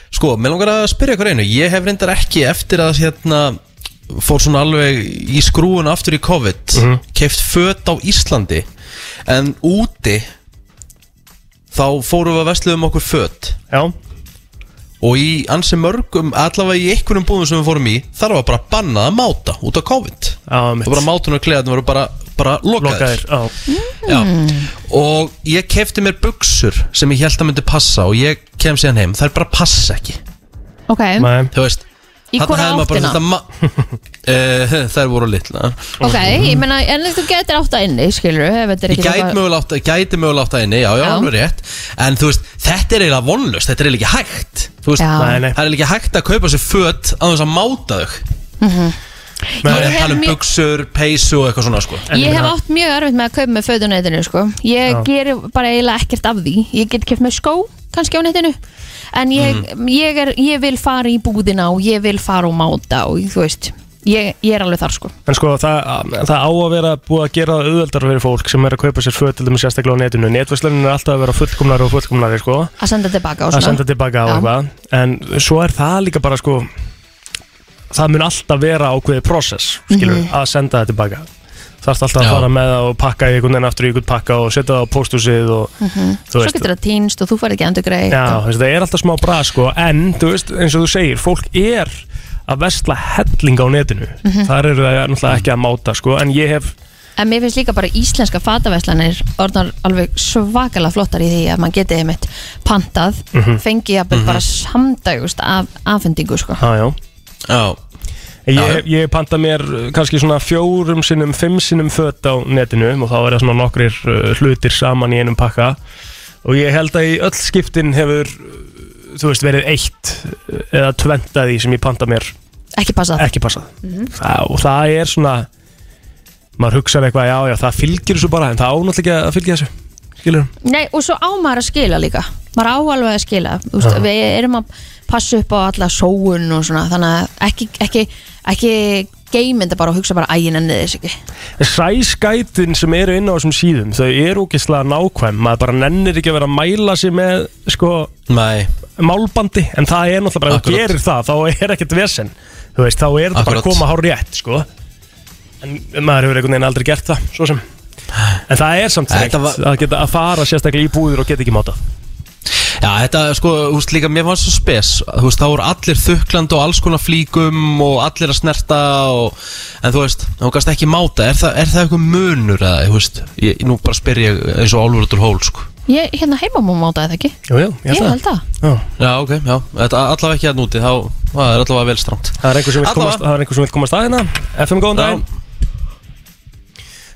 Speaker 1: Sko, mér langar að spyrja ykkur einu Ég hef reyndar ekki eftir að hérna fór svona alveg í skrúun aftur í COVID mm keift föt á Íslandi en úti þá fórum við að vesluðum okkur fött
Speaker 4: Já
Speaker 1: og í ansi mörgum, allavega í einhverjum búðum sem við fórum í, þar var bara bannað að máta út af COVID
Speaker 4: Já, mitt.
Speaker 1: og bara mátunum og kleðatum voru bara, bara lokaðir,
Speaker 4: Lokaðir, já.
Speaker 1: já og ég kefti mér buksur sem ég held að myndi passa og ég kem síðan heim, þær bara passa ekki
Speaker 3: Ok,
Speaker 1: þú veist
Speaker 3: Í
Speaker 1: þarna
Speaker 3: hvora
Speaker 1: hefði maður bara
Speaker 3: áttina?
Speaker 1: þetta ma- Eh, þær voru litla
Speaker 3: ok, ég meina en þú getur átt að inni, skilur ef þetta er
Speaker 1: Ég
Speaker 3: ekki
Speaker 1: gæti mögulega átt, gæti mögulega átt að inni, já, já,
Speaker 3: Já.
Speaker 1: alveg rétt En þú veist, þetta er eiginlega vonlust, þetta er eiginlega ekki hægt Þú veist,
Speaker 3: Já. Nei, nei.
Speaker 1: það er eiginlega ekki hægt að kaupa sér föt á þess að máta þau
Speaker 3: Mhm.
Speaker 1: Það
Speaker 3: Ég
Speaker 1: er að
Speaker 3: hef
Speaker 1: tala um
Speaker 3: mjög-
Speaker 1: buksur, peysu og eitthvað svona, sko
Speaker 3: Ég hef átt mjög erfitt með að kaupa með fötun netinu sko. Ég
Speaker 1: Já.
Speaker 3: geri bara eiginlega ekkert af því Ég get keft með skó kannski á netinu En ég,
Speaker 4: Mm.
Speaker 3: ég, er, ég vil fara í búðina og ég vil fara og máta og þú veist Ég, ég er alveg þar sko
Speaker 4: En sko, það, það á að vera búið að gera það auðveldar fyrir fólk sem er að kaupa sér fötildum sérstaklega á netinu. Netvæslunin er alltaf að vera fullkomnari og fullkomnari, sko.
Speaker 3: Að senda tilbaka og
Speaker 4: Að
Speaker 3: svona
Speaker 4: senda tilbaka á
Speaker 3: Já.
Speaker 4: eitthvað. En svo er það líka bara, sko, það mun alltaf vera ákveðið process, skilur,
Speaker 3: Mhm.
Speaker 4: að senda það tilbaka. Það er alltaf að
Speaker 1: Já.
Speaker 4: fara með það og pakka í einhvern veginn aftur í einhvern pakka og setja það á pósthúsið og
Speaker 3: Mhm.
Speaker 4: Þú
Speaker 3: Svo
Speaker 4: veist-
Speaker 3: getur það týnst og þú færð ekki endur greið
Speaker 4: Já, þessi, það er alltaf smá bra sko En, þú veist, eins og þú segir, fólk er að vesla helling á netinu
Speaker 3: Mhm.
Speaker 4: Þar eru það náttúrulega ekki að máta sko En ég hef,
Speaker 3: En mér finnst líka bara íslenska fataveslanir orðnar alveg svakalega flottar í því að maður geti einmitt pantað
Speaker 4: Mhm.
Speaker 3: fengi að mm
Speaker 4: Mhm.
Speaker 3: bara samdægust af afhendingu sko
Speaker 4: á, já
Speaker 1: Já
Speaker 4: Ég, hef- ég hef pantað mér uh, kannski svona fjórum sinnum, fimm sinnum fött á netinu og þá er það svona nokkrir uh, hlutir saman í einum pakka og ég held að í öll skiptin hefur uh, þú veist, verið eitt uh, eða tvent að því sem ég pantað mér
Speaker 3: Ekki passað
Speaker 4: ekki passað
Speaker 3: Mhm.
Speaker 4: það, og það er svona maður hugsaði eitthvað, já, já, það fylgir þessu bara en það ánáttúrulega ekki að fylgja þessu skilur
Speaker 3: Nei, og svo á maður að skila líka maður á alveg að skila Þú veist,
Speaker 4: Já.
Speaker 3: við erum að passa upp á alla sóun og svona, þannig að ekki, ekki, ekki geyminda bara og hugsa bara ægin enni þess ekki
Speaker 4: Sæskætin sem eru inn á þessum síðum þau eru ógeðslega nákvæm maður bara nennir ekki að vera að mæla sig með sko,
Speaker 1: Nei.
Speaker 4: málbandi en það er náttúrulega bara, ef þú
Speaker 1: Akkurat.
Speaker 4: gerir það þá er ekkert vesen, þú veist, þá er þetta bara
Speaker 1: Akkurat.
Speaker 4: að koma hár rétt, sko en maður hefur einhvern veginn aldrei gert það, svo sem en það er samt
Speaker 1: Þetta
Speaker 4: þreytt
Speaker 1: var-
Speaker 4: að geta að fara sérstaklega í búður og geta ekki mátað
Speaker 1: Já, þetta, sko, þú veist líka, mér fannst svo spes Þú veist, þá voru allir þuklandi og alls konar flíkum og allir að snerta og, en þú veist, þá gast ekki máta er, þa er það eitthvað munur eða, þú veist ég, nú bara spyr ég eins og Álfur út úr hól, sko
Speaker 3: Ég, hérna heima má móta þetta ekki
Speaker 4: Jú, jú,
Speaker 3: Ég held það
Speaker 1: Já, ok, já, þetta allavega ekki að núti þá, það er allavega vel stramt
Speaker 4: Það er einhver sem vill
Speaker 1: Allavega.
Speaker 4: komast, það er einhver sem vill komast að hérna FM, góðan daginn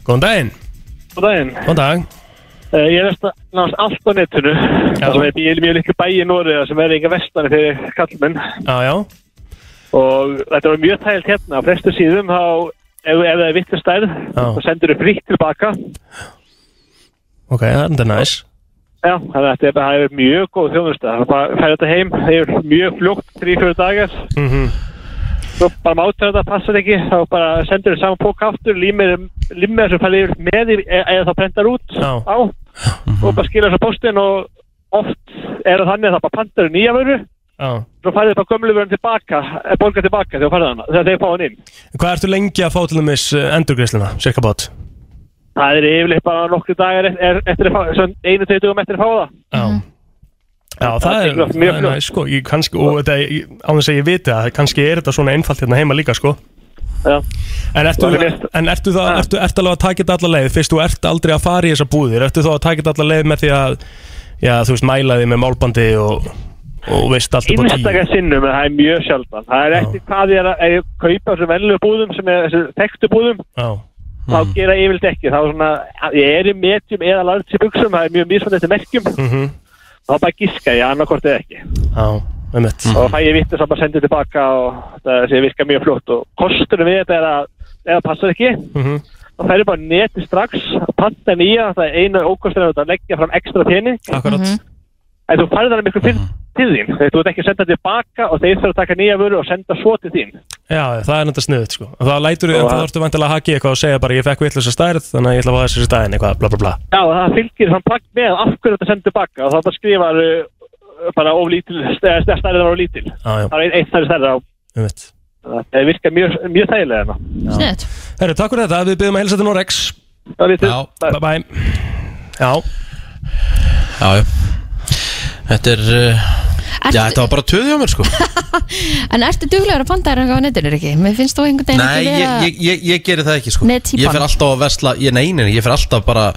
Speaker 4: Góðan daginn
Speaker 16: Góðan daginn
Speaker 4: Góðan dag
Speaker 16: Eh, Ég er næst- nánast allt á netinu Það sem er bíl mjög líka bæ í Nóriða sem er eitthvað vestari fyrir kallmenn
Speaker 4: Já, já
Speaker 16: Og þetta var mjög tælt hérna Á flestu síðum þá Ef, ef það er vittu stærð
Speaker 4: Já.
Speaker 16: þá sendur upp frítt tilbaka
Speaker 4: Ok, það er næs
Speaker 16: Já, þannig að þetta er, það er mjög góð þjónusta Það er bara að færa þetta heim Það er mjög fljótt, 3-4 dagar
Speaker 4: mm -hmm.
Speaker 16: Svo bara mátur þetta, passar ekki Þá bara sendur þetta saman póka aftur Límir, límir sem fælir yfir með í- e- Eða þá prentar út
Speaker 4: Já.
Speaker 16: á Og bara skilur þessu postin Og oft er það þannig að það bara pantar um nýja vöru
Speaker 4: Já.
Speaker 16: Svo færið þetta gömlu vörun tilbaka eh, Bólga tilbaka þegar færið hana Þegar þeir fá hann inn
Speaker 4: Hvað ertu lengi að fá til dæmis endurgreisluna, cirka bát?
Speaker 16: Það er yfirleitt bara nokkru dagar e- e- Eftir að fá, svona einu tveitugum eftir að fá það
Speaker 4: Já, það er,
Speaker 16: er mjög
Speaker 4: það er
Speaker 16: fljótt.
Speaker 4: næs, sko, ég kannski, og þetta, ég- án þess að ég viti það, kannski er þetta svona einfalt hérna heima líka, sko.
Speaker 16: Já.
Speaker 4: En ertu,
Speaker 16: Og þetta
Speaker 4: en ertu það, ertu, ertu alveg að taka þetta alla leið, fyrst þú ert aldrei að fara í þessa búðir, ertu þá að taka þetta alla leið með því að, já, þú veist, mæla því með málbandi og, og veist allt upp á tíu.
Speaker 16: Einstakar sinnum, en það er mjög sjaldan. Það er eftir hvað ég er að, að ég kaupa þessum venlu búðum sem er þessum þekktu búðum,
Speaker 4: Já.
Speaker 16: þá gera yfirlt ekki. Það er svona, ég er í metjum eða larts í buksum, það er mjög mismann eftir merkjum.
Speaker 4: Mhm.
Speaker 16: Þá bara giska ég annarkort eða ekki.
Speaker 4: Já, með mitt.
Speaker 16: Og fæ ég vitt að bara senda tilbaka og það sé virka mjög flott. Og kostunum við þetta er að, ef það passar ekki,
Speaker 4: Mhm.
Speaker 16: þá færi bara á netið strax, panta nýja, það er einu ókostunum að leggja fram ekstra pening.
Speaker 4: Akkurat.
Speaker 16: En þú færði það miklu fyrr til þín. Þú ert ekki að senda tilbaka og þeir þurfa að taka nýja vöru og senda svo til þín.
Speaker 4: Já, það er náttúrulega sniðut, sko. Og Það lætur, en
Speaker 16: Og
Speaker 4: það
Speaker 16: það-
Speaker 4: ertu vantilega að haki eitthvað og segja bara, ég fekk vitlösa stærð, þannig að ég ætla að fá þessi stæðin, eitthvað, bla, bla, bla.
Speaker 16: Já, og það fylgir þann plagg með af hverju þetta sendur tilbaka og þá bara skrifar uh, bara of lítil, stærðar stærðar of lítil.
Speaker 4: Já, já.
Speaker 16: Það er eitt stærðar stærðar á.
Speaker 4: Ég veit.
Speaker 16: Það virkar mjög, mjög þægilega hérna.
Speaker 3: Snett
Speaker 4: Herru, takk fyrir þetta, við byggjum að helsa til Norex
Speaker 16: Það við
Speaker 4: til, bye bye Já,
Speaker 1: Já, já Þetta er, uh, já, þetta var bara töð hjá mér, sko
Speaker 3: En ertu duglegur að panta þér eitthvað á netinu, ekki? Mér finnst þú einhvern veginn
Speaker 1: Nei,
Speaker 3: ekki
Speaker 1: ég,
Speaker 3: vera
Speaker 1: ég, ég, ég gerir það ekki sko
Speaker 3: Nei, típan.
Speaker 1: Ég fer alltaf að vesla, ég, nei, nei, nei, ég fer alltaf bara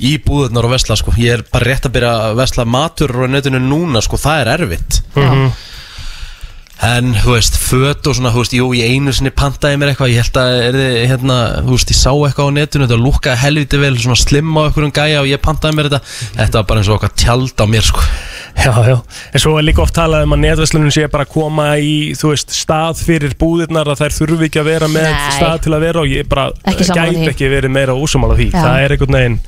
Speaker 1: í búðurnar og vesla sko Ég er bara rétt að byrja að vesla matur og netinu núna sko, það er erfitt
Speaker 4: Mhm.
Speaker 1: En, þú veist, föt og svona, þú veist, jú, ég einu sinni pantaði mér eitthvað Ég held að, er þið, hérna, þú veist, ég sá eitthvað á netinu Þetta lúkkaði helviti vel, svona slimma á einhverjum gæja og ég pantaði mér þetta Þetta var bara eins og okkar tjald á mér sko
Speaker 4: já, já En svo er líka oft talað um að netverslunum sé bara að koma í, þú veist, stað fyrir búðirnar að þær þurfi ekki að vera með
Speaker 1: Nei.
Speaker 4: stað til að vera og ég bara
Speaker 1: Ekki sammála
Speaker 4: gæti
Speaker 1: því.
Speaker 4: ekki verið meira ósumála því
Speaker 1: Já.
Speaker 4: Það er einhvern veginn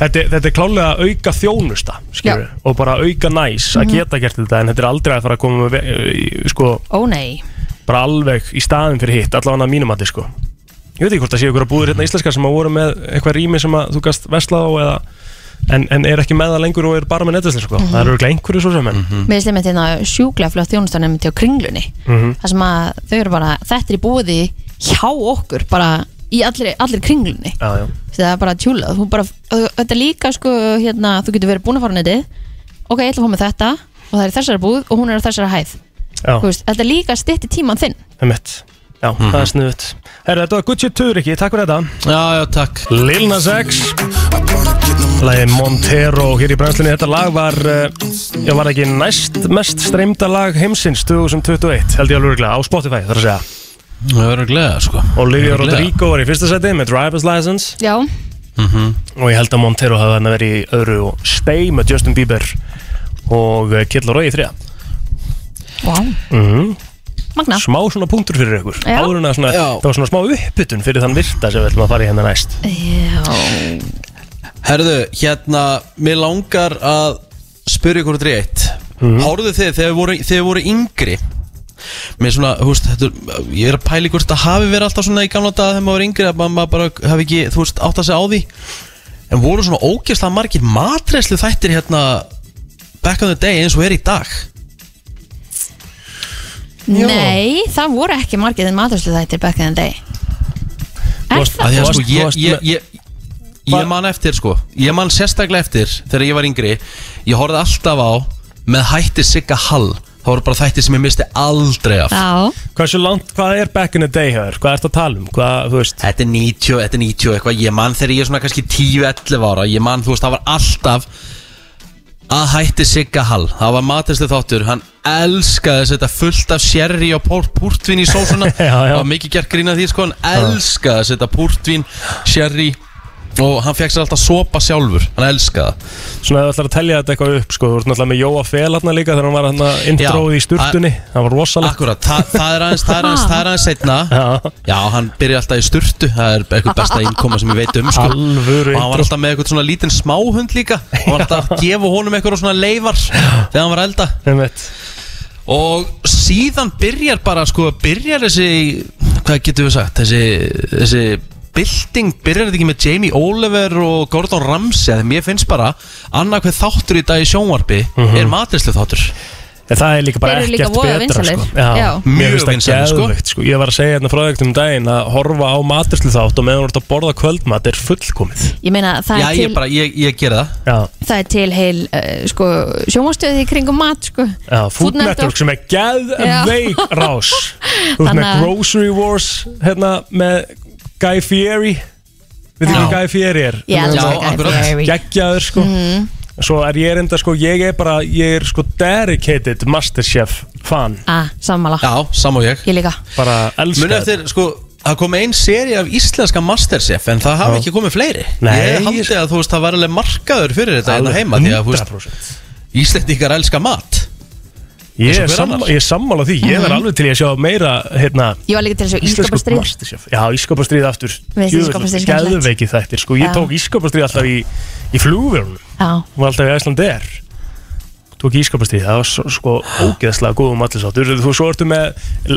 Speaker 4: Þetta, er- þetta er klálega að auka þjónusta skilur, og bara auka næs að
Speaker 3: Mhm.
Speaker 4: geta gert þetta en þetta er aldrei að fara að koma með, í- sko,
Speaker 3: Ó nei
Speaker 4: bara alveg í staðin fyrir hitt allavega að mínum að sko ég veit ekki hvort það séu ykkur að búður hérna íslenskar sem að voru með eitthvað rými sem að þú gast vesla á eða, en, en er ekki með það lengur og er bara með netvæsli sko.
Speaker 3: Mhm.
Speaker 4: það eru örugglega einhverju svo sem en
Speaker 3: Mér finnst einmitt hérna sjúklega flott þjónustanum til á kringlunni
Speaker 4: Mhm.
Speaker 3: Það sem að þau eru bara, þetta er í búði hjá okkur, bara í allir, allir kringlunni
Speaker 4: Já, já.
Speaker 3: það er bara tjúla þú bara, þetta er líka sko hérna, þú getur verið búin að fara á netið ok, ég ætla að fá með þetta og það er í þessari búð og hún er á þessari hæð
Speaker 4: Já.
Speaker 3: Þú veist, þetta er líka stytti tíman þinn
Speaker 4: Emmett Já, það er snuðut Herra, þetta var Gucci Turiki, takk fyrir þetta
Speaker 1: Mhm. Já, já, takk
Speaker 4: Lil Nas X Lagið Montero hér í brennslunni Þetta lag var, uh, já, var ekki næst mest streymda lag heimsins 2021, held ég alveg örugglega, á Spotify þarf að segja
Speaker 1: Öruglega, sko
Speaker 4: Olivia
Speaker 1: Örugglega.
Speaker 4: Rodrigo var í fyrsta seti með Driver's License
Speaker 3: Já,
Speaker 1: Mhm.
Speaker 4: og ég held að Montero hafði hann verið í öðru og Stay með Justin eh, Bieber og Kill Roy í þriða
Speaker 3: wow.
Speaker 4: mm -hmm.
Speaker 3: magna
Speaker 4: smá svona punktur fyrir ykkur
Speaker 3: Já.
Speaker 4: áður en að svona,
Speaker 3: Já.
Speaker 4: það var svona smá uppbytun fyrir þann virta sem við ætlum að fara í hérna næst
Speaker 3: Já
Speaker 1: Herðu, hérna, mér langar að spyrja ykkur út í eitt
Speaker 4: Mhm.
Speaker 1: mm. Háruðu þið, þegar þið voru, þegar þið voru yngri Mér svona, þú veist, þetta, er- ég er að pæla í hvort það hafi verið alltaf svona í gamla daga þegar maður var yngri að ma- maður bara hafi ekki, þú veist, átt að segja á því En voru svona ógeðslega margir matreislu þættir hérna back on the day eins og er í dag
Speaker 3: Nei, það voru ekki margir þinn maturslu þættir back in the day
Speaker 1: Af því að sko, ég, ég, ég, ég man eftir sko Ég man sérstaklega eftir þegar ég var yngri Ég horfði alltaf á með hætti Sigga Hall Það voru bara þættir sem ég misti aldrei af
Speaker 3: Já
Speaker 4: Hversu langt, hvað er back in the day hér? Hvað ert að tala um? Hvað, þú veist
Speaker 1: Þetta er 90, þetta er 90 og eitthvað Ég man þegar ég er svona kannski 10-11 ára Ég man, þú veist, það var alltaf að hætti Sigga Hall Það var matistu þáttur, hann elskaði að setja fullt af sherry og pór, púrtvin í sósuna Það var mikið gert grín að því, sko Hann elskaði að setja púrtvin, sherry Og hann fekk sér alltaf sopa sjálfur Hann elskaði það
Speaker 4: Svona ef þú ætlar að telja þetta eitthvað upp sko, þú ert náttúrulega með Jóa Fel hérna líka þegar hann var hérna introð
Speaker 1: Já,
Speaker 4: í sturtunni, það var rosalegt
Speaker 1: Akkurat, það, það er aðeins, það er aðeins, það er aðeins setna Já. hann byrja alltaf í sturtu Það er eitthvað besta innkoma sem ég veit um sko.
Speaker 4: Alvöru
Speaker 1: Og hann var
Speaker 4: intro.
Speaker 1: alltaf með eitthvað svona lítinn smáhund líka Og hann var alltaf að gefa honum eitthvað svona leifar Þegar hann var elda
Speaker 4: Einmitt.
Speaker 1: Og síðan byrjar bara sko, Byrjar þessi, hvað getum við sagt Þessi, þessi Bilding byrjar þetta ekki með Jamie Oliver og Gordon Ramsay þegar mér finnst bara annað hver þáttur í dag í sjónvarpi er matrislu þáttur
Speaker 4: Mhm. En það er líka
Speaker 3: bara Þeir eru líka ekkert voða betra, vinsælir. sko. Já. Já.
Speaker 4: Mér
Speaker 1: Mjög
Speaker 4: finnst það
Speaker 1: vinsælir, sko.
Speaker 4: geðveikt sko. Ég var að segja hérna frá þeim um daginn að horfa á maturslu þátt og meðan þú ert að borða kvöldmat er fullkomið
Speaker 3: Ég meina, það er til,
Speaker 1: ég, ég gera
Speaker 4: það
Speaker 3: það er til heil uh, sko, sjómastöði kringum mat sko.
Speaker 4: Já, Food Network sem er geðveik
Speaker 3: Já.
Speaker 4: rás Þú ert
Speaker 3: Þannig
Speaker 4: með
Speaker 3: að-
Speaker 4: Grocery Wars hérna með Guy Fieri Við
Speaker 3: Já.
Speaker 4: þið hvað Guy Fieri er?
Speaker 3: Ég elska Já, Guy akkurat. Fieri. Mhm.
Speaker 4: Geggjaður sko Svo er ég reynda sko, ég er bara, ég er sko dedicated Masterchef fan
Speaker 3: ah, Sammála,
Speaker 1: Já, saman og ég
Speaker 3: ég líka
Speaker 4: Bara elska
Speaker 1: Muni eftir, sko, það kom ein seri af íslenska Masterchef En það hafi
Speaker 4: Já.
Speaker 1: ekki komið fleiri
Speaker 4: Nei.
Speaker 1: Ég haldi að þú veist, það var alveg markaður fyrir þetta hérna
Speaker 4: Alveg
Speaker 1: heima Því að, þú veist,
Speaker 4: 100%.
Speaker 1: Íslendingar elska mat
Speaker 4: Ég
Speaker 1: Eins og
Speaker 4: er,
Speaker 1: hver
Speaker 4: sammála,
Speaker 1: annar.
Speaker 4: ég er sammála því, ég verð
Speaker 3: Mhm.
Speaker 4: alveg til ég að sjá meira hérna,
Speaker 3: Ég var líka til þessu
Speaker 4: Íslensku sko.
Speaker 3: ískapastrið
Speaker 4: Masterchef. Já, ískopastrið aftur
Speaker 3: finnst ísskápastríð skemmtilegt.
Speaker 4: Gæðveiki þættir, sko, ég
Speaker 3: Já.
Speaker 4: tók ískopastrið alltaf í, í flugverunum
Speaker 3: Já,
Speaker 4: Hún var alltaf í Æsland DR Tók ískopastrið, það var svo, sko ógeðslega góðum allinsáttur Þú svo ertu með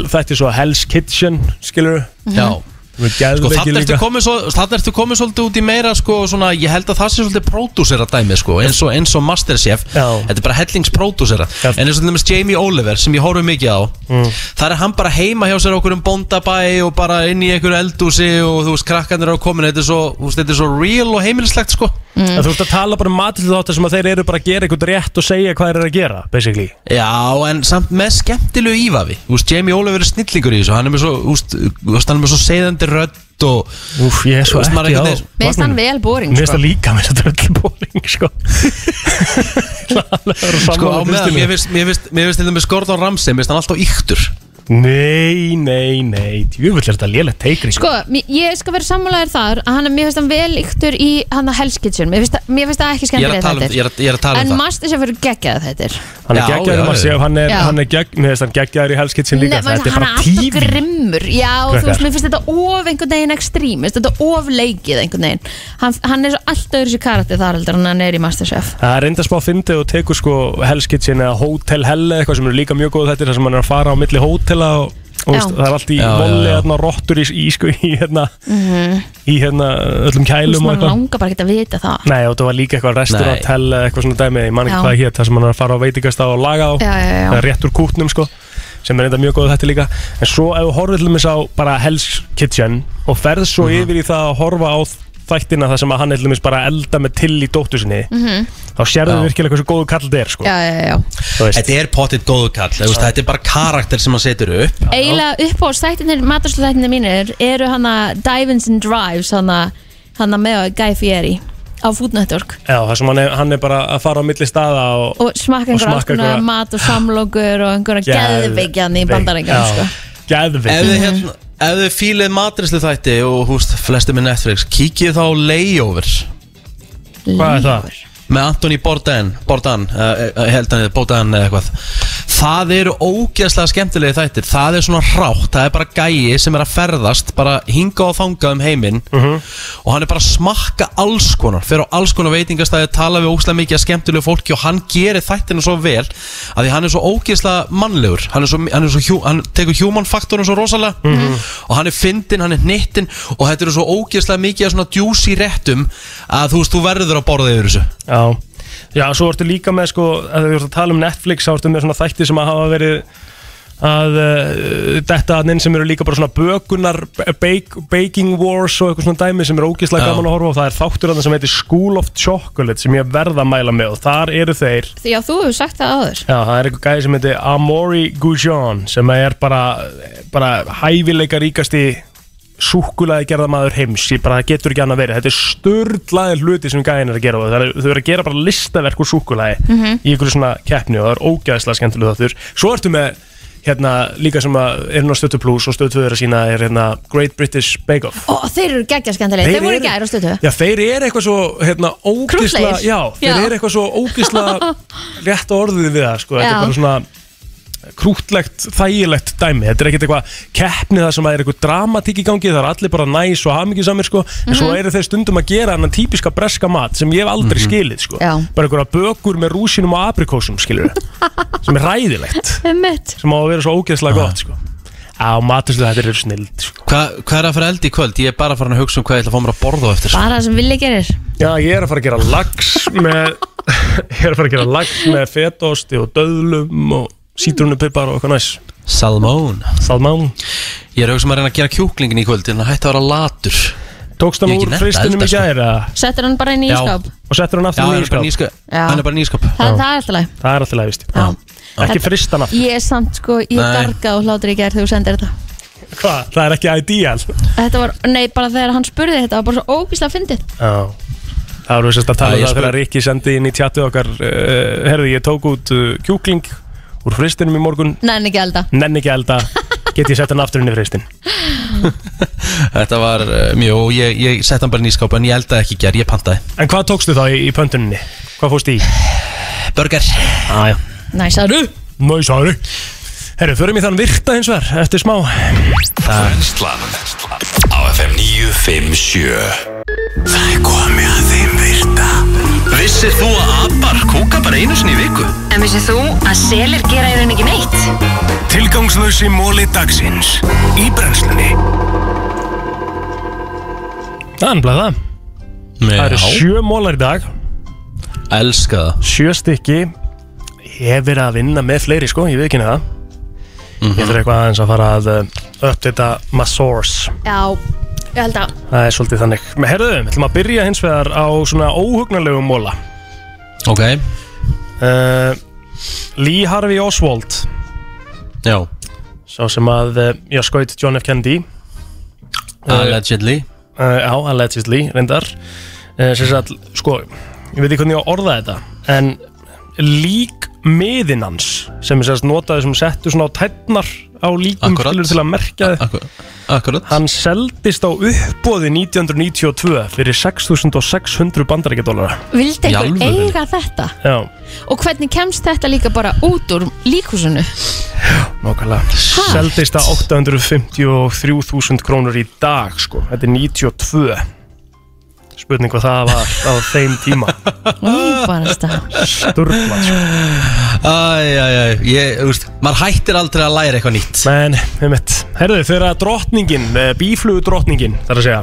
Speaker 4: þættir svo Hell's Kitchen, skilur
Speaker 1: Mhm. Já. Sko,
Speaker 4: Gæðveiki
Speaker 1: þannig ertu
Speaker 4: líka
Speaker 1: komið, svo, þarna ertu komið svolítið út í meira sko, svona, Ég held að það sé svolítið pródúsera dæmi sko, eins, og, eins og Masterchef Já. Þetta er bara hellingspródúsera En eins og þeimist Jamie Oliver sem ég horfum mikið á
Speaker 4: Mm.
Speaker 1: Það er hann bara heima hjá sér okkur um bóndabæ Og bara inn í einhverju eldúsi Og þú veist, krakkarnir eru að komin Þetta er svo, þú veist, þetta er svo real og heimilislegt sko.
Speaker 4: Mm. Þú ert að tala bara um matildu þáttir sem að þeir eru bara að gera eitthvað rétt og segja hvað þeir eru að gera, basically
Speaker 1: Já, en samt með skemmtilegu ívafi Þú veist, Jamie Oliver er snillingur í þessu Hann er með svo, þú veist, þú veist, hann er með svo segðandi rödd og
Speaker 4: Úf, ég er svo ekki á
Speaker 3: Mér finnst hann
Speaker 4: vagninum.
Speaker 3: vel boring
Speaker 4: Mér finnst
Speaker 3: sko.
Speaker 4: það líka, mér finnst það öll bóring sko.
Speaker 1: Sko, á meðan, mér finnst, mér finnst, mér finnst til dæmis Gordon Ramsay, mér finnst hann alltaf íktur
Speaker 4: Nei, nei, nei Jöfull er þetta lélegt teikri
Speaker 3: Sko, mér- ég skal vera sammálaður þar að hann, mér finnst hann vel yktur í hann að helskitsjum mér finnst það- mér finnst það ekki
Speaker 1: Ég er
Speaker 3: skemmtilega
Speaker 1: að tala um, ég er að, ég er að tala
Speaker 3: En
Speaker 1: um það
Speaker 3: Masterchef eru geggjað þetta
Speaker 4: Hann er
Speaker 1: Já,
Speaker 4: geggjaður
Speaker 1: já,
Speaker 4: um að
Speaker 1: já.
Speaker 4: sjá Hann er,
Speaker 3: Já.
Speaker 4: hann er gegg, mér finnst hann geggjaður í helskitsin líka
Speaker 3: Nei,
Speaker 4: Þetta er
Speaker 3: hann er
Speaker 4: bara
Speaker 3: alltaf
Speaker 4: tíf
Speaker 3: grimmur Já,
Speaker 4: Krakkar.
Speaker 3: þú veist, mér finnst þetta of einhvern veginn ekstrím veist, Þetta of leikið einhvern veginn Hann, hann er svo alltaf öðru sér karakter þar heldur en hann er í Masterchef
Speaker 4: Það er reynda smá fyndið og tekur sko helskitsin eða Hotel Helle eitthvað sem eru líka mjög góð þetta þar sem hann er að fara á milli hótela og, og
Speaker 3: Já.
Speaker 4: veist, það er allt í
Speaker 1: Já, já,
Speaker 4: volli
Speaker 1: já.
Speaker 4: hérna rottur í, í, sko, í, hérna,
Speaker 3: Mhm.
Speaker 4: í hérna öllum
Speaker 3: Þú veist,
Speaker 4: kælum og
Speaker 3: maður
Speaker 4: eitthvað
Speaker 3: langar bara ekki að vita það
Speaker 4: Nei, og það var líka eitthvað restaurant hell eða eitthvað svona dæmi, ég man ekki
Speaker 3: Já.
Speaker 4: hvað hétt, það sem hann er að fara á veitingast og laga á,
Speaker 3: Já, já, já.
Speaker 4: eða rétt úr kútnum sko, sem er enda mjög góð þetta líka en svo ef þú horfir til mér sá bara Hell's Kitchen og ferð svo
Speaker 1: Mhm.
Speaker 4: yfir í það að horfa á þættina það sem að hann er til mér bara að elda með til í dóttu sinni
Speaker 3: Mhm.
Speaker 4: þá sérðu virkilega hversu góðu kall þetta er sko.
Speaker 3: Já, já, já
Speaker 1: Þetta er pottitt góðu kall, þú veist, þetta er bara karakter sem hann setur upp
Speaker 3: Eiginlega upp á stættinir, maturslu mínir eru hann að Dives and Drives hann að með Guy Fieri á Food Network
Speaker 4: Já, það sem hann er, hann er bara að fara á milli staða og,
Speaker 3: og smakka einhverja alls konar mat og samlokur og einhverja geðveikjan í bandarengar sko.
Speaker 1: Ef þið
Speaker 4: Geðveik
Speaker 1: hérna, ef þið fílið matrislu þætti og húst flestum með Netflix Kíkið þá á Layover
Speaker 4: Hvað er það?
Speaker 1: eh, Með Anthony Bourdain, Bourdain, uh, held hann eða Bourdain eða eitthvað Það eru ógeðslega skemmtilegi þættir Það er svona rátt, það er bara gæi sem er að ferðast bara hinga og þanga um heiminn
Speaker 4: Mhm.
Speaker 1: og hann er bara að smakka alls konar fer á alls konar veitingastæði, tala við ógeðslega mikið að skemmtilegu fólki og hann gerir þættinu svo vel að því hann er svo ógeðslega mannlegur hann, er svo, hann, er svo, hjú- hann tekur human faktorinn svo rosalega
Speaker 17: Mhm.
Speaker 1: og hann er fyndin, hann er hnittin og þetta eru svo ógeðslega mikið af svona djúsi réttum að þú veist, þú verður að borða yfir þessu
Speaker 4: Já, já, svo ertu líka með sko, að við erum að tala um Netflix þá ertu með svona þætti sem að hafa verið að uh, detta að sem eru líka bara svona bökunar bake, baking wars og eitthvað svona dæmi sem eru ógeðslega
Speaker 1: Já.
Speaker 4: gaman að horfa á það er þáttur að sem heitir School of Chocolate sem ég verð að mæla með og þar eru þeir
Speaker 3: Já, þú hefur sagt það áður
Speaker 4: Já, það er eitthvað gæði sem heitir Amori Gujon sem er bara, bara hæfileika ríkasti súkulaði gerðamaður heims ég bara það getur ekki annað verið, þetta er sturdlaði hluti sem gæðin er að gera og það er, þau eru að gera bara listaverk úr súkulaði
Speaker 17: Mhm.
Speaker 4: í einhverju svona keppni og það er ógæðislega skemmtilega þáttur svo ertu með hérna líka sem að er nú stötu plus og stötu að sína er hérna Great British Bake Off
Speaker 3: Ó, þeir eru geggja skemmtilegi,
Speaker 4: Þeir
Speaker 3: þeir voru
Speaker 4: eru-
Speaker 3: í gær á stötu
Speaker 4: Já, þeir eru eitthvað svo hérna, ógisla,
Speaker 3: Krúttlegir.
Speaker 4: já, þeir
Speaker 3: Já.
Speaker 4: eru eitthvað svo ógisla rétt á orðið við það, sko, þetta
Speaker 3: Já.
Speaker 4: er bara svona krútlegt, þægilegt dæmi þetta er ekkert eitthvað keppni það sem að er eitthvað dramatík í gangi, það er allir bara næs og hamingisamir sko, en svo
Speaker 17: Mhm.
Speaker 4: eru þeir stundum að gera annan típiska breska mat sem ég hef aldrei
Speaker 17: Mhm.
Speaker 4: skilið sko,
Speaker 3: Já.
Speaker 4: bara einhverja bökur með rúsinum og aprikósum skilur sem er ræðilegt,
Speaker 3: Einmitt.
Speaker 4: sem á að vera svo ógeðslega
Speaker 3: Ah.
Speaker 4: gott sko, á maturslu þetta er snild sko.
Speaker 1: Hvað hva er að fara eldi í kvöld? Ég er bara farin að hugsa um hvað ég ætla að fá mér að borða á eftir sko.
Speaker 3: Bara það sem villi gerir
Speaker 4: Já, ég er að fara að gera lax með Ég er að fara að gera lax með fetosti og döðlum og sítrunupipar og eitthvað næs
Speaker 1: Salmón
Speaker 4: Salmón
Speaker 1: Ég er að hugsa um að reyna að gera kjúklingin í kvöld en það hætti að vera latur
Speaker 4: Tókst hann úr fristinum í gæra
Speaker 3: Settur hann bara inn í
Speaker 1: Já.
Speaker 3: ískáp
Speaker 4: og settur hann aftur
Speaker 1: Já,
Speaker 4: í
Speaker 1: hann er bara nýskap
Speaker 3: Já.
Speaker 1: Hann er bara nýskap
Speaker 3: Þa, Það er alltaf leið
Speaker 4: Það er alltaf lægist Ekki
Speaker 3: Þetta-
Speaker 4: frista hann aftur
Speaker 3: Ég er samt sko, ég
Speaker 4: Nei.
Speaker 3: garga og hlátur í gær þegar þú sendir þetta
Speaker 4: Hvað? Það er ekki ideal
Speaker 3: Þetta var, nei, bara þegar hann spurði þetta var bara svo ógíslega fyndið
Speaker 4: Já Það voru sérst að
Speaker 1: Já,
Speaker 4: tala um
Speaker 1: ég
Speaker 4: það
Speaker 1: spyr-
Speaker 4: þegar Rikki sendi inn í tjattu okkar uh, Herði, ég tók út uh, kjúkling úr fristinum í morgun
Speaker 3: Nei, en ekki elda
Speaker 4: Nenni ekki að elda Get ég sett hann aftur inn í fristin
Speaker 1: Þetta var uh, mjög, og ég, ég sett hann bara í nýskap en ég eldaði ekki í gær, ég pantaði
Speaker 4: En hvað tókstu þá í, í pöntuninni? Hvað fórst í?
Speaker 1: Burger
Speaker 4: Aja.
Speaker 3: Næsaru
Speaker 4: Næsaru Herru, förum í þann virta hins vegar eftir smá
Speaker 2: Brennslan Á FM 957 Það er komið að þeim virta Vissir þú að abar kúka bara einu sinni í viku?
Speaker 13: En vissið þú að selir gera í raun ekki neitt?
Speaker 14: Tilgangslösi móli dagsins Í brennslunni
Speaker 4: Það er nefnilega það Það eru sjö mólar í dag
Speaker 1: Elska það
Speaker 4: Sjö stykki Ég hef verið að vinna með fleiri sko, ég veit ekki neða Ég þarf eitthvað aðeins að fara að uh, uppdata my source
Speaker 3: Já, ég held að
Speaker 4: Það er svolítið þannig Men herðu, við ætlum að byrja hins vegar á svona óhugnarlegum móla
Speaker 1: Ok
Speaker 4: uh, Lee Harvey Oswald
Speaker 1: Já
Speaker 4: Sá sem að, uh, já, skaut John F. Kennedy
Speaker 1: Ah,
Speaker 4: Eh,
Speaker 1: Allegedly
Speaker 4: uh, Já, allegedly, reyndar uh, Sér sagt, sko Ég veit ekki hvernig ég á að orða þetta En lík miðinn hans Sem er sérst notaði sem settu svona á tætnar Á líkum
Speaker 1: Akkúrat.
Speaker 4: skilur til að merkja þið
Speaker 1: Akkurat
Speaker 4: Hann seldist á uppbóði 1992 Fyrir 6600 bandarækjadólara
Speaker 3: Vildi einhver eiga þetta?
Speaker 4: Já,
Speaker 3: Og hvernig kemst þetta líka bara út úr líkhúsinu?
Speaker 4: Nákvæmlega Seldist að 853.000 krónur í dag sko Þetta er 92 Spurning hvað það var á þeim tíma
Speaker 3: Úbarasta
Speaker 4: Sturla sko
Speaker 1: Æj, æj, æj, ég, þú veist, maður hættir aldrei að læra eitthvað nýtt
Speaker 4: Men, með mitt Herðu, þegar drottningin, bíflugu drottningin þar að segja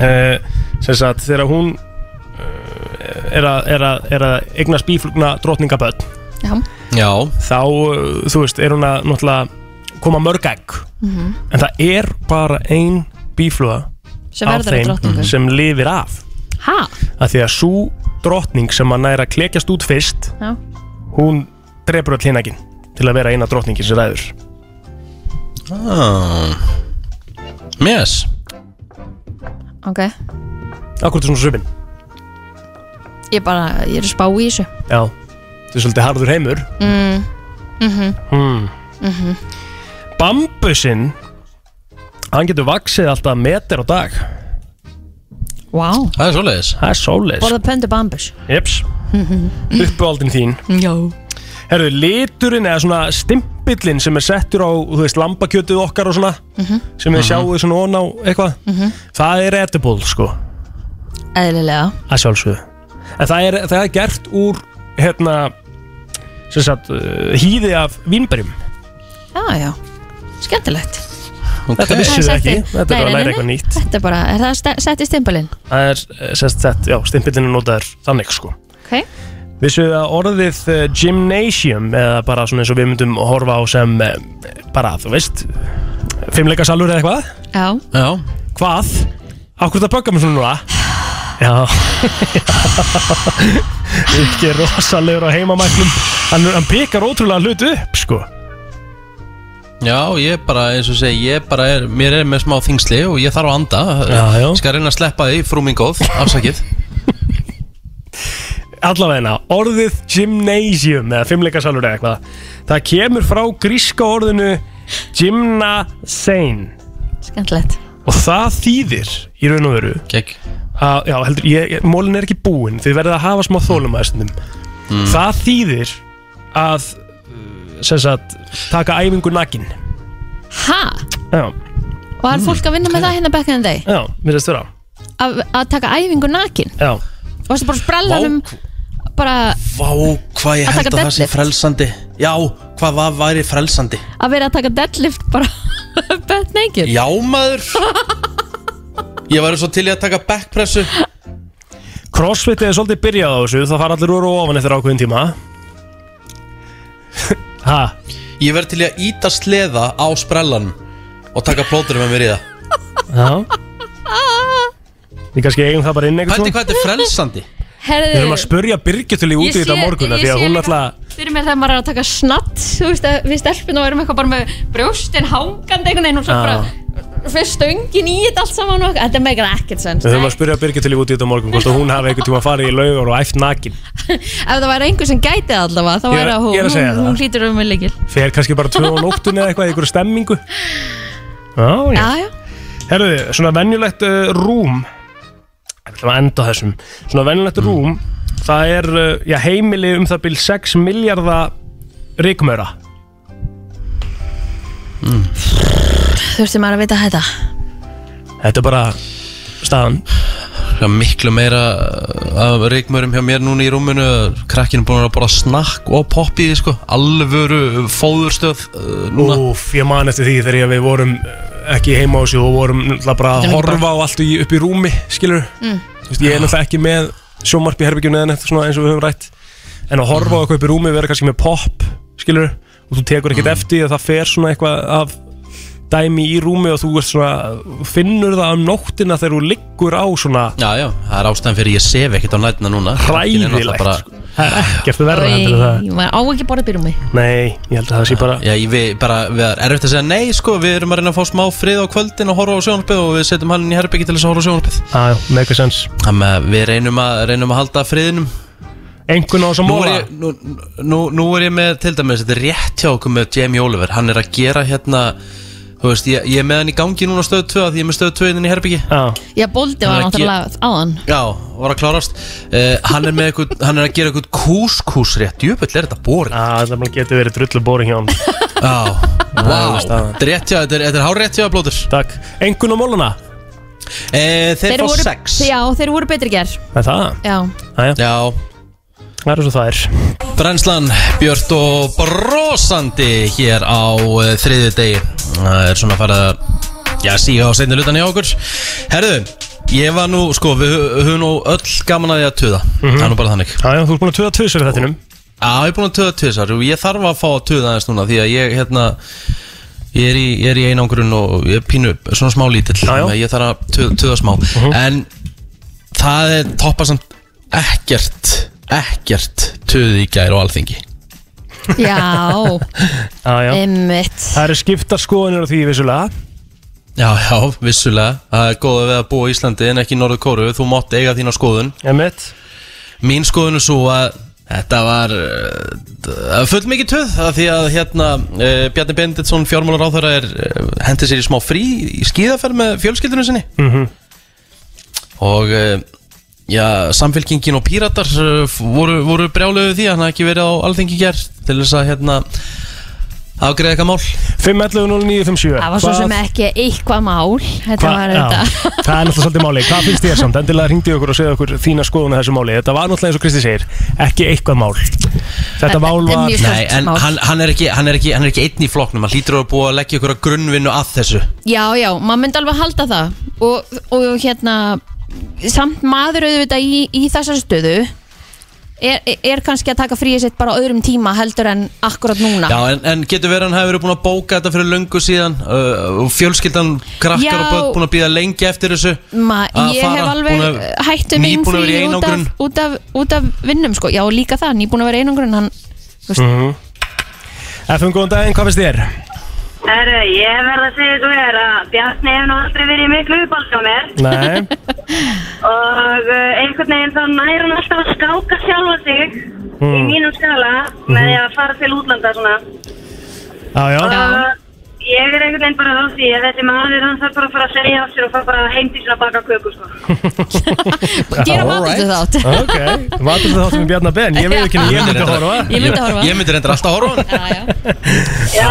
Speaker 4: uh, sem sagt, þegar hún uh, er, að, er, að, er að eignast bíflugna drottningaböld
Speaker 3: Já
Speaker 1: Já
Speaker 4: þá, eh, þú veist, er hún að náttúrulega koma mörg egg
Speaker 3: Mhm.
Speaker 4: en það er bara ein bífluga
Speaker 3: Sem
Speaker 4: af
Speaker 3: verður að drottningu.
Speaker 4: sem lifir af
Speaker 3: Ha?
Speaker 4: að því að svo drottning sem að næra klekjast út fyrst
Speaker 3: Já
Speaker 4: hún drefur öll hinaginn til að vera eina drottningin sem ræður
Speaker 1: ah. Yes
Speaker 3: Ok,
Speaker 4: Akkur til svona svipin
Speaker 3: ég bara, ég er að spá í þessu
Speaker 4: Já, þetta er svolítið harður heimur
Speaker 3: mm. Mm -hmm.
Speaker 4: hmm.
Speaker 3: Mm -hmm.
Speaker 4: Bambusinn hann getur vaksið alltaf meter á dag
Speaker 3: Wow
Speaker 1: Það er svoleiðis
Speaker 4: Það er svoleiðis
Speaker 3: Borða pöndu bambus
Speaker 4: Jeps,
Speaker 3: Mhm.
Speaker 4: uppáaldin þín
Speaker 3: Já
Speaker 4: Herru, liturinn eða svona stimpillinn sem er settur á, þú veist, lambakjötið okkar og svona
Speaker 3: Mhm.
Speaker 4: sem við
Speaker 3: Mhm.
Speaker 4: sjáum svona ón á eitthvað
Speaker 3: Mhm.
Speaker 4: það er edible, sko,
Speaker 3: Eðlilega
Speaker 4: að sjálfsögðu en það er, það er gert úr hérna, sem sagt uh, hýði af vínberjum
Speaker 3: Já, já, skemmtilegt
Speaker 4: Þetta vissu þið ekki, þetta er bara að læra eitthvað nýtt
Speaker 3: Þetta er bara, er það ste- sett í stimpulinn?
Speaker 4: Það er, eh, sem sagt, já, stimpillinn er notaður þannig, sko
Speaker 3: Ok,
Speaker 4: Vissu þið að orðið eh, gymnasium eða bara svona eins og við myndum horfa á sem eh, bara, þú veist fimmleikasalur eða eitthvað
Speaker 3: já
Speaker 1: Já
Speaker 4: Hvað? Akkur það böggar mig svona núna? Já Ekki rosalegur á heimamæklum hann, hann pekar ótrúlega hlut upp, sko
Speaker 1: Já, ég bara, eins og segi, ég bara er, mér er með smá þingsli og ég þarf að anda
Speaker 4: Já, já.
Speaker 1: Skal reyna að sleppa því, frú mín góð, afsakið
Speaker 4: allavegna, orðið gymnasium eða fimmleikasalur eða eitthvað það kemur frá gríska orðinu gymnasein
Speaker 3: skemmtilegt
Speaker 4: og það þýðir í raun og veru
Speaker 1: Kek.
Speaker 4: að, já, heldur, ég, ég- mólin er ekki búin þið verðið að hafa smá þólum aðstundum mm. það þýðir að uh, sem sagt, taka æfingu nakin
Speaker 3: Ha,
Speaker 4: já,
Speaker 3: var fólk að vinna með það hérna back in the day?
Speaker 4: Mm. já, mér veist vera
Speaker 3: Að að taka æfingu nakin?
Speaker 4: já,
Speaker 3: Og varstu bara á sprellanum bara
Speaker 1: Vá, hvað ég
Speaker 3: um- Að
Speaker 1: held
Speaker 3: taka
Speaker 1: að það sé
Speaker 3: deadlift.
Speaker 1: frelsandi Já, hvað það væri frelsandi
Speaker 3: að vera að taka deadlift bara bett naked?
Speaker 1: Já, maður Ég væri svo til í að taka backpressu
Speaker 4: crossfit er svolítið byrjað á þessu það fara allir úr og ofan eftir ákveðin tíma ha
Speaker 1: Ég væri til í að íta sleða á sprellanum og taka plótur með mér í það
Speaker 4: Já Við kannski eigum það bara inn eitthvað
Speaker 1: Hvernig hvað þetta er frelsandi?
Speaker 4: Við erum að
Speaker 3: Herðu,
Speaker 4: spurja Birgituli út í
Speaker 3: Ég
Speaker 4: þetta
Speaker 3: sé-
Speaker 4: morgunna
Speaker 3: ég
Speaker 4: Því að
Speaker 3: sé
Speaker 4: hún
Speaker 3: líka-
Speaker 4: alltaf
Speaker 3: fyrir mér þegar maður er að taka snatt þú veist að við stelpum og erum eitthvað bara með brjóstin hangandi einhvern veginn og svo
Speaker 4: Já.
Speaker 3: bara fyrir stöngin í þetta allt saman og þetta meikar ekkert sens
Speaker 4: Við höfum að spurja Birgituli út í þetta morgun Hvort að hún hafi einhvern tíma farið í laugur og æft nakin
Speaker 3: Ef það væri einhver sem gæti það allavega þá
Speaker 4: Ég-
Speaker 3: væri það hún,
Speaker 4: ég er að segja
Speaker 3: hún,
Speaker 4: það.
Speaker 3: hún hlýtur um með líkil
Speaker 4: Fer kannski bara tvö á nóttunni eða eitthvað í einhverju stemmingu Já, já
Speaker 3: Já, já,
Speaker 4: Herðu, svona venjulegt uh, rúm Ég ætlum að enda á þessum Svona venjulegt
Speaker 1: Mm.
Speaker 4: rúm Það er, uh, já, heimili um það byrj 6 miljardar ríkmöra
Speaker 3: þurfti maður að vita þetta
Speaker 4: Þetta er bara staðan
Speaker 1: Já, miklu meira uh, af reikmörum hjá mér núna í rúminu krakkinu búin að borða snakk og popp í því sko alvöru fóðurstöð uh, núna
Speaker 4: Úf, ég man eftir því þegar ég- við vorum eh, ekki heima á þessu og vorum náttúrulega bara
Speaker 1: Þetta er
Speaker 4: að
Speaker 1: ekki
Speaker 4: horfa á allt í, upp í rúmi, skilur
Speaker 1: Mm.
Speaker 4: Þú veist, Ég er náttúrulega ekki með sjómarp í herbygjunni eða neitt svona eins og við höfum rætt En að horfa á eitthvað upp í rúmi, vera kannski með pop, skilur Og þú tekur ekkert eftir því að það fer svona eitthvað af dæmi í rúmi og þú ert svona, finnur það um nóttina þegar þú liggur á svona
Speaker 1: Já, já, það er ástæðan fyrir ég sef ekkert á nætina núna Krakkinn er náttúrulega
Speaker 4: Hræðilegt, Það er ekkert verra heldur en
Speaker 3: Æ,
Speaker 4: það
Speaker 3: Maður á ekki borðið býrum um mig
Speaker 4: Nei, ég held að það sé bara
Speaker 1: Já, ég, við, bara, við erum erfitt að segja nei sko Við erum að reyna að fá smá frið á kvöldin og horfa á sjónarpið og við setjum hann inn í herbyggi til þess að horfa á sjónarpið
Speaker 4: Ah, Já, mega sens
Speaker 1: Þannig að við reynum að, reynum að halda friðinum
Speaker 4: Engun á þess að
Speaker 1: Nú er,
Speaker 4: móla
Speaker 1: ég, nú, nú, nú er ég með til dæmis, þetta er rétt hjá okkur með Jamie Oliver Hann er að gera hérna, þú veist, ég, ég er með hann í gangi núna á stöð 2 af Því ég er með stöð 2 inn í herbyggi
Speaker 4: Já,
Speaker 3: Já, bóldi
Speaker 1: Það
Speaker 3: var
Speaker 1: er ekki-
Speaker 3: náttúrulega áðan
Speaker 1: var að klárast uh, hann, er með einhvern, hann er að gera eitthvað kúskús rétt Jöfnveld er þetta boring
Speaker 4: Já, það getur verið drullu boring hjá hann
Speaker 1: Já, wow, þetta er rétt hjá, þetta er, þetta er hár rétt hjá blóður
Speaker 4: Takk, engun á móluna?
Speaker 1: Eh, þeir, fá
Speaker 3: voru,
Speaker 1: sex
Speaker 3: Já, þeir voru betri ger
Speaker 4: Er það?
Speaker 3: Já,
Speaker 4: Æja.
Speaker 1: Já
Speaker 4: Það eru svo það er
Speaker 1: Brænslan, Björt og brosandi hér á uh, þriðju degi Það er svona farið að já, síga á seinni lutan hjá okkur Herðu, ég var nú, sko, við hö- höfum nú öll gaman að því að tuða Það er nú bara þannig
Speaker 4: Mhm. Já, já, þú ert búin að tuða tvisar í þettinum
Speaker 1: Já, ég er búin að tuða tvisar og ég þarf að fá að tuða aðeins núna því að ég, hérna, ég er í, ég er í einangrun og ég er pínu svona smá lítill þannig að ég þarf að tuða, tuða smá
Speaker 4: Mhm.
Speaker 1: en það er toppar samt ekkert, ekkert tuði í gær og alþingi
Speaker 3: já,
Speaker 4: Já, já
Speaker 3: emmitt
Speaker 4: Það eru skiptar skoðanir á því vissulega
Speaker 1: Já, já, vissulega, það er góða við að búa í Íslandi en ekki í Norður Kóru, þú mátt eiga þína skoðun
Speaker 4: Emmett
Speaker 1: Mín skoðun er svo að Þetta var uh, full mikið töð af því að hérna uh, Bjarni Benditsson fjármálar áþara er uh, hendi sér í smá frí í skíðaferð með fjölskyldunum sinni
Speaker 4: Mhm.
Speaker 1: og uh, eh, já, samfélkingin og píratar uh, voru, voru brjáluðu því að hann hafði ekki verið á alþingi gert til þess að hérna afgreða eitthvað mál
Speaker 4: 5.11.09.57
Speaker 3: Það var svo sem ekki eitthvað mál Þetta
Speaker 4: Hva-
Speaker 3: var
Speaker 4: já,
Speaker 3: þetta
Speaker 4: Það er náttúrulega svolítið máli, hvað finnst þér samt? Endilega hringdi okkur og segja okkur þína skoðun að þessu máli Þetta var náttúrulega eins og Kristi segir, ekki eitthvað mál Þetta mál var
Speaker 1: Nei, en hann, hann, er ekki, hann, er ekki, hann er ekki einn í flokknum Hann hlýtur að búa að leggja ykkur að grunnvinnu að þessu
Speaker 3: Já, já, maður myndi alveg halda það og, og hérna samt maður auðvitað í, í þessari stöðu er, er kannski að taka fríið sitt bara á öðrum tíma heldur en akkurat núna
Speaker 1: Já, en, en getur verið að hann hefur verið búin að bóka þetta fyrir löngu síðan uh, og fjölskyldan krakkar
Speaker 3: Já.
Speaker 1: og börn búin að býða lengi eftir þessu
Speaker 3: Ma,
Speaker 1: að
Speaker 3: ég
Speaker 1: fara,
Speaker 3: hef
Speaker 1: búin
Speaker 3: alveg
Speaker 1: að-
Speaker 3: hættu minn
Speaker 1: nýbúin að vera
Speaker 3: því
Speaker 1: í
Speaker 3: út af,
Speaker 1: einangrun.
Speaker 3: út, af, út af vinnum sko. Já, og líka það, nýbúin að vera í einangrun hann, þú veist,
Speaker 4: Mhm. FM, góðan daginn, hvað finnst þér?
Speaker 17: Herru, ég verð að segja ykkur er að Bjarni hefur nú aldrei verið í miklu uppáld hjá mér
Speaker 4: Nei,
Speaker 17: og uh, einhvern veginn þá nær hann alltaf að skáka sjálfa sig í
Speaker 4: Mm.
Speaker 17: mínum skala með því að fara til útlanda svona
Speaker 4: já, Mhm. já
Speaker 17: Uh, og ég er einhvern veginn bara á því að þessi maður hann þarf bara að fara að segja af sér og fara bara heim til sín að baka köku sko.
Speaker 3: Gera matvinnslu þátt.
Speaker 4: Ok, matur þátt með Bjarnar Ben, ég veit ekki
Speaker 1: Já.
Speaker 4: að ég myndi að horfa
Speaker 1: Ég myndi að horfa. Ég myndi reyndar alltaf að horfa á hann.
Speaker 17: Já,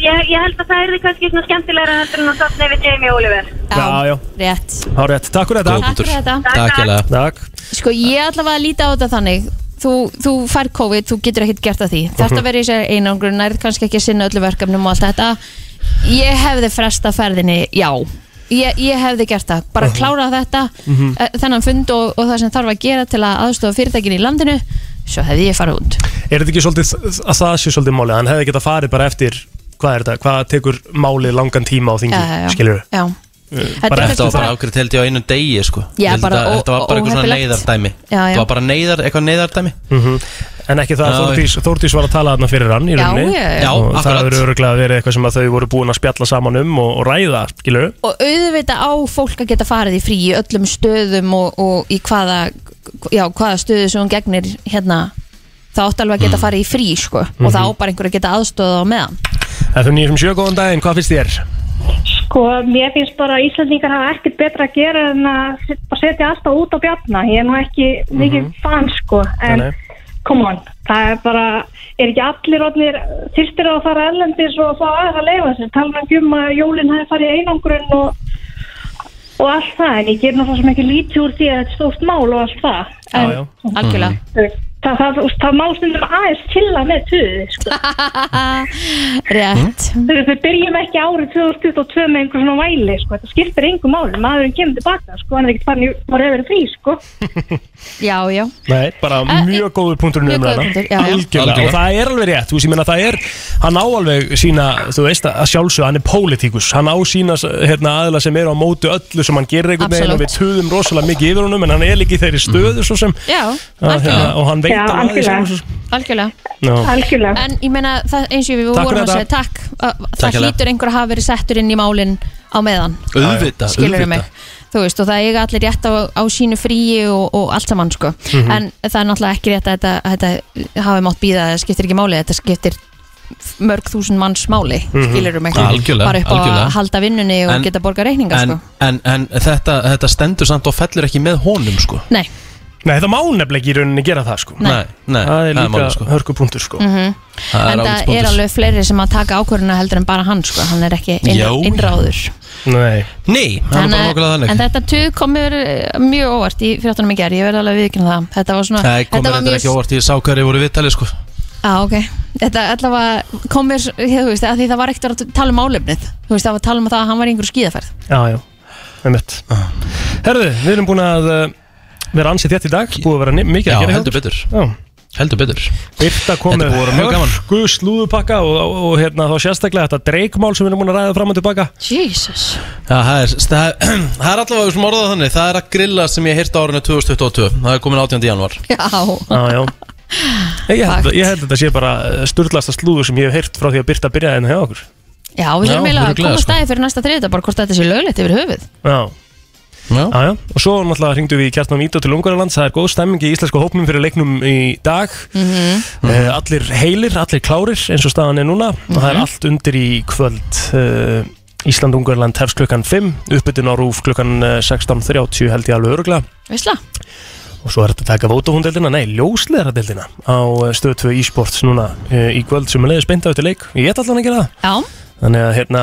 Speaker 17: ég, ég held að það er því kannski svona skemmtilegra heldur en að safna yfir Jamie Oliver
Speaker 4: Já, já,
Speaker 3: rétt
Speaker 4: þá er rétt, takk fyrir þetta
Speaker 3: Góð punktur. Takk fyrir þetta. Takk,
Speaker 4: hérlega Takk
Speaker 3: Sko ég allavega líti á þetta þannig Þú, þú fær COVID, þú getur ekkert gert að því
Speaker 1: Mhm.
Speaker 3: Þetta verið í sér einangur, nærið kannski ekki að sinna öllu verkefnum og allt þetta Ég hefði fresta ferðinni, já Ég, ég hefði gert það, bara klára þetta
Speaker 4: Mhm.
Speaker 3: eh, þennan fund og, og það sem þarf að gera til að aðstofa fyrirtækin í landinu svo hefði ég farið út
Speaker 4: Er þetta ekki svolítið að það sé svolítið málið Hann hefði getað farið bara eftir Hvað er þetta? Hvað tekur málið langan tíma á þingi?
Speaker 3: Eh, Já, já, já.
Speaker 4: Skilur
Speaker 3: Já, Þetta
Speaker 1: bara
Speaker 3: er kannski
Speaker 1: eftir var bara
Speaker 3: það-
Speaker 1: ákveðt held ég á einu degi sko.
Speaker 3: Já,
Speaker 1: Ég held
Speaker 3: bara
Speaker 1: að
Speaker 3: ó-
Speaker 1: þetta var bara eitthvað svona
Speaker 3: óheppilegt.
Speaker 1: neyðardæmi
Speaker 3: Já, já.
Speaker 1: þetta var bara neyðar, eitthvað neyðardæmi
Speaker 4: Mhm. En ekki það
Speaker 1: Já,
Speaker 4: að Þórdís, Þórdís var að tala þarna fyrir hann í
Speaker 3: Já,
Speaker 4: rauninni
Speaker 3: já, já. Já,
Speaker 4: Og það
Speaker 1: akkurat.
Speaker 4: hefur öruglega verið eitthvað sem að þau voru búin að spjalla saman um og, og ræða, skilur
Speaker 3: og auðvitað á fólk að geta farið í frí í öllum stöðum og, og í hvaða, já, hvaða stöðu sem hún gegnir hérna það átt alveg að geta farið í frí sko, og það á bara einhver að geta aðstöða á meðan
Speaker 4: FM 957, góðan daginn, hvað finnst þér?
Speaker 18: Sko, mér finnst bara að Íslandingar hafa ekkert betra að gera en að set- bara setja alltaf út á bjarna. Ég er nú ekki mikið mm fan, sko, en
Speaker 4: Mhm. Nei, nei.
Speaker 18: come on, það er bara, er ekki allir orðnir þyrstir á að fara ellendis og fá aðra að leifa sér, tala ekki um að jólinn hafi farið í einangrun og, og allt það, en ég ger náttúrulega sem ekki lítið úr því að þetta er stórt mál og allt það.
Speaker 3: Já,
Speaker 18: En,
Speaker 3: já. Algjörlega.
Speaker 18: Þú veist, Það, það, það, það má stundum aðeins chilla með tuði, sko.
Speaker 3: Rétt.
Speaker 18: Þegar við byrjum ekki árið 2022 með einhver svona væli, sko. Það skiptir engum máli. Maðurinn kemur tilbaka, sko. Hann er ekkert farin í bara hefur frí, sko.
Speaker 3: Já, já.
Speaker 4: Nei, bara mjög góður punktur um
Speaker 3: Eh, mjög góður
Speaker 4: umræðuna.
Speaker 3: punktur, já, já.
Speaker 4: Algjörlega,
Speaker 3: Algjörlega.
Speaker 4: og það er alveg rétt, þú veist, ég menna það er hann á alveg sína, þú veist að sjálfsög hann er pólitíkus, hann á sína hérna, aðla sem eru á mótu öllu sem hann gerir einhvern veginn og
Speaker 3: Absolutt.
Speaker 4: við töðum rosalega mikið yfir honum en hann er líka í þeirri stöðu svo sem
Speaker 3: Já,
Speaker 4: að, hérna, og hann veit
Speaker 18: Já,
Speaker 4: alveg
Speaker 18: algjörlega.
Speaker 4: sjálfur svo sem. Já.
Speaker 3: algjörlega
Speaker 18: Algjörlega.
Speaker 3: En ég meina, það, eins og við
Speaker 4: Takk
Speaker 3: vorum
Speaker 4: fyrir
Speaker 3: að
Speaker 4: þetta.
Speaker 3: segja takk, að, það
Speaker 4: hérlega.
Speaker 3: hlýtur einhver að hafa verið settur inn í málinn á meðan
Speaker 1: Auðvitað,
Speaker 3: Skilurðu
Speaker 1: auðvitað.
Speaker 3: mig Þú veist, og það eiga allir rétt á, á sínu fríi og, og allt saman sko
Speaker 1: Mhm.
Speaker 3: En það er náttúrulega ekki rétt að þetta, að þetta hafi mátt býða, það skiptir ekki máli Þetta skiptir mörg þúsund manns máli
Speaker 1: Mhm.
Speaker 3: Skilurum mig
Speaker 1: Algjörlega,
Speaker 3: Bara upp á
Speaker 1: algjörlega.
Speaker 3: að halda vinnunni og
Speaker 1: En-
Speaker 3: geta borga reikninga
Speaker 1: en,
Speaker 3: sko
Speaker 1: en, en þetta, þetta stendur samt og fellur ekki með honum sko.
Speaker 3: Nei,
Speaker 4: Nei, það má nefnilega ekki í rauninni gera það sko
Speaker 1: Nei, nei,
Speaker 4: Það er
Speaker 1: það er
Speaker 4: líka
Speaker 1: málið, sko.
Speaker 4: hörkupunktur sko
Speaker 3: mm -hmm.
Speaker 4: Það
Speaker 3: en það er alveg fleiri sem að taka ákvörðuna heldur en bara hann sko, hann er ekki inn,
Speaker 1: Já.
Speaker 3: innráður
Speaker 4: Nei,
Speaker 1: Nei það er
Speaker 3: en,
Speaker 1: bara nokkulega þannig
Speaker 3: en þetta tuð komur eh, mjög óvart í fyrirtunum í gerð, ég verði alveg viðkynna það þetta var svona,
Speaker 1: Það komið
Speaker 3: þetta var
Speaker 1: þetta ekki óvart ég sá hverju voru viðtalið sko.
Speaker 3: á, ok, þetta allavega komur, þú veist, að því það var ekkert að tala um álefnið, þú veist, það var að tala um það að hann var í einhverju skíðaferð
Speaker 4: já, já, með mitt Herðu, við erum búin að uh, vera ansið þétt í dag, búið að vera ni- mikið
Speaker 1: Já,
Speaker 4: að gera hjá
Speaker 1: heldur betur
Speaker 4: Já.
Speaker 1: Heldur betur
Speaker 4: Birta kom
Speaker 1: Þetta er
Speaker 4: með
Speaker 1: búið að vera mjög gaman.
Speaker 4: hörku slúðupakka og, og, og hérna þá sérstaklega þetta dreikmál sem við erum búin að ræða fram og tilbaka
Speaker 3: Jesus
Speaker 1: Já, það er, það, er, það er allavega sem orðað þannig Það er að grilla sem ég heyrta árinu 2022 Það er komin 18. janúar
Speaker 3: já,
Speaker 4: Já, já Ég held, ég held að þetta sé bara sturðlasta slúður sem ég hef heyrt frá því að Birta byrjaði henni hjá okkur
Speaker 3: já, við
Speaker 4: Já,
Speaker 3: þurfum eiginlega að
Speaker 4: örugglega,
Speaker 3: koma
Speaker 4: sko.
Speaker 3: stæði fyrir næsta þriðdag, bara hvort þetta sé löglegt yfir höfuð
Speaker 4: Já Já. já, og svo náttúrulega hringdu við í Kjartan Vító til Ungarland það er góð stemming í íslensku hópnum fyrir leiknum í dag
Speaker 3: Mhm.
Speaker 4: uh, allir heilir, allir klárir eins og staðan er núna og
Speaker 3: Mhm.
Speaker 4: það er allt undir í kvöld uh, Ísland-Ungarland hefst klukkan 5 uppbytun á rúf klukkan eh, 16.30 held ég alveg öruglega
Speaker 3: Veistla?
Speaker 4: Og svo er þetta að taka vótahundeldina, nei, ljósleðaradeldina á eh, stöð 2 e-sports núna eh, í kvöld sem er leiðis beint á eftir leik. Ég ætla allan að gera það.
Speaker 3: Já,
Speaker 4: Þannig að hérna,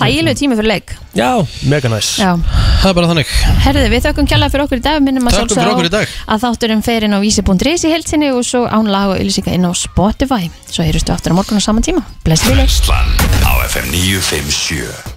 Speaker 3: þægilegu tími fyrir leik
Speaker 4: já, mega næs.
Speaker 3: Já.
Speaker 1: Það er bara þannig.
Speaker 3: Herðu, við þökkum kjærlega fyrir okkur í dag Við minnum að
Speaker 1: Þökkum
Speaker 3: sjálfsögðu
Speaker 1: fyrir okkur í
Speaker 3: á
Speaker 1: dag.
Speaker 3: að þátturinn fer inn á vísi.ris í heilsinni og svo án lag og ylýsinga inn á Spotify Svo heyrustu aftur á morgun á saman tíma Bless við leik
Speaker 2: Brennslan á FM 957